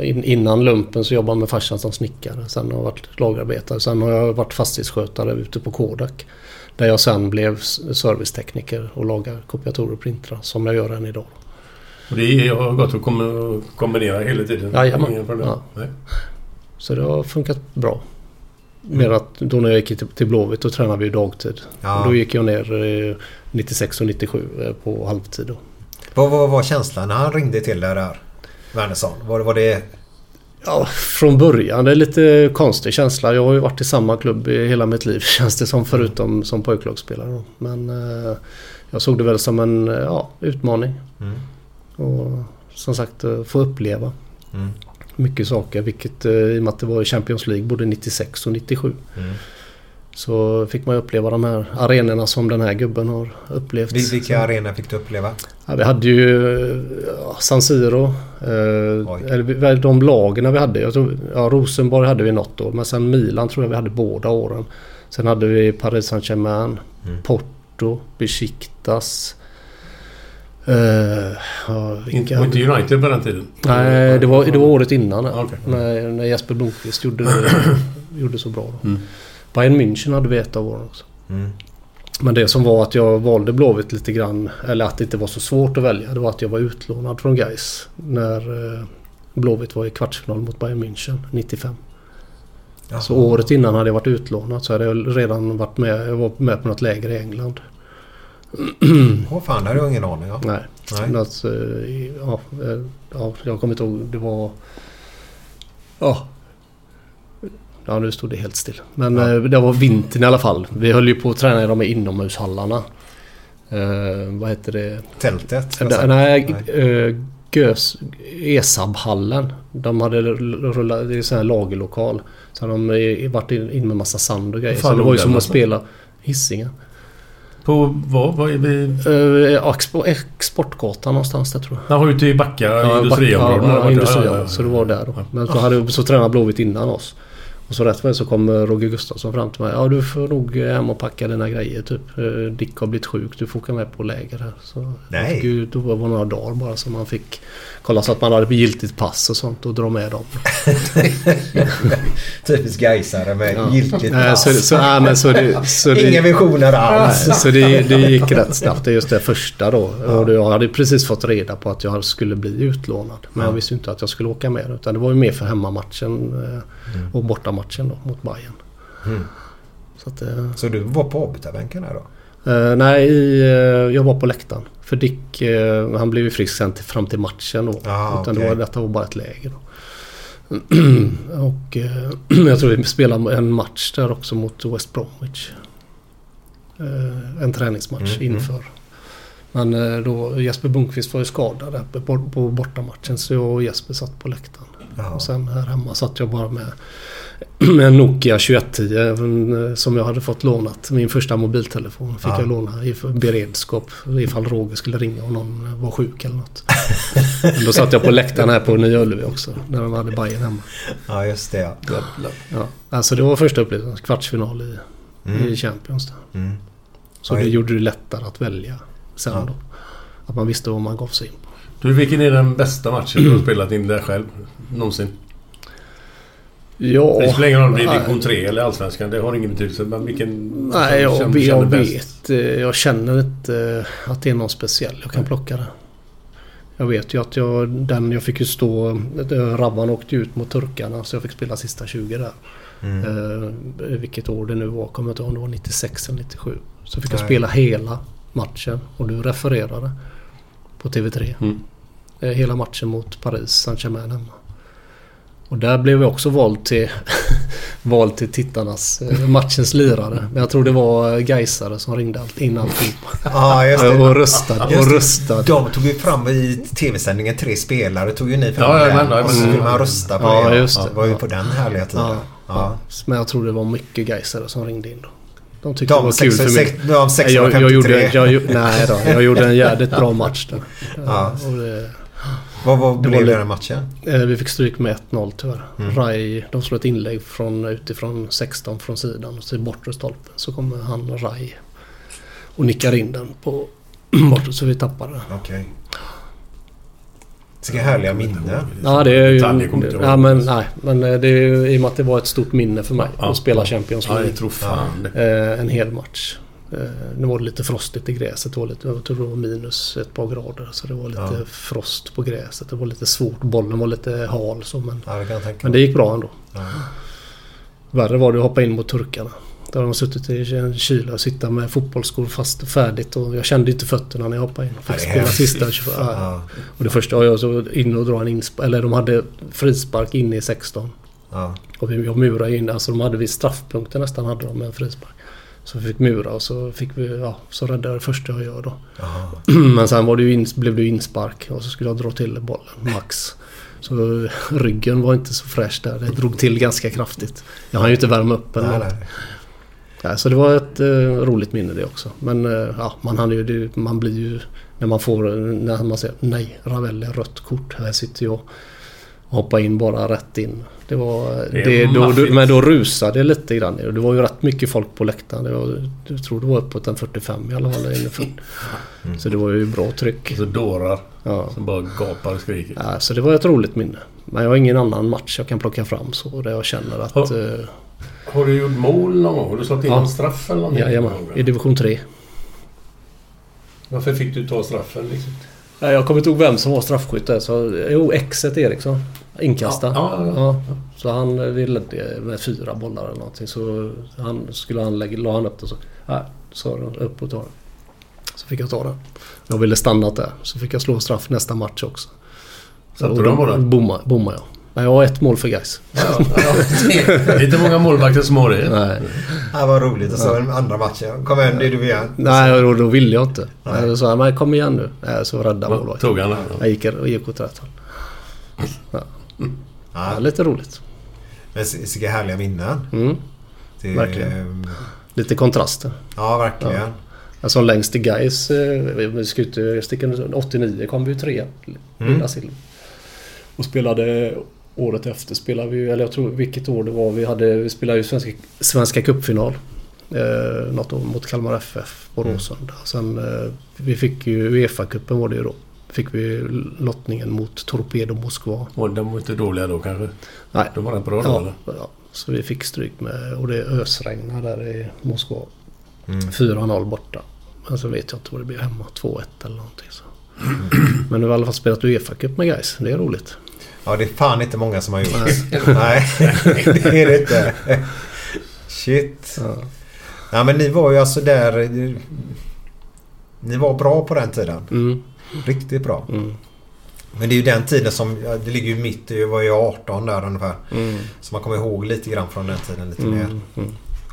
[SPEAKER 5] in, innan lumpen så jobbade jag med farsan som snickare. Sen har jag varit lagerarbetare. Sen har jag varit fastighetsskötare ute på Kodak. Där jag sen blev s- servicetekniker och lagar kopiatorer och printrar som jag gör än idag.
[SPEAKER 2] Och det har gått att kom- kombinera hela tiden?
[SPEAKER 5] Jajamän.
[SPEAKER 2] Ingen problem.
[SPEAKER 5] Ja.
[SPEAKER 2] Nej.
[SPEAKER 5] Så det har funkat bra. Mer att då när jag gick till, till Blåvitt då tränade vi ju dagtid.
[SPEAKER 1] Ja.
[SPEAKER 5] Då gick jag ner eh, 96 och 97 eh, på halvtid. Då.
[SPEAKER 1] Vad vad var känslan när han ringde till dig där? Wernersson? Var, var det...
[SPEAKER 5] Ja, från början. Det är lite konstig känsla. Jag har ju varit i samma klubb i hela mitt liv känns det som. Förutom som pojklagsspelare. då. Men eh, jag såg det väl som en eh, ja, utmaning.
[SPEAKER 1] Mm.
[SPEAKER 5] Och som sagt eh, få uppleva
[SPEAKER 1] Mm.
[SPEAKER 5] mycket saker. Vilket eh, i och med att det var i Champions League både 96 och 97.
[SPEAKER 1] Mm.
[SPEAKER 5] Så fick man ju uppleva de här arenorna som den här gubben har upplevt.
[SPEAKER 1] Vil- Vilka arenor fick du uppleva?
[SPEAKER 5] Ja, vi hade ju ja, San Siro. Eh,
[SPEAKER 1] Oj.
[SPEAKER 5] eller vi- väl de lagen vi hade. Jag tror, ja, Rosenborg hade vi något år. Men sen Milan tror jag vi hade båda åren. Sen hade vi Paris Saint-Germain.
[SPEAKER 1] Mm.
[SPEAKER 5] Porto. Besiktas. Eh, ja,
[SPEAKER 2] Inte,
[SPEAKER 5] vilka?
[SPEAKER 2] och inte United på den tiden?
[SPEAKER 5] Nej, det var, det var året innan.
[SPEAKER 2] Ja, okej.
[SPEAKER 5] När, när Jesper Blomqvist gjorde, gjorde så bra. Då.
[SPEAKER 2] Mm.
[SPEAKER 5] Bayern München hade vi ett av åren också.
[SPEAKER 1] Mm.
[SPEAKER 5] Men det som var att jag valde Blåvitt lite grann, eller att det inte var så svårt att välja, det var att jag var utlånad från Gais när eh, Blåvitt var i kvartsfinal mot Bayern München 95. Så
[SPEAKER 1] Jaha.
[SPEAKER 5] året innan hade jag varit utlånad så hade jag redan varit med, jag var med på något läger i England.
[SPEAKER 1] Åh fan, det hade jag ingen aning om.
[SPEAKER 5] Nej,
[SPEAKER 1] Nej.
[SPEAKER 5] men att, eh, ja, eh, ja, jag kommer inte ihåg, det var... Ja. Ja, nu stod det helt still. Men
[SPEAKER 1] Ja.
[SPEAKER 5] eh, det var vintern i alla fall. Vi höll ju på att träna i de här inomhushallarna. Eh, vad heter det?
[SPEAKER 1] Tältet? ska jag
[SPEAKER 5] Där,
[SPEAKER 1] säga.
[SPEAKER 5] nej, eh, Gös, ESAB-hallen. De hade l- rullat, det är sån här lagerlokal. Så hade de eh, varit in in med massa sand och grejer.
[SPEAKER 2] Fan,
[SPEAKER 5] så det var ju
[SPEAKER 2] låg
[SPEAKER 5] som
[SPEAKER 2] den
[SPEAKER 1] alltså?
[SPEAKER 5] att spela Hisingen.
[SPEAKER 2] På vad? vad är vi?
[SPEAKER 5] Eh, expo, exportgatan någonstans där tror jag.
[SPEAKER 2] Jag var ute i Backa industriområde.
[SPEAKER 5] Ja, ja, industriområden. Så det var där då. Men så, hade, så tränade Blåvitt innan oss. Och så rätt vad det är så kom eh, Roger Gustafsson fram till mig. Ja du får nog eh, hem och packa dina grejer typ. Eh, Dick har blivit sjuk. Du får åka med på läger här. Så
[SPEAKER 1] Nej.
[SPEAKER 5] Gud, då var det några dagar bara som man fick kolla så att man hade giltigt pass och sånt och dra med dem.
[SPEAKER 1] Typiskt Gaisare med
[SPEAKER 5] Nej,
[SPEAKER 1] giltigt pass.
[SPEAKER 5] så, så, nej, men så, det, så det,
[SPEAKER 1] Inga visioner
[SPEAKER 5] Nej,
[SPEAKER 1] alls.
[SPEAKER 5] så det, det gick rätt snabbt. Det är just det första då. Och då- jag hade precis fått reda på att jag skulle bli utlånad. Men jag visste ju inte att jag skulle åka med. Utan det var ju mer för hemmamatchen eh, och bortamatchen då mot Bayern. Så att, eh,
[SPEAKER 1] Så du var på avbytarbänken här då?
[SPEAKER 5] eh, nej, i, eh, jag var på läktaren. För Dick, eh, han blev ju frisk sen till, fram till matchen då. utan
[SPEAKER 1] Ah, okej.
[SPEAKER 5] det var, detta var bara ett läger då. och eh, jag tror vi spelade en match där också mot West Bromwich. Eh, en träningsmatch
[SPEAKER 1] Mm,
[SPEAKER 5] inför. Men eh, då, Jesper Blomqvist var ju skadad där på, på bortamatchen så jag och Jesper satt på läktaren.
[SPEAKER 1] Jaha.
[SPEAKER 5] Och sen här hemma satt jag bara med en Nokia 2110 en, eh, som jag hade fått lånat. Min första mobiltelefon fick
[SPEAKER 1] Ja.
[SPEAKER 5] jag låna i för- beredskap ifall Roger skulle ringa och någon var sjuk eller något. Men Då satt jag på läktaren här på Nya Ullevi också när de hade Bajen hemma.
[SPEAKER 1] Ja, just det. Ja.
[SPEAKER 5] Ja, alltså det var första upplevelsen. Kvartsfinal i,
[SPEAKER 1] Mm.
[SPEAKER 5] i Champions. Där.
[SPEAKER 1] Mm.
[SPEAKER 5] Så
[SPEAKER 1] Ja,
[SPEAKER 5] det
[SPEAKER 1] jag-
[SPEAKER 5] gjorde det lättare att välja sen då. Att man visste vad man gav sig in på.
[SPEAKER 2] Du, vilken är den bästa matchen du har spelat in där själv? Någonsin?
[SPEAKER 5] Ja,
[SPEAKER 2] Det spelar ingen roll om det är
[SPEAKER 5] nej.
[SPEAKER 2] division 3 eller Allsvenskan. Det har ingen betydelse. Men vilken...
[SPEAKER 5] Nej,
[SPEAKER 2] som
[SPEAKER 5] jag,
[SPEAKER 2] du känner-
[SPEAKER 5] jag,
[SPEAKER 2] känner bäst?
[SPEAKER 5] vet. eh, Jag känner inte eh, att det är någon speciell jag kan plocka det. Jag vet ju att jag, den jag fick ju stå... eh, Rabban åkte ju ut mot turkarna så jag fick spela sista 20 där.
[SPEAKER 1] Mm.
[SPEAKER 5] Eh, vilket år det nu var, kommer jag inte ihåg om det var 96 eller 97. Så fick jag
[SPEAKER 1] Nej.
[SPEAKER 5] spela hela matchen och du refererade på TV3.
[SPEAKER 2] Mm.
[SPEAKER 5] Eh, hela matchen mot Paris Saint-Germain hemma. Och där blev jag också vald till, vald till tittarnas, eh, matchens lirare. Men jag tror det var Gaisare som ringde allt, in allting.
[SPEAKER 1] Ja, just det.
[SPEAKER 5] Och röstade och
[SPEAKER 1] Just det.
[SPEAKER 5] röstade.
[SPEAKER 1] De tog ju fram i tv-sändningen tre spelare. Tog ju ni fram
[SPEAKER 2] Ja, ja,
[SPEAKER 1] den.
[SPEAKER 2] men- ja,
[SPEAKER 1] och så
[SPEAKER 2] men-
[SPEAKER 1] skulle man rösta på
[SPEAKER 5] Ja,
[SPEAKER 1] det.
[SPEAKER 5] just det.
[SPEAKER 1] det var ju på den härliga tiden.
[SPEAKER 5] Ja.
[SPEAKER 1] Ja.
[SPEAKER 5] Men jag tror det var mycket Gaisare som ringde in då. De tyckte det
[SPEAKER 1] De,
[SPEAKER 5] var kul
[SPEAKER 1] sex,
[SPEAKER 5] för mig.
[SPEAKER 1] sex, de
[SPEAKER 5] Nej, jag,
[SPEAKER 1] 653.
[SPEAKER 5] jag, gjorde, jag, gjo- nej då, jag gjorde en jävligt bra match där.
[SPEAKER 1] Ja.
[SPEAKER 5] Och det,
[SPEAKER 1] Vad, vad
[SPEAKER 5] Det
[SPEAKER 1] blev
[SPEAKER 5] var
[SPEAKER 1] det
[SPEAKER 5] lite-
[SPEAKER 1] den matchen?
[SPEAKER 5] eh, vi fick stryk med 1-0 tyvärr. Rai, de slår ett inlägg från, utifrån 16 från sidan och så i bortre stolpen så kommer han Rai och nickar in den på bortre så vi tappar den.
[SPEAKER 1] Okej. Vilka härliga minnen.
[SPEAKER 5] Ja, det är ju...
[SPEAKER 2] Detaljer kommer inte ihåg.
[SPEAKER 5] Ja, men, nej, men eh, det är ju i och med att det var ett stort minne för mig
[SPEAKER 2] Ja.
[SPEAKER 5] att spela Champions
[SPEAKER 2] Ja,
[SPEAKER 5] League.
[SPEAKER 2] jag tror fan det.
[SPEAKER 5] eh, en hel match. Eh, nu var det lite frostigt i gräset. Det var lite, jag tror det var minus ett par grader. Så det var lite
[SPEAKER 1] Ja.
[SPEAKER 5] frost på gräset. Det var lite svårt. Bollen var lite hal. Så, men,
[SPEAKER 1] Ja, det kan jag tänka
[SPEAKER 5] men
[SPEAKER 1] mig.
[SPEAKER 5] det gick bra ändå.
[SPEAKER 1] Ja.
[SPEAKER 5] Värre var det att hoppa in mot turkarna. Där har de suttit i en kyla och sitta med fotbollsskor fast färdigt. Och jag kände ju inte fötterna när jag hoppade in.
[SPEAKER 1] Ja,
[SPEAKER 5] Fick
[SPEAKER 1] det är
[SPEAKER 5] spela
[SPEAKER 1] hemskt.
[SPEAKER 5] sista 24. ja.
[SPEAKER 1] Ja.
[SPEAKER 5] Och det första jag gör så in och dra en inspark. Eller de hade frispark inne i 16.
[SPEAKER 1] Ja.
[SPEAKER 5] Och vi jag murade ju in, alltså de hade vid straffpunkten nästan hade de en frispark. Så vi fick mura och så fick vi, ja, så räddade jag det första jag gör då.
[SPEAKER 1] Ja.
[SPEAKER 5] Men sen var det ju in, blev det ju inspark och så skulle jag dra till bollen, max. Så ryggen var inte så fräsch där. Det drog till ganska kraftigt. Jag hann ju inte värma upp eller
[SPEAKER 1] Nej,
[SPEAKER 5] något.
[SPEAKER 1] nej.
[SPEAKER 5] Nej, Så det var ett eh, roligt minne det också. Men eh, ja, man, hann ju, det, man blir ju... När man får... När man säger nej, Ravelli rött kort. Här sitter jag. Hoppa in bara rätt in. Det var...
[SPEAKER 2] Det
[SPEAKER 5] Det
[SPEAKER 2] är
[SPEAKER 5] då,
[SPEAKER 2] maffigt.
[SPEAKER 5] du, men då rusade det lite grann. Och Det var ju rätt mycket folk på läktaren. Det var, jag tror det var uppåt en 45 i alla fall. eller 40.
[SPEAKER 2] Mm.
[SPEAKER 5] Så det var ju bra tryck.
[SPEAKER 2] Och så dårar
[SPEAKER 5] Ja.
[SPEAKER 2] som bara gapar och skriker.
[SPEAKER 5] Ja, Så det var ett roligt minne. Men jag har ingen annan match jag kan plocka fram så där jag känner att...
[SPEAKER 2] Har-
[SPEAKER 5] Eh,
[SPEAKER 2] Har du gjort mål någon gång? Har du slagit in
[SPEAKER 5] Ja.
[SPEAKER 2] en straff eller någonting?
[SPEAKER 5] jajamän,
[SPEAKER 2] Någon gång?
[SPEAKER 5] i division 3.
[SPEAKER 2] Varför fick du ta straffen liksom?
[SPEAKER 5] Nej, Jag kommer inte ihåg vem som var straffskytt där. Så, jo, exet Eriksson. Inkasta.
[SPEAKER 2] Ja, ja, ja.
[SPEAKER 5] så han vi ledde med fyra bollar eller någonting. Så han, skulle han lägga, la han upp det så... Nej, sa de, upp och ta den. Så fick jag ta den. Jag ville stannat där. Så fick jag slå straff nästa match också.
[SPEAKER 2] Satte
[SPEAKER 5] Och
[SPEAKER 2] du
[SPEAKER 5] då
[SPEAKER 2] den bara?
[SPEAKER 5] Bommade, bommade jag. Nej, jag har ett mål för guys.
[SPEAKER 2] Ja, ja. Det är inte många målvakter som har det.
[SPEAKER 5] Nej,
[SPEAKER 1] Ja, vad roligt. Och så den andra matchen. Kom igen, det är du igen.
[SPEAKER 5] Nej och då ville jag inte. Nej. Så, men kom igen nu. Nej, så rädda
[SPEAKER 2] Vad
[SPEAKER 5] målvakten.
[SPEAKER 2] Tog han den?
[SPEAKER 5] Jag gick, jag gick åt rätt håll. Ja,
[SPEAKER 1] Ja,
[SPEAKER 5] lite roligt.
[SPEAKER 1] men så- vilka härliga minnen.
[SPEAKER 5] Mm.
[SPEAKER 1] Det,
[SPEAKER 5] Verkligen. Lite kontraster.
[SPEAKER 1] Ja, verkligen.
[SPEAKER 5] Men Som Alltså längst i Gais, eh, vi- vi ska ju inte sticka under stol, 89 kom vi ju trea. Lilla Silver. Och spelade året efter, spelade vi, eller jag tror vilket år det var, vi, hade, vi spelade ju svenska, svenska cupfinal. Eh, något år mot Kalmar FF på Råsunda. Sen eh, vi fick ju Uefa-cupen var det ju då. Fick vi lottningen mot Torpedo Moskva.
[SPEAKER 2] Och de var inte dåliga då kanske?
[SPEAKER 5] Nej,
[SPEAKER 2] De var rätt bra då eller?
[SPEAKER 5] Ja, ja, så vi fick stryk med och det ösregnade där i Moskva.
[SPEAKER 2] Mm.
[SPEAKER 5] 4-0 borta. Men så vet jag inte vad det blev hemma. 2-1 eller någonting. Så.
[SPEAKER 2] Mm.
[SPEAKER 5] Men nu har vi i alla fall spelat Uefa-cup med guys. Det är roligt.
[SPEAKER 1] Ja, det är fan inte många som har gjort. Nej, det är det inte. Shit.
[SPEAKER 5] Ja.
[SPEAKER 1] Ja, men ni var ju alltså där... Ni var bra på den tiden.
[SPEAKER 5] Mm.
[SPEAKER 1] Riktigt bra.
[SPEAKER 5] Mm.
[SPEAKER 1] Men det är ju den tiden som... ja, Det ligger ju mitt i... var jag 18 där ungefär. Så man kommer ihåg lite grann från den tiden lite mer.
[SPEAKER 5] Mm. Mm.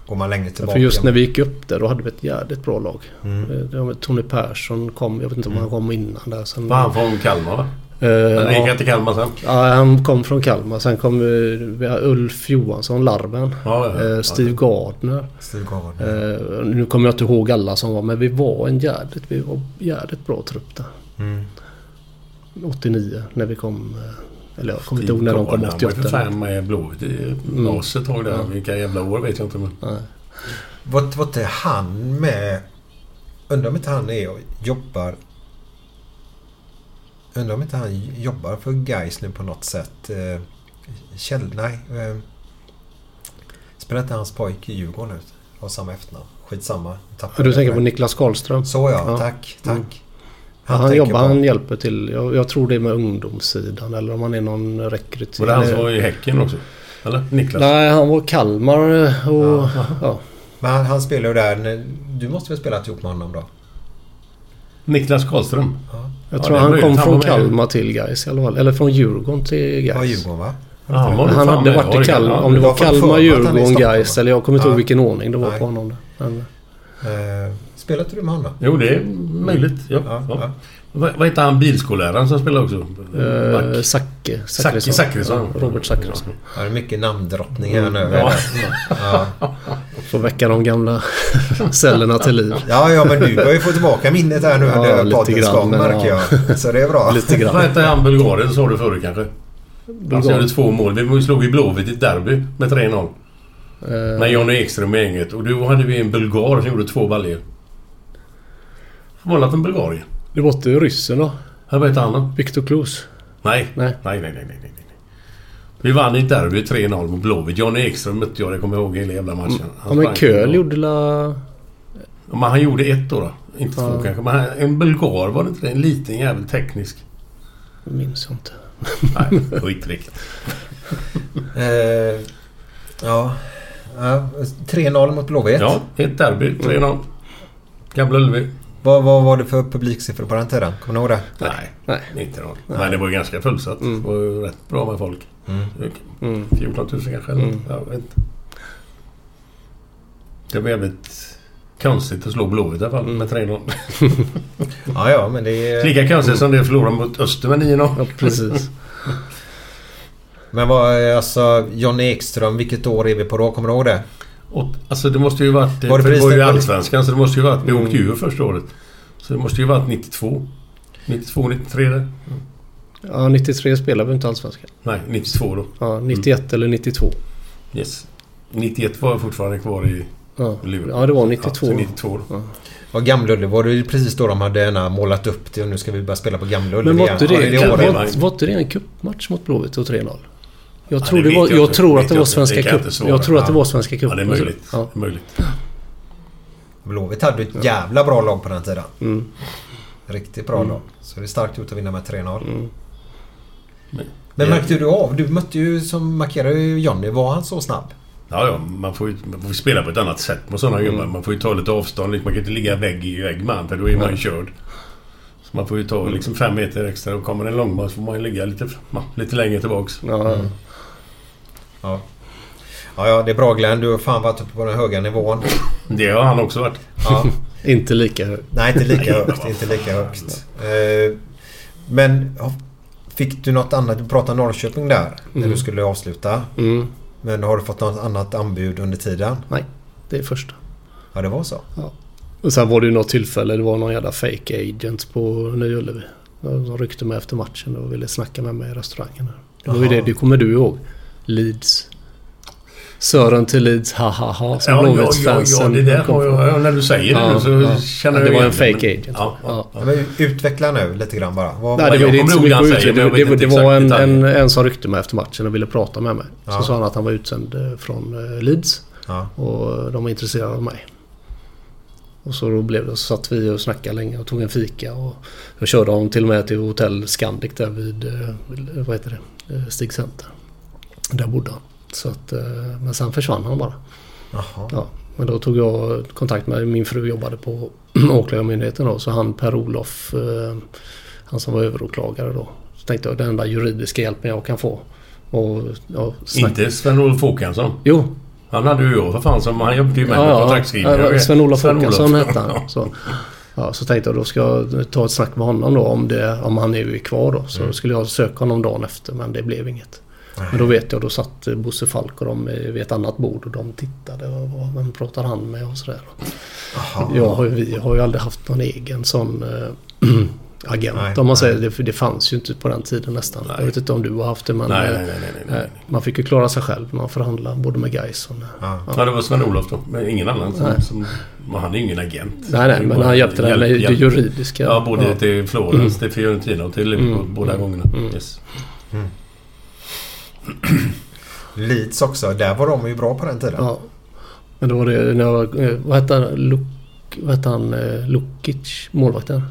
[SPEAKER 1] Går man längre tillbaka.
[SPEAKER 5] För just när vi gick upp där då hade vi ett jävligt bra lag.
[SPEAKER 1] Mm.
[SPEAKER 5] Eh, det var med Tony Persson kom. Jag vet inte om han kom innan där. Sen,
[SPEAKER 2] Var han från Kalmar va?
[SPEAKER 5] Eh,
[SPEAKER 2] Mm. Han
[SPEAKER 5] ja.
[SPEAKER 2] gick till Kalmar sen.
[SPEAKER 5] Ja, han kom från Kalmar. Sen kom eh, vi har Ulf Johansson, Larven.
[SPEAKER 2] Ja, ja, ja.
[SPEAKER 5] Eh, Steve Gardner.
[SPEAKER 1] Steve Gardner.
[SPEAKER 5] Eh, nu kommer jag inte ihåg alla som var men vi var en jävligt, vi var jävligt bra trupp där.
[SPEAKER 1] Mm.
[SPEAKER 5] 89 när vi kom. eh, Eller jag kommer inte ihåg
[SPEAKER 2] Steve
[SPEAKER 5] när de kom
[SPEAKER 2] Gardner, Han var ju för
[SPEAKER 5] 88.
[SPEAKER 2] fan med Blåvitt i
[SPEAKER 5] Mm.
[SPEAKER 2] oss ett tag där. Vilka jävla år vet jag inte. Men.
[SPEAKER 5] Nej.
[SPEAKER 1] Var, var inte han med... Undrar om inte han är och jobbar... Undrar om inte han jobbar för Gais nu på något sätt. Eh, Kjell... Nej. Eh, spelar inte hans pojk i Djurgården ut? Har samma efternamn. Skitsamma.
[SPEAKER 5] Ja, Du tänker på Niklas Karlström?
[SPEAKER 1] Så ja,
[SPEAKER 5] Ja.
[SPEAKER 1] tack. Tack.
[SPEAKER 5] Mm. Han,
[SPEAKER 1] tänker
[SPEAKER 5] jobbar,
[SPEAKER 1] på-
[SPEAKER 5] han hjälper till. Jag, jag tror det är med ungdomssidan eller om han är någon rekrytering.
[SPEAKER 2] Var det han som var i Häcken också? Eller? Niklas?
[SPEAKER 5] Nej, han var Kalmar eh, och... Ja.
[SPEAKER 1] Men han, han spelar ju där. när- Du måste väl spelat ihop med honom då?
[SPEAKER 2] Niklas Karlström?
[SPEAKER 5] Jag
[SPEAKER 2] Ja,
[SPEAKER 5] tror
[SPEAKER 2] det är
[SPEAKER 5] han
[SPEAKER 2] möjligt.
[SPEAKER 5] kom
[SPEAKER 2] Han
[SPEAKER 5] från
[SPEAKER 2] var med.
[SPEAKER 5] Kalmar till Gais i alla fall. Eller från Djurgården till
[SPEAKER 1] Ja,
[SPEAKER 5] Gais.
[SPEAKER 1] Djurgården va?
[SPEAKER 2] Ja, han var nog
[SPEAKER 5] han
[SPEAKER 2] fan
[SPEAKER 5] hade
[SPEAKER 2] med.
[SPEAKER 5] varit
[SPEAKER 2] Ja,
[SPEAKER 5] i
[SPEAKER 2] det kan-
[SPEAKER 5] Kalmar.
[SPEAKER 2] ja,
[SPEAKER 5] Om det
[SPEAKER 1] jag
[SPEAKER 5] var
[SPEAKER 1] har fått för mig
[SPEAKER 5] Kalmar,
[SPEAKER 1] att han är i
[SPEAKER 5] Djurgården,
[SPEAKER 1] Stockholm,
[SPEAKER 5] Gais
[SPEAKER 1] va?
[SPEAKER 5] eller jag kommer inte
[SPEAKER 1] Ja.
[SPEAKER 5] ihåg vilken ordning det var
[SPEAKER 1] Nej.
[SPEAKER 5] på honom. där. Men,
[SPEAKER 1] Eh, spelade du med honom?
[SPEAKER 2] Jo, det är möjligt. Ja,
[SPEAKER 1] Ja,
[SPEAKER 2] ja.
[SPEAKER 1] ja.
[SPEAKER 2] Vad vad heter han bilskolläraren som spelar också?
[SPEAKER 5] eh,
[SPEAKER 2] Back.
[SPEAKER 5] Zacke.
[SPEAKER 2] Zacke
[SPEAKER 5] Zackrisson.
[SPEAKER 2] Zackrisson.
[SPEAKER 5] Ja, Robert Zackrisson.
[SPEAKER 1] Ja, det är mycket namndrottningar här nu.
[SPEAKER 5] Mm.
[SPEAKER 2] Ja.
[SPEAKER 1] Ja.
[SPEAKER 5] Får väcka de gamla cellerna till liv.
[SPEAKER 1] Ja, ja, men du börjar ju få tillbaka minnet här nu
[SPEAKER 5] Ja,
[SPEAKER 1] under
[SPEAKER 5] lite
[SPEAKER 1] poddens
[SPEAKER 5] grann,
[SPEAKER 1] gång
[SPEAKER 5] men
[SPEAKER 1] märker
[SPEAKER 5] ja.
[SPEAKER 1] jag. Så det är bra.
[SPEAKER 5] Lite
[SPEAKER 2] Vad
[SPEAKER 5] grann.
[SPEAKER 2] hette han Bulgarien sa du förut kanske? Han som gjorde Alltså, två mål. Vi slog ju Blåvitt i ett derby med 3-0.
[SPEAKER 5] Eh,
[SPEAKER 2] När Johnny Ekström med gänget. Och då hade vi en bulgar som gjorde två baljor. Målat en Bulgarien.
[SPEAKER 5] Det var inte ryssen då?
[SPEAKER 2] Här vet han då?
[SPEAKER 5] Viktor Klose?
[SPEAKER 2] Nej.
[SPEAKER 5] Nej.
[SPEAKER 2] Nej, nej, nej, nej, nej. nej. Vi vann i ett derby 3-0 mot Blåvitt. Johnny Ekström mötte jag. Det kommer jag ihåg hela jävla matchen. Han
[SPEAKER 5] Mm. Ja
[SPEAKER 2] sprang.
[SPEAKER 5] men Köhl gjorde la...
[SPEAKER 2] Ja, Men han gjorde ett då. då. Inte två kanske. Men han, en bulgar var det inte det? En liten jävel teknisk.
[SPEAKER 5] Minns jag inte.
[SPEAKER 2] Nej, skitrikt.
[SPEAKER 1] Eh, ja. Ja, 3-0 mot Blåvitt.
[SPEAKER 2] Ja, ett derby. 3-0. Gamla Ullevi.
[SPEAKER 1] Vad, vad var det för publiksiffror på den tiden? Kommer ni ihåg det?
[SPEAKER 2] Nej,
[SPEAKER 5] Nej.
[SPEAKER 2] inte någon. Nej, det var ju ganska fullsatt. Det var ju rätt bra med folk.
[SPEAKER 5] Mm.
[SPEAKER 2] 14 000 kanske. eller Jag vet inte. Det var jävligt konstigt att slå Blåvitt i alla fall
[SPEAKER 5] Mm.
[SPEAKER 2] med 3-0.
[SPEAKER 1] Ja, ja, men det är...
[SPEAKER 2] Lika konstigt som det förlorade mot Öster med 9-0.
[SPEAKER 5] Ja precis.
[SPEAKER 1] Men vad, alltså Johnny Ekström, vilket år är vi på då? Kommer du ihåg det?
[SPEAKER 2] Och, alltså det måste ju varit...
[SPEAKER 1] Var det
[SPEAKER 2] Var det, för det var
[SPEAKER 1] precis
[SPEAKER 2] ju
[SPEAKER 1] det-
[SPEAKER 2] Allsvenskan så det måste ju varit...
[SPEAKER 5] Mm.
[SPEAKER 2] Vi åkte ju ur första året. Så det måste ju varit 92. 92, 93 där.
[SPEAKER 5] Ja 93 spelade vi inte Allsvenskan.
[SPEAKER 2] Nej, 92 då.
[SPEAKER 5] Ja 91 eller 92.
[SPEAKER 2] Yes. 91 var jag fortfarande kvar i
[SPEAKER 5] Ja,
[SPEAKER 2] Luleå.
[SPEAKER 5] ja det var
[SPEAKER 2] Ja, så
[SPEAKER 5] 92.
[SPEAKER 2] 92 då.
[SPEAKER 1] Och Gamlulle var det ju precis då de hade ena målat upp det och nu ska vi börja spela på Gamlulle
[SPEAKER 5] Men var
[SPEAKER 1] igen.
[SPEAKER 5] inte
[SPEAKER 1] Ja,
[SPEAKER 5] det,
[SPEAKER 2] det var det,
[SPEAKER 5] var,
[SPEAKER 2] va?
[SPEAKER 5] var inte det en cupmatch mot Blåvitt och 3-0? Jag
[SPEAKER 2] Ja,
[SPEAKER 5] tror,
[SPEAKER 2] det
[SPEAKER 5] det
[SPEAKER 2] vet
[SPEAKER 5] var,
[SPEAKER 2] jag
[SPEAKER 5] jag
[SPEAKER 2] inte.
[SPEAKER 5] tror
[SPEAKER 2] Det vet
[SPEAKER 5] att det var
[SPEAKER 2] jag inte.
[SPEAKER 5] Svenska
[SPEAKER 2] Det kan jag
[SPEAKER 5] Cup.
[SPEAKER 2] inte svara.
[SPEAKER 5] Jag tror att det
[SPEAKER 2] Ja.
[SPEAKER 5] var Svenska Cup.
[SPEAKER 2] Ja, det är möjligt.
[SPEAKER 5] Ja.
[SPEAKER 2] Det är möjligt.
[SPEAKER 1] Blåvitt hade ju ett jävla bra lag på den tiden. Riktigt bra lag. Så det är starkt gjort att vinna med 3-0.
[SPEAKER 2] Men-
[SPEAKER 1] Men märkte du av? Du mötte ju, som markerade ju Johnny. Var han så snabb?
[SPEAKER 2] Ja, ja, man får ju man får ju spela på ett annat sätt med sådana
[SPEAKER 5] Mm.
[SPEAKER 2] gubbar. Man får ju ta lite avstånd. liksom. Man kan inte ligga vägg i vägg med honom, för då är man ju körd. Så man får ju
[SPEAKER 5] Mm.
[SPEAKER 2] ta liksom fem meter extra. Och kommer en långboll så får man ju ligga lite, ja, lite längre tillbaks.
[SPEAKER 5] Ja,
[SPEAKER 1] Ja. ja, ja det är bra Glenn. Du har fan varit uppe på den höga nivån.
[SPEAKER 2] Det har han också varit.
[SPEAKER 1] Ja.
[SPEAKER 5] Inte lika hög.
[SPEAKER 1] Nej, inte lika
[SPEAKER 2] Nej,
[SPEAKER 1] högt.
[SPEAKER 2] vad
[SPEAKER 1] Inte lika högt. Eh, Men ja, fick du något annat? Du pratade Norrköping där när du skulle avsluta.
[SPEAKER 5] Mm.
[SPEAKER 1] Men har du fått något annat anbud under tiden?
[SPEAKER 5] Nej, det är första.
[SPEAKER 1] Ja, det var så.
[SPEAKER 5] Och sen var det ju något tillfälle, det var någon jävla fake agent på Nya Ullevi. De ryckte mig efter matchen och ville snacka med mig i restaurangen. Det var ju
[SPEAKER 1] Jaha.
[SPEAKER 5] det, det kommer du ihåg. Leeds. Sören till Leeds, ha ha ha. Som
[SPEAKER 2] Ja, ja, ja, ja,
[SPEAKER 5] Blåvittsfansen
[SPEAKER 2] det där
[SPEAKER 5] kom
[SPEAKER 2] har
[SPEAKER 5] på.
[SPEAKER 2] jag... Ja, när du säger det
[SPEAKER 5] Ja,
[SPEAKER 2] nu så
[SPEAKER 5] ja.
[SPEAKER 2] känner
[SPEAKER 5] Ja,
[SPEAKER 2] jag
[SPEAKER 5] det var
[SPEAKER 2] igen
[SPEAKER 5] en fake
[SPEAKER 2] men-
[SPEAKER 5] agent.
[SPEAKER 2] Ja, ja,
[SPEAKER 1] Ja, men utveckla nu lite grann bara. Vad,
[SPEAKER 5] Nej,
[SPEAKER 2] Men
[SPEAKER 5] det
[SPEAKER 2] jag
[SPEAKER 5] var inte
[SPEAKER 2] kommer
[SPEAKER 5] så
[SPEAKER 2] ihåg
[SPEAKER 5] mycket
[SPEAKER 2] han
[SPEAKER 5] att
[SPEAKER 2] säger,
[SPEAKER 5] utreda.
[SPEAKER 2] men jag
[SPEAKER 5] Det,
[SPEAKER 2] vet
[SPEAKER 5] var-
[SPEAKER 2] inte
[SPEAKER 5] det var en,
[SPEAKER 2] exakt
[SPEAKER 5] en,
[SPEAKER 2] detaljer.
[SPEAKER 5] en som ryckte mig efter matchen och ville prata med mig. Så
[SPEAKER 1] Ja.
[SPEAKER 5] sa han att han var utsänd eh, från eh, Leeds
[SPEAKER 1] Ja.
[SPEAKER 5] och de var intresserade av mig. Och så då blev det, så satt vi och snackade länge och tog en fika. Och jag körde honom till och med till hotell Scandic där vid, eh, vad heter det, Eh, Stig Center. Där bodde han. Så att, eh, men sen försvann han bara.
[SPEAKER 1] Jaha.
[SPEAKER 5] Ja, men då tog jag kontakt med min fru jobbade på Åklagarmyndigheten då så han Per-Olof, eh, han som var överåklagare då. Så tänkte jag den enda juridiska hjälpen jag kan få. Och, ja, snack-
[SPEAKER 2] Inte Sven-Olof Håkansson.
[SPEAKER 5] Jo,
[SPEAKER 2] Han hade ju jag för fan som... Han jobbade ju med
[SPEAKER 5] ja,
[SPEAKER 2] på
[SPEAKER 5] ja,
[SPEAKER 2] kontraktsskrivare.
[SPEAKER 5] ja, Sven-Olof Håkansson hette han. Så. Ja, så tänkte jag då ska jag ta ett snack med honom då om, det, om han är kvar då. Så
[SPEAKER 1] Mm.
[SPEAKER 5] skulle jag söka honom dagen efter men det blev inget. Men då vet jag, då satt eh, Bosse Falk och de eh, vid ett annat bord och de tittade. Och, vad- vem pratar han med och sådär. Jag har, ju- vi har ju aldrig haft någon egen sån eh, agent
[SPEAKER 1] Nej,
[SPEAKER 5] om man
[SPEAKER 1] nej.
[SPEAKER 5] säger. Det, för det fanns ju inte på den tiden nästan. Jag vet inte om du har haft det men
[SPEAKER 2] Nej,
[SPEAKER 5] eh,
[SPEAKER 2] nej, nej, nej, nej.
[SPEAKER 5] eh, man fick ju klara sig själv. Man förhandlade både med Gais och med,
[SPEAKER 1] Ja.
[SPEAKER 2] Ja, det var Sven-Olof då. Men ingen annan som...
[SPEAKER 5] Nej.
[SPEAKER 2] som men han är ju ingen agent.
[SPEAKER 5] Nej, nej, men han hjälpte den med det juridiska.
[SPEAKER 2] Ja, både
[SPEAKER 5] Ja. Mm.
[SPEAKER 2] till Florens, till Fiorentina och till Liverpool. Båda gångerna. Yes.
[SPEAKER 1] Leeds också. Där var de ju bra på den tiden.
[SPEAKER 5] Ja. Men då var det när jag var, eh, vad hette han, Luk, vad hette han eh, Lukic, målvakten?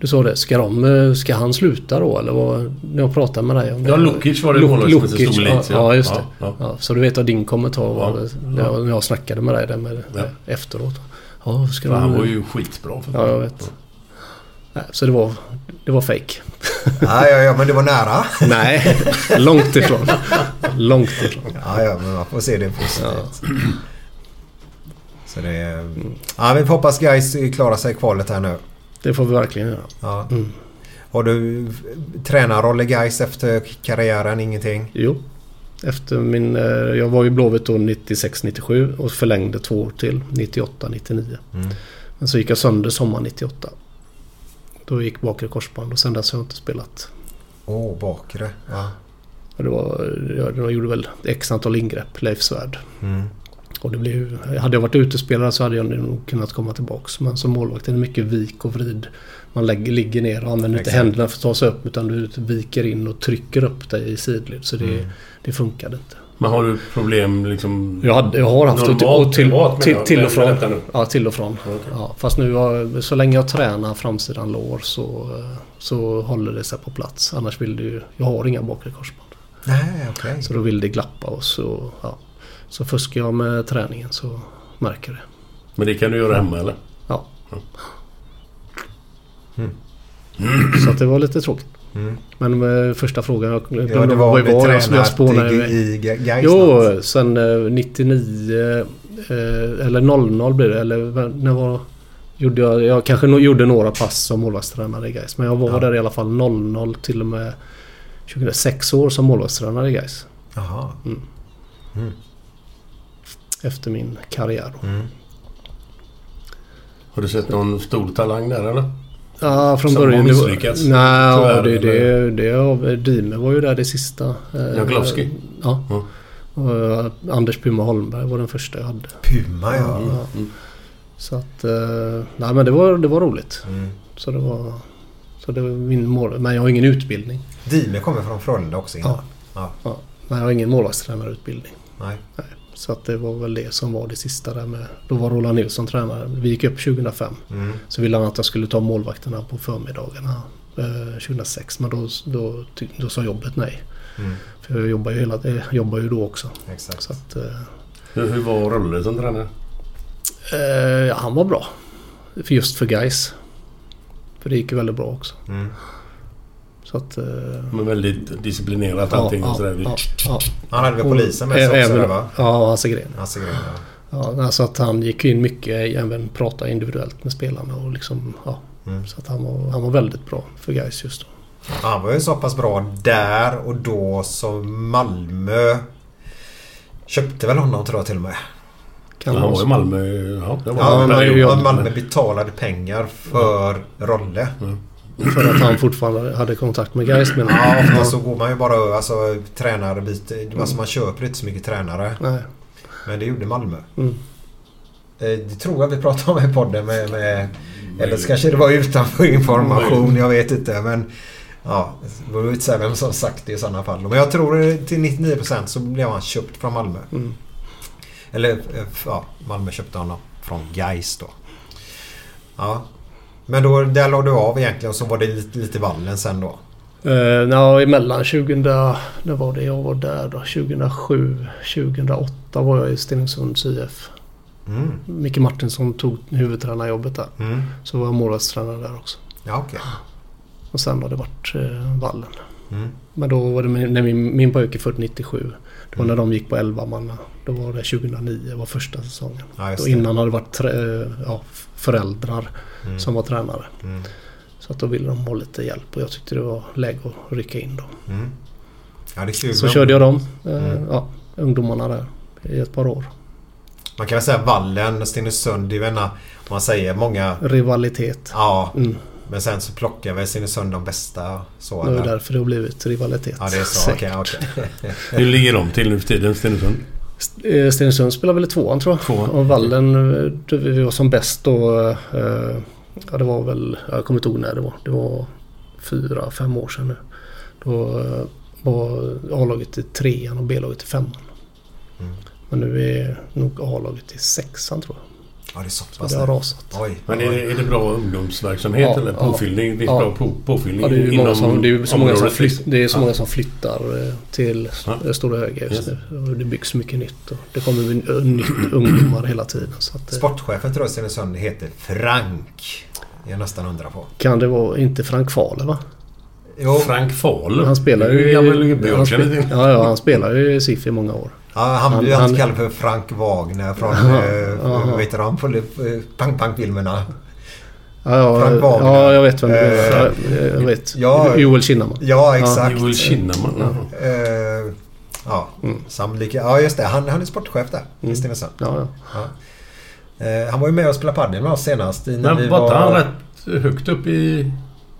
[SPEAKER 5] Du sa det, ska, de, eh, ska han sluta då eller vad, när jag pratade med dig om det?
[SPEAKER 2] Ja, Lukic var det
[SPEAKER 5] Luk-
[SPEAKER 2] målvakten som
[SPEAKER 5] Lukic,
[SPEAKER 2] stod i Leeds,
[SPEAKER 5] ja,
[SPEAKER 2] ja.
[SPEAKER 5] ja, just
[SPEAKER 2] Ja,
[SPEAKER 5] det.
[SPEAKER 2] ja.
[SPEAKER 5] Ja, så du vet vad din kommentar var
[SPEAKER 2] Ja,
[SPEAKER 5] när, jag, när jag snackade med dig där med,
[SPEAKER 2] Ja.
[SPEAKER 5] efteråt. Ja, ska
[SPEAKER 2] För
[SPEAKER 5] de,
[SPEAKER 2] han var ju skitbra. För
[SPEAKER 5] Ja, jag vet. Nej, så det var, det var fake.
[SPEAKER 1] Ja, ja, ja, men det var nära.
[SPEAKER 5] Nej, långt ifrån. Långt ifrån.
[SPEAKER 1] Ja, ja, men man får se det positivt. Så det är... Ja, vi får hoppas guys klarar sig i kvalet här nu.
[SPEAKER 5] Det får vi verkligen göra.
[SPEAKER 1] Ja.
[SPEAKER 5] Mm.
[SPEAKER 1] Har du tränarroll i guys efter karriären? Ingenting?
[SPEAKER 5] Jo. Efter min, eh, jag var i Blåvitt då 96-97 och förlängde två år till 98-99. Men så gick jag sönder sommar 98. Då gick bakre korsband och sen dess har jag inte spelat.
[SPEAKER 1] Åh, bakre. Ja.
[SPEAKER 5] Och det var, jag, jag gjorde väl x antal ingrepp, Leif Svärd.
[SPEAKER 1] Mm.
[SPEAKER 5] Och det blev, hade jag varit utespelare så hade jag nog kunnat komma tillbaks. Men som målvakt är det mycket vik och vrid. Man lägger, ligger ner och använder
[SPEAKER 1] Exakt.
[SPEAKER 5] inte händerna för att ta sig upp utan du viker in och trycker upp dig i sidled. Så
[SPEAKER 1] Mm.
[SPEAKER 5] det, det funkade inte.
[SPEAKER 2] Men har du problem liksom...
[SPEAKER 5] Jag, hade, jag har haft det
[SPEAKER 2] Normalt
[SPEAKER 5] och till,
[SPEAKER 2] privat, menar
[SPEAKER 5] till,
[SPEAKER 2] jag.
[SPEAKER 5] till och
[SPEAKER 2] Men-
[SPEAKER 5] från.
[SPEAKER 2] men vänta nu.
[SPEAKER 5] Ja, till och från. Ja, fast nu har, så länge jag tränar framsidan lår så, eh, så håller det sig på plats. Annars vill det ju... Jag har inga bakre korsband.
[SPEAKER 1] Nej, okej.
[SPEAKER 5] Så då vill det glappa och så... Ja. Så fuskar jag med träningen så märker det.
[SPEAKER 2] Men det kan du göra hemma eller?
[SPEAKER 5] Ja. Mm.
[SPEAKER 1] Mm.
[SPEAKER 5] Så att det var lite tråkigt. Men eh, första frågan jag glömde
[SPEAKER 1] Ja, det var om
[SPEAKER 5] vad
[SPEAKER 1] du
[SPEAKER 5] det var. Jag, jag spånade
[SPEAKER 1] tränat i,
[SPEAKER 5] iväg.
[SPEAKER 1] i guys
[SPEAKER 5] Jo,
[SPEAKER 1] något.
[SPEAKER 5] sen eh, 99 eh, eller 00 blev det. Eller vem- när var... Gjorde jag, jag kanske no, gjorde några pass som målvaktstränare i Gais. Men jag var
[SPEAKER 1] Ja.
[SPEAKER 5] där i alla fall 00 till och med 2006 år som målvaktstränare i Gais.
[SPEAKER 1] Jaha.
[SPEAKER 5] Mm. Efter min karriär. då.
[SPEAKER 2] Har du sett någon stor talang där eller?
[SPEAKER 5] Ja, från
[SPEAKER 2] Som har
[SPEAKER 5] början.
[SPEAKER 2] misslyckats,
[SPEAKER 5] Nej, ja, det,
[SPEAKER 2] tyvärr, eller?
[SPEAKER 5] det, det, det, Dime var ju där det sista. eh,
[SPEAKER 2] Jaglowski?
[SPEAKER 5] Ja.
[SPEAKER 2] Ja.
[SPEAKER 5] Och, eh, Anders Puma Holmberg var den första jag hade.
[SPEAKER 1] Puma, ja.
[SPEAKER 5] Ja. Så att... eh, Nej men det var, det var roligt.
[SPEAKER 2] Mm.
[SPEAKER 5] Så det var... Så det var min mål. Men jag har ingen utbildning.
[SPEAKER 1] Dime kommer från Frölunda också innan.
[SPEAKER 5] Ja.
[SPEAKER 1] Ja.
[SPEAKER 5] Ja. Men jag har ingen målvaktstränarutbildning.
[SPEAKER 1] Nej.
[SPEAKER 5] Nej. Så att det var väl det som var det sista där med... Då var Roland Nilsson tränare. Vi gick upp 2005.
[SPEAKER 1] Mm.
[SPEAKER 5] Så ville han att jag skulle ta målvakterna på förmiddagarna eh, 2006. Men då, då, ty- då sa jobbet nej. För jag jobbar ju, hela, eh, jobbar ju då också.
[SPEAKER 1] Mm. Exakt.
[SPEAKER 5] Så att, eh,
[SPEAKER 2] Hur, hur var Rolle som tränare?
[SPEAKER 5] Eh, ja, han var bra. För just för guys. För det gick ju väldigt bra också.
[SPEAKER 1] Mm.
[SPEAKER 5] Så att... eh,
[SPEAKER 2] Men väldigt disciplinerat
[SPEAKER 5] ja,
[SPEAKER 2] allting och
[SPEAKER 5] ja,
[SPEAKER 2] sådär.
[SPEAKER 5] ja, ja.
[SPEAKER 1] Han hade väl polisen med sig
[SPEAKER 5] Ä-
[SPEAKER 1] också?
[SPEAKER 5] även-
[SPEAKER 1] där, va?
[SPEAKER 5] Ja, Hasse Gren.
[SPEAKER 1] Hasse Gren, ja.
[SPEAKER 5] Ja, alltså att han gick in mycket, även prata individuellt med spelarna och liksom... Ja.
[SPEAKER 1] Mm.
[SPEAKER 5] Så att han var, han var väldigt bra för guys just då.
[SPEAKER 1] Han var ju så pass bra där och då som Malmö köpte väl honom tror jag till och med.
[SPEAKER 5] Kan
[SPEAKER 2] han
[SPEAKER 5] vara
[SPEAKER 2] var i
[SPEAKER 5] så.
[SPEAKER 2] Malmö. Ja, det var
[SPEAKER 1] Ja,
[SPEAKER 2] en
[SPEAKER 1] men
[SPEAKER 2] period.
[SPEAKER 1] ja, Malmö betalade pengar för Rolle.
[SPEAKER 5] För att han fortfarande hade kontakt med guys menar
[SPEAKER 1] Ja,
[SPEAKER 5] jag.
[SPEAKER 1] ofta så går man ju bara alltså, tränare byter. Alltså man köper inte så mycket tränare.
[SPEAKER 5] Nej.
[SPEAKER 1] Men det gjorde Malmö.
[SPEAKER 5] Mm.
[SPEAKER 1] Eh, Det tror jag vi pratade om i podden med... med eller så kanske det var utanför information. Jag vet inte. Men ja, det behöver inte säga vem som sagt det i sådana fall. Men jag tror det till 99% så blev han köpt från Malmö.
[SPEAKER 5] Mm.
[SPEAKER 1] Eller eh, ja, Malmö köpte honom från Gais då. Ja. Men då, där la du av egentligen och så var det lite, lite vallen sen då.
[SPEAKER 5] Uh, no, emellan 2000... När var det jag var där då? 2007, 2008 var jag i Stenungsunds IF.
[SPEAKER 1] Mm.
[SPEAKER 5] Micke Martinsson tog huvudtränarjobbet där.
[SPEAKER 1] Mm.
[SPEAKER 5] Så var jag målvaktstränare där också.
[SPEAKER 1] Ja, okej.
[SPEAKER 5] Och sen har det varit eh, vallen.
[SPEAKER 1] Mm.
[SPEAKER 5] Men då var det min- när min, min pojke född 97. Det
[SPEAKER 1] Mm.
[SPEAKER 5] var när de gick på 11 manna. Då var det 2009, var första säsongen.
[SPEAKER 1] Ja, just
[SPEAKER 5] Då
[SPEAKER 1] det.
[SPEAKER 5] innan hade det varit tre, eh, ja, f- föräldrar
[SPEAKER 1] Mm.
[SPEAKER 5] som var tränare.
[SPEAKER 1] Mm.
[SPEAKER 5] Så att då ville de ha lite hjälp och jag tyckte det var läge att rycka in då.
[SPEAKER 1] Mm. Ja, det är kul.
[SPEAKER 5] Så körde jag dem, eh,
[SPEAKER 1] Mm.
[SPEAKER 5] ja, ungdomarna där i ett par år.
[SPEAKER 1] Man kan väl säga vallen, Stenungsund, det är ju en, om man säger många...
[SPEAKER 5] Rivalitet.
[SPEAKER 1] Ja.
[SPEAKER 5] Mm.
[SPEAKER 1] Men sen så plockar väl Stenungsund de bästa så
[SPEAKER 5] Det var
[SPEAKER 1] eller?
[SPEAKER 5] ju därför det har blivit rivalitet.
[SPEAKER 1] Ja, det är så. Okej,
[SPEAKER 5] Säkert.
[SPEAKER 1] okej.
[SPEAKER 2] Hur ligger de till nu för tiden, Stenungsund?
[SPEAKER 5] Eh, Stenungsund spelade väl i tvåan tror jag.
[SPEAKER 2] Tvåan.
[SPEAKER 5] Och Vallen, eh, det- vi var som bäst då. eh, Ja, det var väl, jag kommer inte ihåg när det var. Det var fyra, fem år sedan nu. Då eh, var A-laget i trean och B-laget i femman.
[SPEAKER 1] Mm.
[SPEAKER 5] Men nu är nog A-laget i sexan tror jag.
[SPEAKER 1] Ja, det är så
[SPEAKER 5] Så
[SPEAKER 1] pass.
[SPEAKER 5] det har rasat.
[SPEAKER 1] Oj.
[SPEAKER 2] Men är, är det bra ungdomsverksamhet
[SPEAKER 5] Ja,
[SPEAKER 2] eller
[SPEAKER 5] ja.
[SPEAKER 2] påfyllning? Det finns
[SPEAKER 5] Ja.
[SPEAKER 2] bra på, påfyllning
[SPEAKER 5] Ja, det är ju många som, det är ju så, många som,
[SPEAKER 2] området,
[SPEAKER 5] flytt,
[SPEAKER 2] liksom.
[SPEAKER 5] det är så
[SPEAKER 2] Ja.
[SPEAKER 5] många som flyttar eh, till
[SPEAKER 2] Ja.
[SPEAKER 5] ja. Stora Höga just
[SPEAKER 2] Yes.
[SPEAKER 5] nu. Och det byggs mycket nytt och det kommer in- ö, nytt ungdomar hela tiden. Så att, eh,
[SPEAKER 1] Sportchefen tror jag i Stenungsund heter Frank. Jag nästan undrar på.
[SPEAKER 5] kan det vara, inte Frank Fahle va?
[SPEAKER 1] Jo,
[SPEAKER 2] Frank Fahl.
[SPEAKER 5] Han spelar
[SPEAKER 2] Det är
[SPEAKER 5] ju...
[SPEAKER 2] gammal gubbe jag
[SPEAKER 5] han
[SPEAKER 2] känner
[SPEAKER 5] spe-
[SPEAKER 2] till.
[SPEAKER 5] ja, ja, han spelar ju i SIF i många år.
[SPEAKER 1] ja, han
[SPEAKER 5] Han-
[SPEAKER 1] blir alltid
[SPEAKER 5] han-
[SPEAKER 1] kallad för Frank Wagner från...
[SPEAKER 5] Jaha,
[SPEAKER 1] eh,
[SPEAKER 5] jaha.
[SPEAKER 1] Vad heter han? På eh, Pang Pang-filmerna.
[SPEAKER 5] Ja, ja,
[SPEAKER 1] Frank Wagner.
[SPEAKER 5] ja jag vet vem det
[SPEAKER 1] Eh,
[SPEAKER 5] är. Ja, jag vet.
[SPEAKER 1] ja.
[SPEAKER 5] Joel Kinnaman.
[SPEAKER 1] Ja, exakt.
[SPEAKER 2] Joel Kinnaman. Ja.
[SPEAKER 1] Eh, ja,
[SPEAKER 5] Mm.
[SPEAKER 1] samlika. Ja, just det. Han, han är sportchef där i Stenungsund.
[SPEAKER 5] Ja, ja.
[SPEAKER 1] Eh, han var ju med och spelade padel med oss senast. i- När
[SPEAKER 2] Men var inte han rätt högt upp i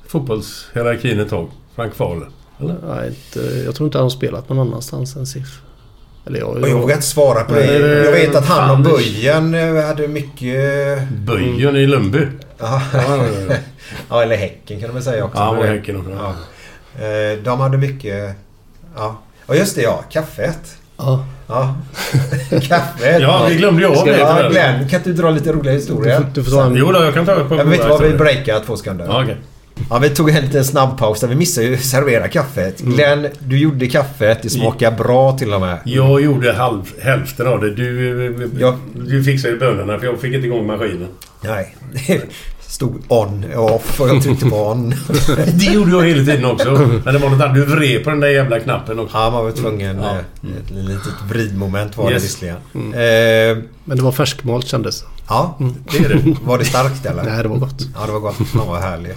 [SPEAKER 2] fotbollshierarkin ett tag? Frank Fahl. Eller?
[SPEAKER 5] Nej, inte, jag tror inte han har spelat någon annanstans än SIF. Eller jag...
[SPEAKER 1] Och jag vågar inte svara på det.
[SPEAKER 2] Nej,
[SPEAKER 1] Jag vet att han och
[SPEAKER 2] eh, Anders.
[SPEAKER 1] Böjen eh, hade mycket...
[SPEAKER 2] Böjen i
[SPEAKER 1] Mm.
[SPEAKER 2] Lundby.
[SPEAKER 1] Ja,
[SPEAKER 2] Ja, ja, ja.
[SPEAKER 1] ja eller Häcken kan de väl säga också.
[SPEAKER 2] Ja, han var
[SPEAKER 1] Men-
[SPEAKER 2] Häcken också.
[SPEAKER 1] Ja. Eh, De hade mycket... Ja, och just det ja. Kaffet.
[SPEAKER 5] Ja.
[SPEAKER 1] Ja. Kaffet.
[SPEAKER 2] Ja, vi glömde ju av det.
[SPEAKER 1] Ja,
[SPEAKER 2] tyvärr.
[SPEAKER 1] Glenn, kan inte du dra lite roliga
[SPEAKER 5] Du
[SPEAKER 1] historier?
[SPEAKER 5] får, du får ta en...
[SPEAKER 2] Jo då, jag kan ta det på...
[SPEAKER 1] Jag vet inte vad vi breakar två sekunder.
[SPEAKER 2] Ja, okej.
[SPEAKER 1] Ja, vi tog en liten snabbpaus där vi missade ju servera kaffet.
[SPEAKER 2] Mm.
[SPEAKER 1] Glenn, du gjorde kaffet. Det smakar bra till och med.
[SPEAKER 2] Jag gjorde halv, hälften av det. Du,
[SPEAKER 1] Ja.
[SPEAKER 2] du fixade ju bönorna för jag fick inte igång maskinen.
[SPEAKER 1] Nej. Det stod on och off och jag tryckte på on.
[SPEAKER 2] Det gjorde jag hela tiden också. Men det var något annat. Du vred på den där jävla knappen också.
[SPEAKER 1] Ja, man var tvungen.
[SPEAKER 2] Ja.
[SPEAKER 1] eh, Ett litet vridmoment var
[SPEAKER 2] Yes. Mm.
[SPEAKER 1] det visserligen. Eh,
[SPEAKER 5] Men det var färskmalt kändes det.
[SPEAKER 1] ja, det är det. Var det starkt eller?
[SPEAKER 5] Nej, det var gott.
[SPEAKER 1] Ja, det var gott. Fan vad härligt.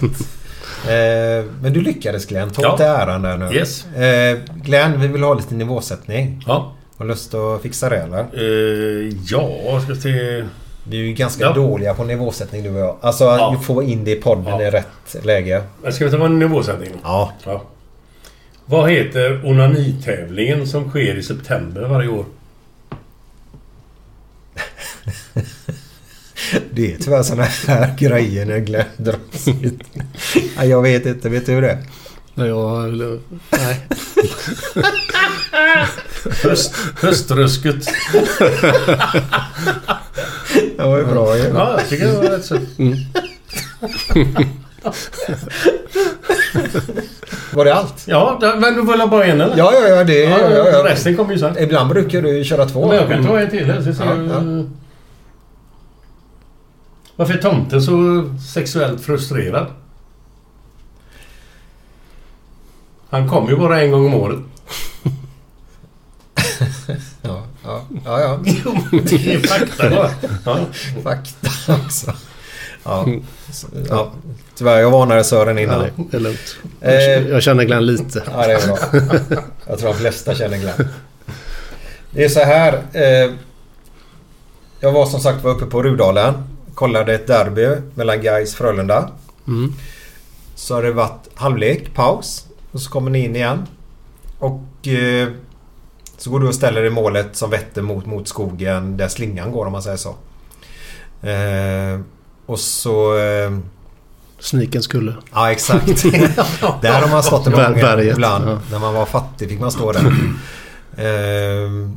[SPEAKER 1] Eh, men du lyckades Glenn. Ta åt
[SPEAKER 2] Ja.
[SPEAKER 1] dig äran där nu.
[SPEAKER 2] Yes.
[SPEAKER 1] Eh, Glenn, vi vill ha lite nivåsättning.
[SPEAKER 2] Ja.
[SPEAKER 1] Har du lust att fixa det eller?
[SPEAKER 2] Eh, ja, ska se...
[SPEAKER 1] Vi är ju ganska
[SPEAKER 2] Ja.
[SPEAKER 1] dåliga på nivåsättning du och jag. Alltså
[SPEAKER 2] Ja.
[SPEAKER 1] få in det i podden
[SPEAKER 2] Ja.
[SPEAKER 1] i rätt läge.
[SPEAKER 2] Men Ska vi ta en nivåsättning? då?
[SPEAKER 1] Ja.
[SPEAKER 2] Ja. Vad heter onanitävlingen som sker i september varje år?
[SPEAKER 1] Det är tyvärr såna här grejer när Glenn dras hit. Nej, jag vet inte. Vet du det?
[SPEAKER 5] Nej, jag... eller- Nej.
[SPEAKER 2] Höst, höströsket.
[SPEAKER 1] Det var ju bra ju.
[SPEAKER 2] Ja, jag tycker det var rätt sött.
[SPEAKER 1] Var det allt?
[SPEAKER 2] Ja, där- men du vill ha bara en eller?
[SPEAKER 1] Ja, ja, ja. Det,
[SPEAKER 2] Ja,
[SPEAKER 1] ja, ja, ja.
[SPEAKER 2] Resten kommer ju sen.
[SPEAKER 1] Ibland brukar du ju köra två.
[SPEAKER 2] Men jag kan ta en till här. Så ser
[SPEAKER 1] Ja,
[SPEAKER 2] jag-
[SPEAKER 1] ja.
[SPEAKER 2] Varför är tomten så sexuellt frustrerad? Han kommer ju bara en gång om året.
[SPEAKER 1] Ja, ja, ja, ja.
[SPEAKER 2] Jo, men det är fakta bara. Ja.
[SPEAKER 1] Fakta också. Ja. Så, ja. Tyvärr, jag varnade Sören innan.
[SPEAKER 5] Nej, det är lugnt.
[SPEAKER 1] Eh.
[SPEAKER 5] Jag känner Glenn lite.
[SPEAKER 1] Ja, det är bra. Jag tror de flesta känner Glenn. Det är så här. Eh, jag var som sagt var uppe på Rudalen. Kollade ett derby mellan Gais Frölunda.
[SPEAKER 5] Mm.
[SPEAKER 1] Så har det varit halvlek, paus. Och så kommer ni in igen. Och eh, så går du och ställer dig i målet som vetter mot, mot skogen där slingan går om man säger så. Eh, och så... Eh,
[SPEAKER 5] Sniken skulle.
[SPEAKER 1] Ja, exakt. där har man stått en
[SPEAKER 5] Ber-
[SPEAKER 1] gång
[SPEAKER 5] berget,
[SPEAKER 1] ibland.
[SPEAKER 5] ja.
[SPEAKER 1] När man var fattig fick man stå där. Ehm,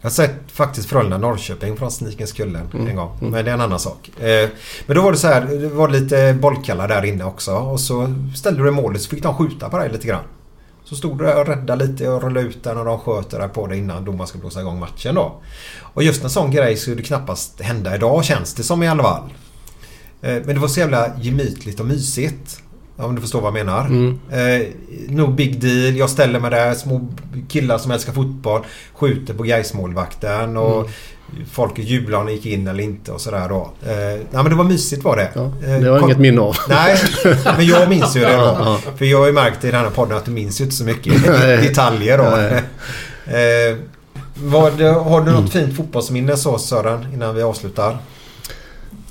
[SPEAKER 1] jag har sett faktiskt Frölunda-Norrköping från Snikens Kullen en gång. Men det är en annan sak. Eh, men då var det så här. Det var lite bollkalla där inne också. Och så ställde du dig i målet så fick de skjuta på dig lite grann. Så stod du där och räddade lite och rullade ut den och de sköt där på dig innan domaren skulle blåsa igång matchen då. Och just en sån grej skulle knappast hända idag känns det som i alla fall. Eh, Men det var så jävla gemytligt och mysigt. Ja, Om du förstår vad jag menar.
[SPEAKER 5] Mm.
[SPEAKER 1] Eh, no big deal. Jag ställer mig där. Små killar som älskar fotboll skjuter på Gais-målvakten. Och
[SPEAKER 5] Mm.
[SPEAKER 1] Folk jublar om de gick in eller inte och sådär då. Eh, nej men det var mysigt var det. Eh,
[SPEAKER 5] det har jag
[SPEAKER 1] kon-
[SPEAKER 5] inget minne av.
[SPEAKER 1] Nej, men jag minns ju det
[SPEAKER 5] Ja,
[SPEAKER 1] då. För jag har ju märkt i den här podden att du minns ju inte så mycket
[SPEAKER 5] Nej.
[SPEAKER 1] detaljer då.
[SPEAKER 5] Nej. Mm.
[SPEAKER 1] Eh, vad, har du något fint fotbollsminne så Sören innan vi avslutar?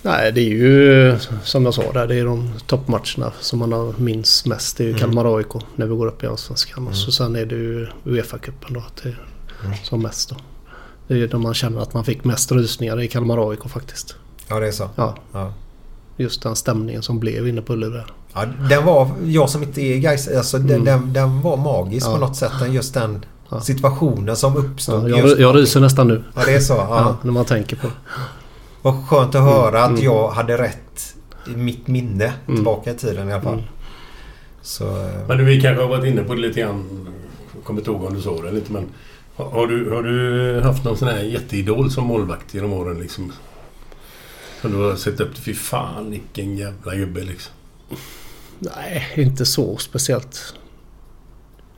[SPEAKER 5] Nej, det är ju som jag sa där. Det är de toppmatcherna som man har minns mest. Det är ju Kalmar AIK när vi går upp i Allsvenskan. Och så sen är det ju Uefa-cupen då. Att det är som mest då. Det är ju då man känner att man fick mest rysningar i Kalmar AIK faktiskt.
[SPEAKER 1] Ja det är så.
[SPEAKER 5] Ja,
[SPEAKER 1] Ja.
[SPEAKER 5] just den stämningen som blev inne på Ullevi. där.
[SPEAKER 1] Ja, den var, jag som inte är guys, alltså
[SPEAKER 5] Mm.
[SPEAKER 1] den, den, den var magisk på något sätt. Den, just den situationen som
[SPEAKER 5] Ja,
[SPEAKER 1] uppstod.
[SPEAKER 5] jag,
[SPEAKER 1] just,
[SPEAKER 5] jag ryser nästan nu.
[SPEAKER 1] ja det är så.
[SPEAKER 5] Ja. Mm.
[SPEAKER 1] Ja.
[SPEAKER 5] när man tänker på det.
[SPEAKER 1] Vad skönt att höra att jag hade rätt i mitt minne
[SPEAKER 5] Mm.
[SPEAKER 1] tillbaka i tiden i alla fall. Så, eh,
[SPEAKER 2] Men du, vi kanske har varit inne på det lite grann. Jag kommer inte ihåg om du såg det eller inte men... Har har du, har du haft någon sån här jätteidol som målvakt genom åren liksom? Som du har sett upp till? Fy fan vilken jävla gubbe liksom.
[SPEAKER 5] Nej, inte så speciellt.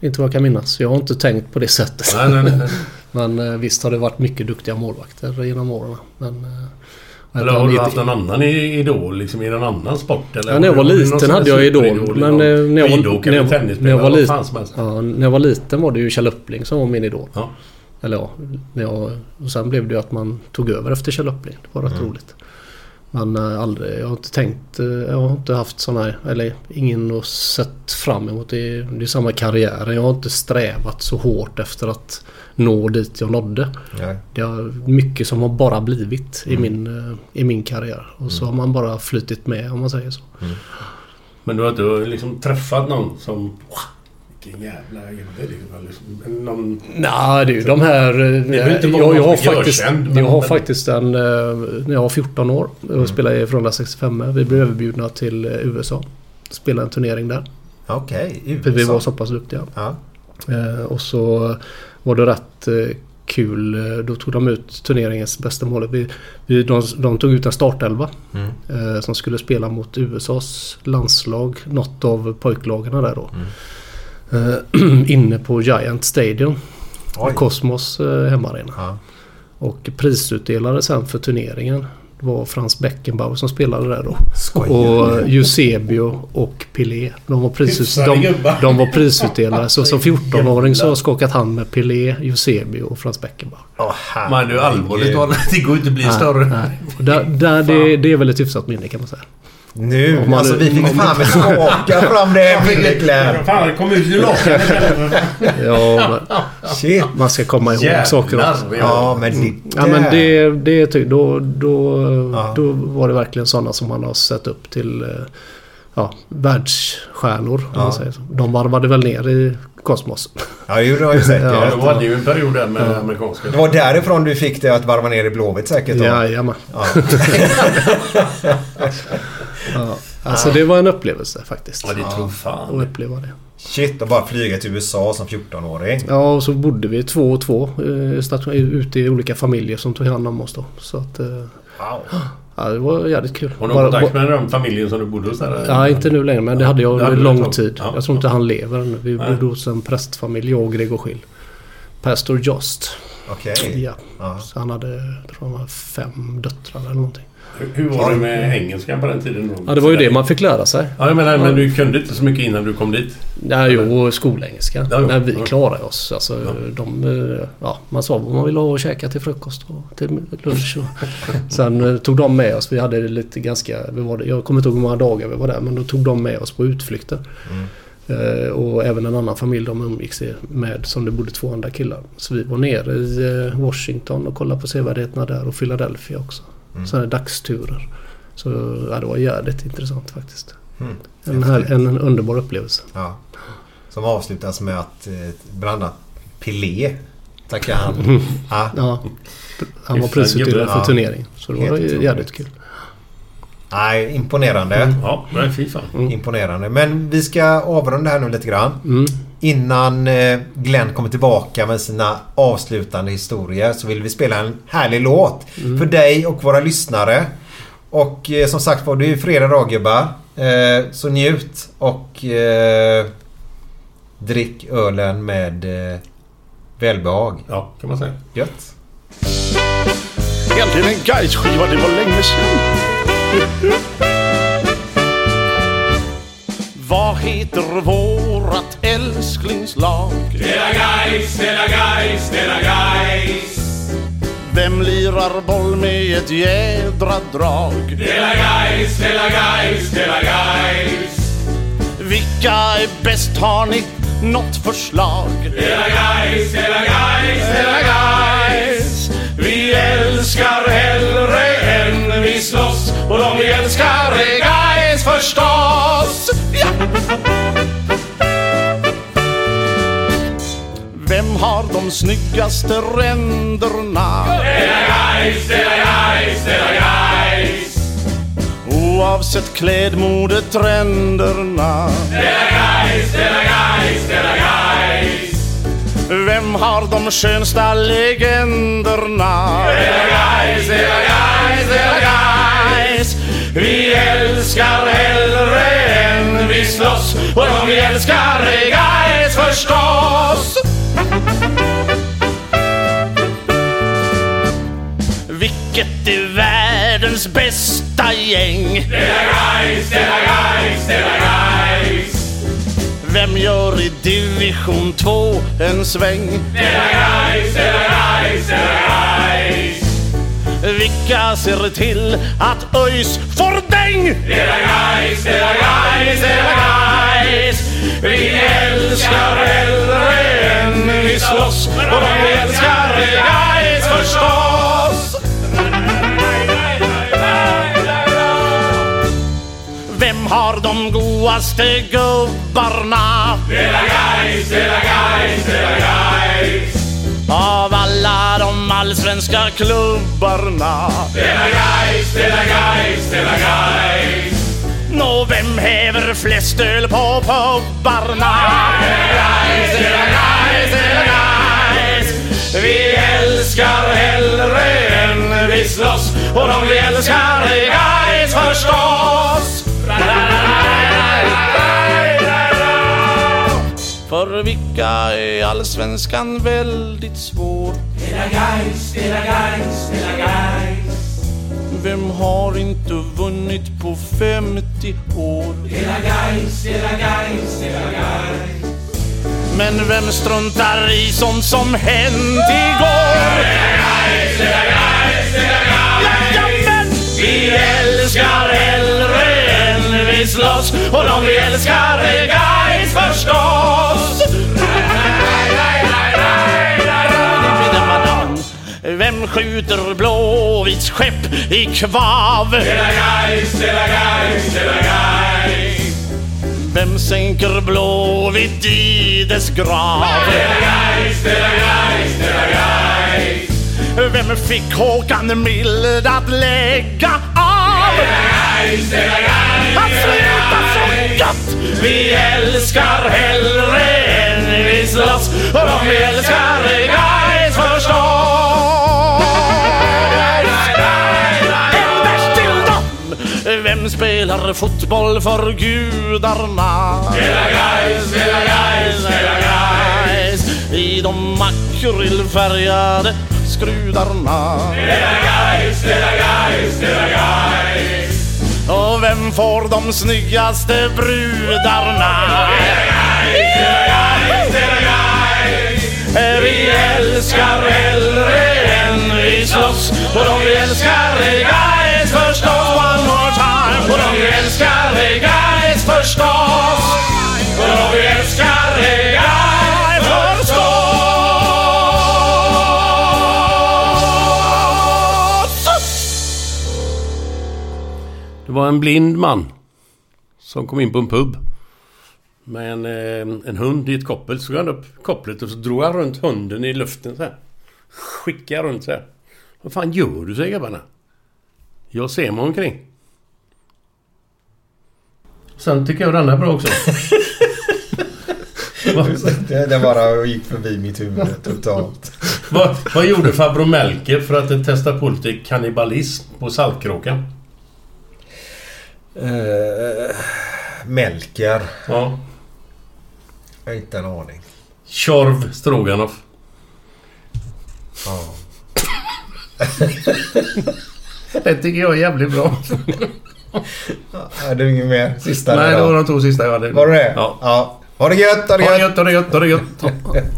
[SPEAKER 5] Inte vad jag kan minnas. Jag har inte tänkt på det sättet.
[SPEAKER 2] Nej, nej, nej. nej.
[SPEAKER 5] Men eh, visst har det varit mycket duktiga målvakter genom åren. Men, eh,
[SPEAKER 2] Eller
[SPEAKER 5] att
[SPEAKER 2] har
[SPEAKER 5] han
[SPEAKER 2] du
[SPEAKER 5] inte-
[SPEAKER 2] haft någon annan i- idol liksom i någon annan sport? Eller
[SPEAKER 5] Ja, när jag var
[SPEAKER 2] Har du någon sån
[SPEAKER 5] liten
[SPEAKER 2] här
[SPEAKER 5] hade jag idol.
[SPEAKER 2] superidol i
[SPEAKER 5] Men eh,
[SPEAKER 2] någon
[SPEAKER 5] när jag var,
[SPEAKER 2] skidåkare,
[SPEAKER 5] när jag, när jag
[SPEAKER 2] tennisspelare,
[SPEAKER 5] var
[SPEAKER 2] vad fan som
[SPEAKER 5] liten...
[SPEAKER 2] helst?
[SPEAKER 5] Ja, när jag var liten var det ju Kjell Uppling som var min idol.
[SPEAKER 2] Ja.
[SPEAKER 5] Eller ja, när jag, och sen blev det ju att man tog över efter Kjell Uppling. Det var rätt
[SPEAKER 2] Mm.
[SPEAKER 5] roligt. Men eh, aldrig, jag har inte tänkt, eh, jag har inte haft sån här, eller ingen att sett fram emot. Det är, det är samma karriär. Jag har inte strävat så hårt efter att nå dit jag nådde.
[SPEAKER 1] nej.
[SPEAKER 5] Det är mycket som har bara blivit i, min, eh, i min karriär. Och så har man bara flyttit med om man säger så.
[SPEAKER 2] Men du har inte liksom träffat någon som... "Wow, Vilken jävla gubbe liksom. eller liksom, Någon...
[SPEAKER 5] Nej, det är ju de här... eh,
[SPEAKER 2] behöver inte vara
[SPEAKER 5] jag,
[SPEAKER 2] någon
[SPEAKER 5] jag, har
[SPEAKER 2] som är
[SPEAKER 5] faktiskt,
[SPEAKER 2] ökänd, men-
[SPEAKER 5] jag har
[SPEAKER 2] men-
[SPEAKER 5] faktiskt en... eh, När jag var 14 år och spelade i Frölunda 65 Vi blev överbjudna till eh, USA. Spela en turnering där.
[SPEAKER 1] Okej,
[SPEAKER 5] För vi var
[SPEAKER 1] USA.
[SPEAKER 5] så pass duktiga.
[SPEAKER 1] Ja.
[SPEAKER 5] Eh, Och så var det rätt eh, kul. Eh, Då tog de ut turneringens bästa mål. Vi, vi, de, de tog ut en startelva eh, som skulle spela mot USAs landslag. Något av pojklagarna där då. Eh, Inne på Giant Stadium.
[SPEAKER 1] Oj.
[SPEAKER 5] Cosmos eh, hemmaarena.
[SPEAKER 1] Ja.
[SPEAKER 5] Och prisutdelare sen för turneringen var Frans Beckenbauer som spelade där då.
[SPEAKER 1] Skojar
[SPEAKER 5] Och eh, Eusebio och Pelé. De var, prisut-
[SPEAKER 2] Hyfsade
[SPEAKER 5] de,
[SPEAKER 2] gubbar.
[SPEAKER 5] de var prisutdelare. Så som 14-åring så har jag skakat hand med Pelé, Eusebio och Frans Beckenbauer.
[SPEAKER 1] Åh,
[SPEAKER 2] Men du allvarligt talat, det går inte att bli större.
[SPEAKER 5] Nej. Och Där, där det, det är väl ett hyfsat minne kan man säga.
[SPEAKER 1] Nu,
[SPEAKER 5] Om man-
[SPEAKER 1] alltså vi fick
[SPEAKER 5] om-
[SPEAKER 1] fan med skaka fram det
[SPEAKER 2] Eh,
[SPEAKER 1] minnet Glenn.
[SPEAKER 2] Fan, det kom ut ur lakanet.
[SPEAKER 5] Ja, men
[SPEAKER 1] Shit.
[SPEAKER 5] man ska komma ihåg saker också.
[SPEAKER 2] Jävlar.
[SPEAKER 1] Ja, men det
[SPEAKER 5] Ja, men det, det är ty- då, då,
[SPEAKER 1] Ja.
[SPEAKER 5] då var det verkligen sådana som man har sett upp till eh, ja, världsstjärnor. Om man säger så. De varvade väl ner i kosmos.
[SPEAKER 1] Ja, det gjorde han ju säkert.
[SPEAKER 2] Ja, det var ju en period där med amerikanska.
[SPEAKER 1] Det var därifrån du fick det att varva ner i Blåvitt säkert då?
[SPEAKER 5] Jajamän.
[SPEAKER 1] Ja.
[SPEAKER 5] Ja. Alltså det var en upplevelse faktiskt.
[SPEAKER 2] Ja, det tror
[SPEAKER 5] Att
[SPEAKER 2] fan.
[SPEAKER 5] uppleva det.
[SPEAKER 1] Shit, och bara flyga till USA som 14-åring.
[SPEAKER 5] Ja, och så bodde vi två och två eh, station- ute i olika familjer som tog hand om oss då. Så att, eh,
[SPEAKER 1] Wow.
[SPEAKER 5] ja, det var jävligt kul.
[SPEAKER 2] Har du någon kontakt med den familjen som du bodde hos? Där?
[SPEAKER 5] Ja, inte nu längre men det hade jag
[SPEAKER 2] Det hade
[SPEAKER 5] under
[SPEAKER 2] du ett
[SPEAKER 5] lång
[SPEAKER 2] tag.
[SPEAKER 5] tid.
[SPEAKER 2] Ja.
[SPEAKER 5] Jag tror inte han lever ännu. Vi
[SPEAKER 2] Nej.
[SPEAKER 5] bodde hos en prästfamilj, jag och Gregor Schill. Pastor Just.
[SPEAKER 1] Okej.
[SPEAKER 5] Ja.
[SPEAKER 1] Ja.
[SPEAKER 5] Så han hade, jag tror han hade fem döttrar eller någonting.
[SPEAKER 2] Hur- Hur var det med engelskan på den tiden? då?
[SPEAKER 5] Ja, det var ju det man fick lära sig.
[SPEAKER 2] Ja, jag menar, men du kunde inte så mycket innan du kom dit.
[SPEAKER 5] Nej, jo, skolengelska.
[SPEAKER 2] Ja, jo.
[SPEAKER 5] Nej, vi
[SPEAKER 2] Ja.
[SPEAKER 5] klarar oss. Alltså, de, eh, ja, man sa vad man ville ha och käka till frukost och till lunch. Och. Sen eh, tog de med oss. Vi hade lite ganska... Vi var, där- jag kommer inte ihåg hur många dagar vi var där men då tog de med oss på utflykter.
[SPEAKER 2] Mm.
[SPEAKER 5] Eh, och även en annan familj de umgicks i- med som det bodde två andra killar. Så vi var nere i eh, Washington och kollade på sevärdheterna där och Philadelphia också.
[SPEAKER 2] Mm.
[SPEAKER 5] Sådana dagsturer. Så ja, det var jävligt intressant faktiskt.
[SPEAKER 1] Mm.
[SPEAKER 5] En, här, en, en underbar upplevelse.
[SPEAKER 1] Ja. Som avslutas med att eh, bland annat Pelé tackar han. Ja.
[SPEAKER 5] Ja, pr- han var
[SPEAKER 2] Hyfsad
[SPEAKER 5] prisutdelare
[SPEAKER 2] gubbe,
[SPEAKER 5] för
[SPEAKER 1] ja.
[SPEAKER 5] turneringen. Så det var
[SPEAKER 1] Helt
[SPEAKER 5] ju
[SPEAKER 1] otroligt.
[SPEAKER 5] jävligt kul.
[SPEAKER 1] Nej, imponerande.
[SPEAKER 2] Ja, men fy fan.
[SPEAKER 1] Mm. Imponerande. Men vi ska avrunda här nu lite grann.
[SPEAKER 5] Mm.
[SPEAKER 1] Innan eh, Glenn kommer tillbaka med sina avslutande historier så vill vi spela en härlig låt för dig och våra lyssnare. Och eh, som sagt var, det är ju fredag radiogubbar. Eh, så njut och eh, drick ölen med eh, välbehag.
[SPEAKER 2] Ja, kan man säga.
[SPEAKER 1] Gött.
[SPEAKER 6] Äntligen en Gais-skiva, det var länge sedan. Vad heter vårat älsklingslag?
[SPEAKER 4] Dela Gais, Dela Gais, Dela Gais.
[SPEAKER 6] Vem lirar boll med ett jädra drag?
[SPEAKER 4] Dela Gais, Dela Gais, Dela Gais.
[SPEAKER 6] Vilka är bäst? Har ni något förslag?
[SPEAKER 4] Dela Gais, Dela Gais, Dela Gais. Vi älskar hellre än vi slåss. Och de vi älskar är Gais förstås. Ja!
[SPEAKER 6] Vem har de snyggaste ränderna?
[SPEAKER 4] Dela Gais, Dela Gais, Dela Gais.
[SPEAKER 6] Oavsett klädmode, trenderna
[SPEAKER 4] Dela Gais, Dela Gais, Dela Gais.
[SPEAKER 6] Vem har de skönsta legenderna?
[SPEAKER 4] Dela Gais, Dela Gais, Dela Gais. Vi älskar hellre än vi slåss. Och de vi älskar är Gais förstås.
[SPEAKER 6] Vilket är världens bästa gäng?
[SPEAKER 4] Dela Gais, Dela Gais, Dela Gais.
[SPEAKER 6] Vem gör i division 2 en sväng?
[SPEAKER 4] Dela Gais, Dela Gais, Dela Gais.
[SPEAKER 6] Vilka ser till att ÖIS får däng?
[SPEAKER 4] Dela Gais, Dela Gais, Dela Gais. Vi älskar hellre än vi slåss. Och de vi älskar är Gais förstås.
[SPEAKER 6] Vem har de godaste gubbarna?
[SPEAKER 4] Dela Gais, Dela Gais, Dela Gais.
[SPEAKER 6] Av alla de allsvenska klubbarna
[SPEAKER 4] Dela Gais, Dela Gais, Dela Gais.
[SPEAKER 6] Nå, vem häver flest öl på pubarna?
[SPEAKER 4] Dela Gais, Dela Gais. Vi älskar hellre än vi slåss och de vi älskar är Gais förstås.
[SPEAKER 6] För vilka är allsvenskan väldigt svår?
[SPEAKER 4] Dela Gais, Dela Gais, Dela Gais.
[SPEAKER 6] Vem har inte vunnit på 50 år?
[SPEAKER 4] Dela Gais, Dela Gais, Dela Gais.
[SPEAKER 6] Men vem struntar i sånt som hänt igår?
[SPEAKER 4] Dela Gais, Dela Gais.
[SPEAKER 6] Jajamän!
[SPEAKER 4] Vi älskar hellre än vi slåss och de vi älskar är Gais förstås.
[SPEAKER 6] Vem skjuter Blåvitts skepp i kvav?
[SPEAKER 4] Dela Gais, Dela Gais, Dela Gais.
[SPEAKER 6] Vem sänker Blåvitt i dess grav?
[SPEAKER 4] Dela Gais, Dela Gais, Dela Gais.
[SPEAKER 6] Vem fick Håkan Mild att lägga av?
[SPEAKER 4] Gais, Dela Gais,
[SPEAKER 6] Han
[SPEAKER 4] Dela
[SPEAKER 6] slutar så
[SPEAKER 4] Gais.
[SPEAKER 6] gött!
[SPEAKER 4] Vi älskar hellre än vi slåss och de vi älskar är Gais förstås.
[SPEAKER 6] En vers till dem! Vem spelar fotboll för gudarna?
[SPEAKER 4] Dela Gais, Dela Gais, Dela Gais.
[SPEAKER 6] I de akrylfärgade skrudarna.
[SPEAKER 4] Dela Gais, Dela Gais, Dela Gais.
[SPEAKER 6] Och vem får de snyggaste brudarna?
[SPEAKER 4] Dela Gais. Vi älskar hellre än vi slåss och de vi älskar är Gais förstås. One more time. Och de vi älskar är Gais förstås. Och de vi älskar är Gais förstås.
[SPEAKER 2] Det var en blind man som kom in på en pub. Med en, eh, en hund i ett koppel. Så tog han upp kopplet och så drog han runt hunden i luften så här. Skickade runt så här. Vad fan gör du, säger grabbarna. Jag ser mig omkring. Sen tycker jag den är bra också. vad,
[SPEAKER 1] Det, det bara gick förbi mitt huvud totalt.
[SPEAKER 2] vad, vad gjorde farbror Melker för att testa på lite kannibalism på Saltkråkan?
[SPEAKER 1] Eh, Melker.
[SPEAKER 2] Ja.
[SPEAKER 1] Jag har inte en aning.
[SPEAKER 2] Tjorv Stroganoff.
[SPEAKER 1] Ja.
[SPEAKER 5] Det tycker jag är jävligt bra.
[SPEAKER 1] Är det ingen mer? Sista
[SPEAKER 5] Nej,
[SPEAKER 1] där
[SPEAKER 5] det
[SPEAKER 1] då?
[SPEAKER 5] var de två sista jag hade.
[SPEAKER 1] Var det det?
[SPEAKER 2] Ja.
[SPEAKER 1] Ha det gött, ha det
[SPEAKER 5] Ha det
[SPEAKER 1] gött!
[SPEAKER 5] gött, ha det gött, ha det gött.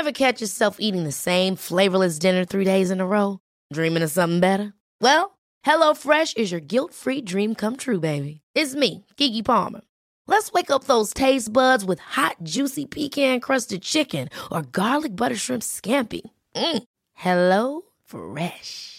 [SPEAKER 7] Ever catch yourself eating the same flavorless dinner three days in a row? Dreaming of something better? Well, HelloFresh is your guilt-free dream come true, baby. It's me, Gigi Palmer. Let's wake up those taste buds with hot, juicy pecan-crusted chicken or garlic butter shrimp scampi. Mm. Hello Fresh.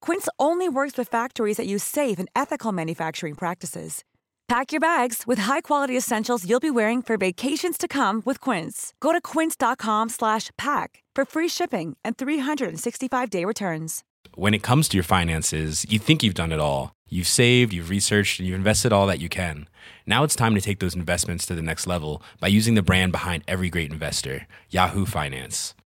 [SPEAKER 8] Quince only works with factories that use safe and ethical manufacturing practices. Pack your bags with high-quality essentials you'll be wearing for vacations to come with Quince. Go to quince.com slash pack for free shipping and 365-day returns.
[SPEAKER 9] When it comes to your finances, you think you've done it all. You've saved, you've researched, and you've invested all that you can. Now it's time to take those investments to the next level by using the brand behind every great investor, Yahoo Finance.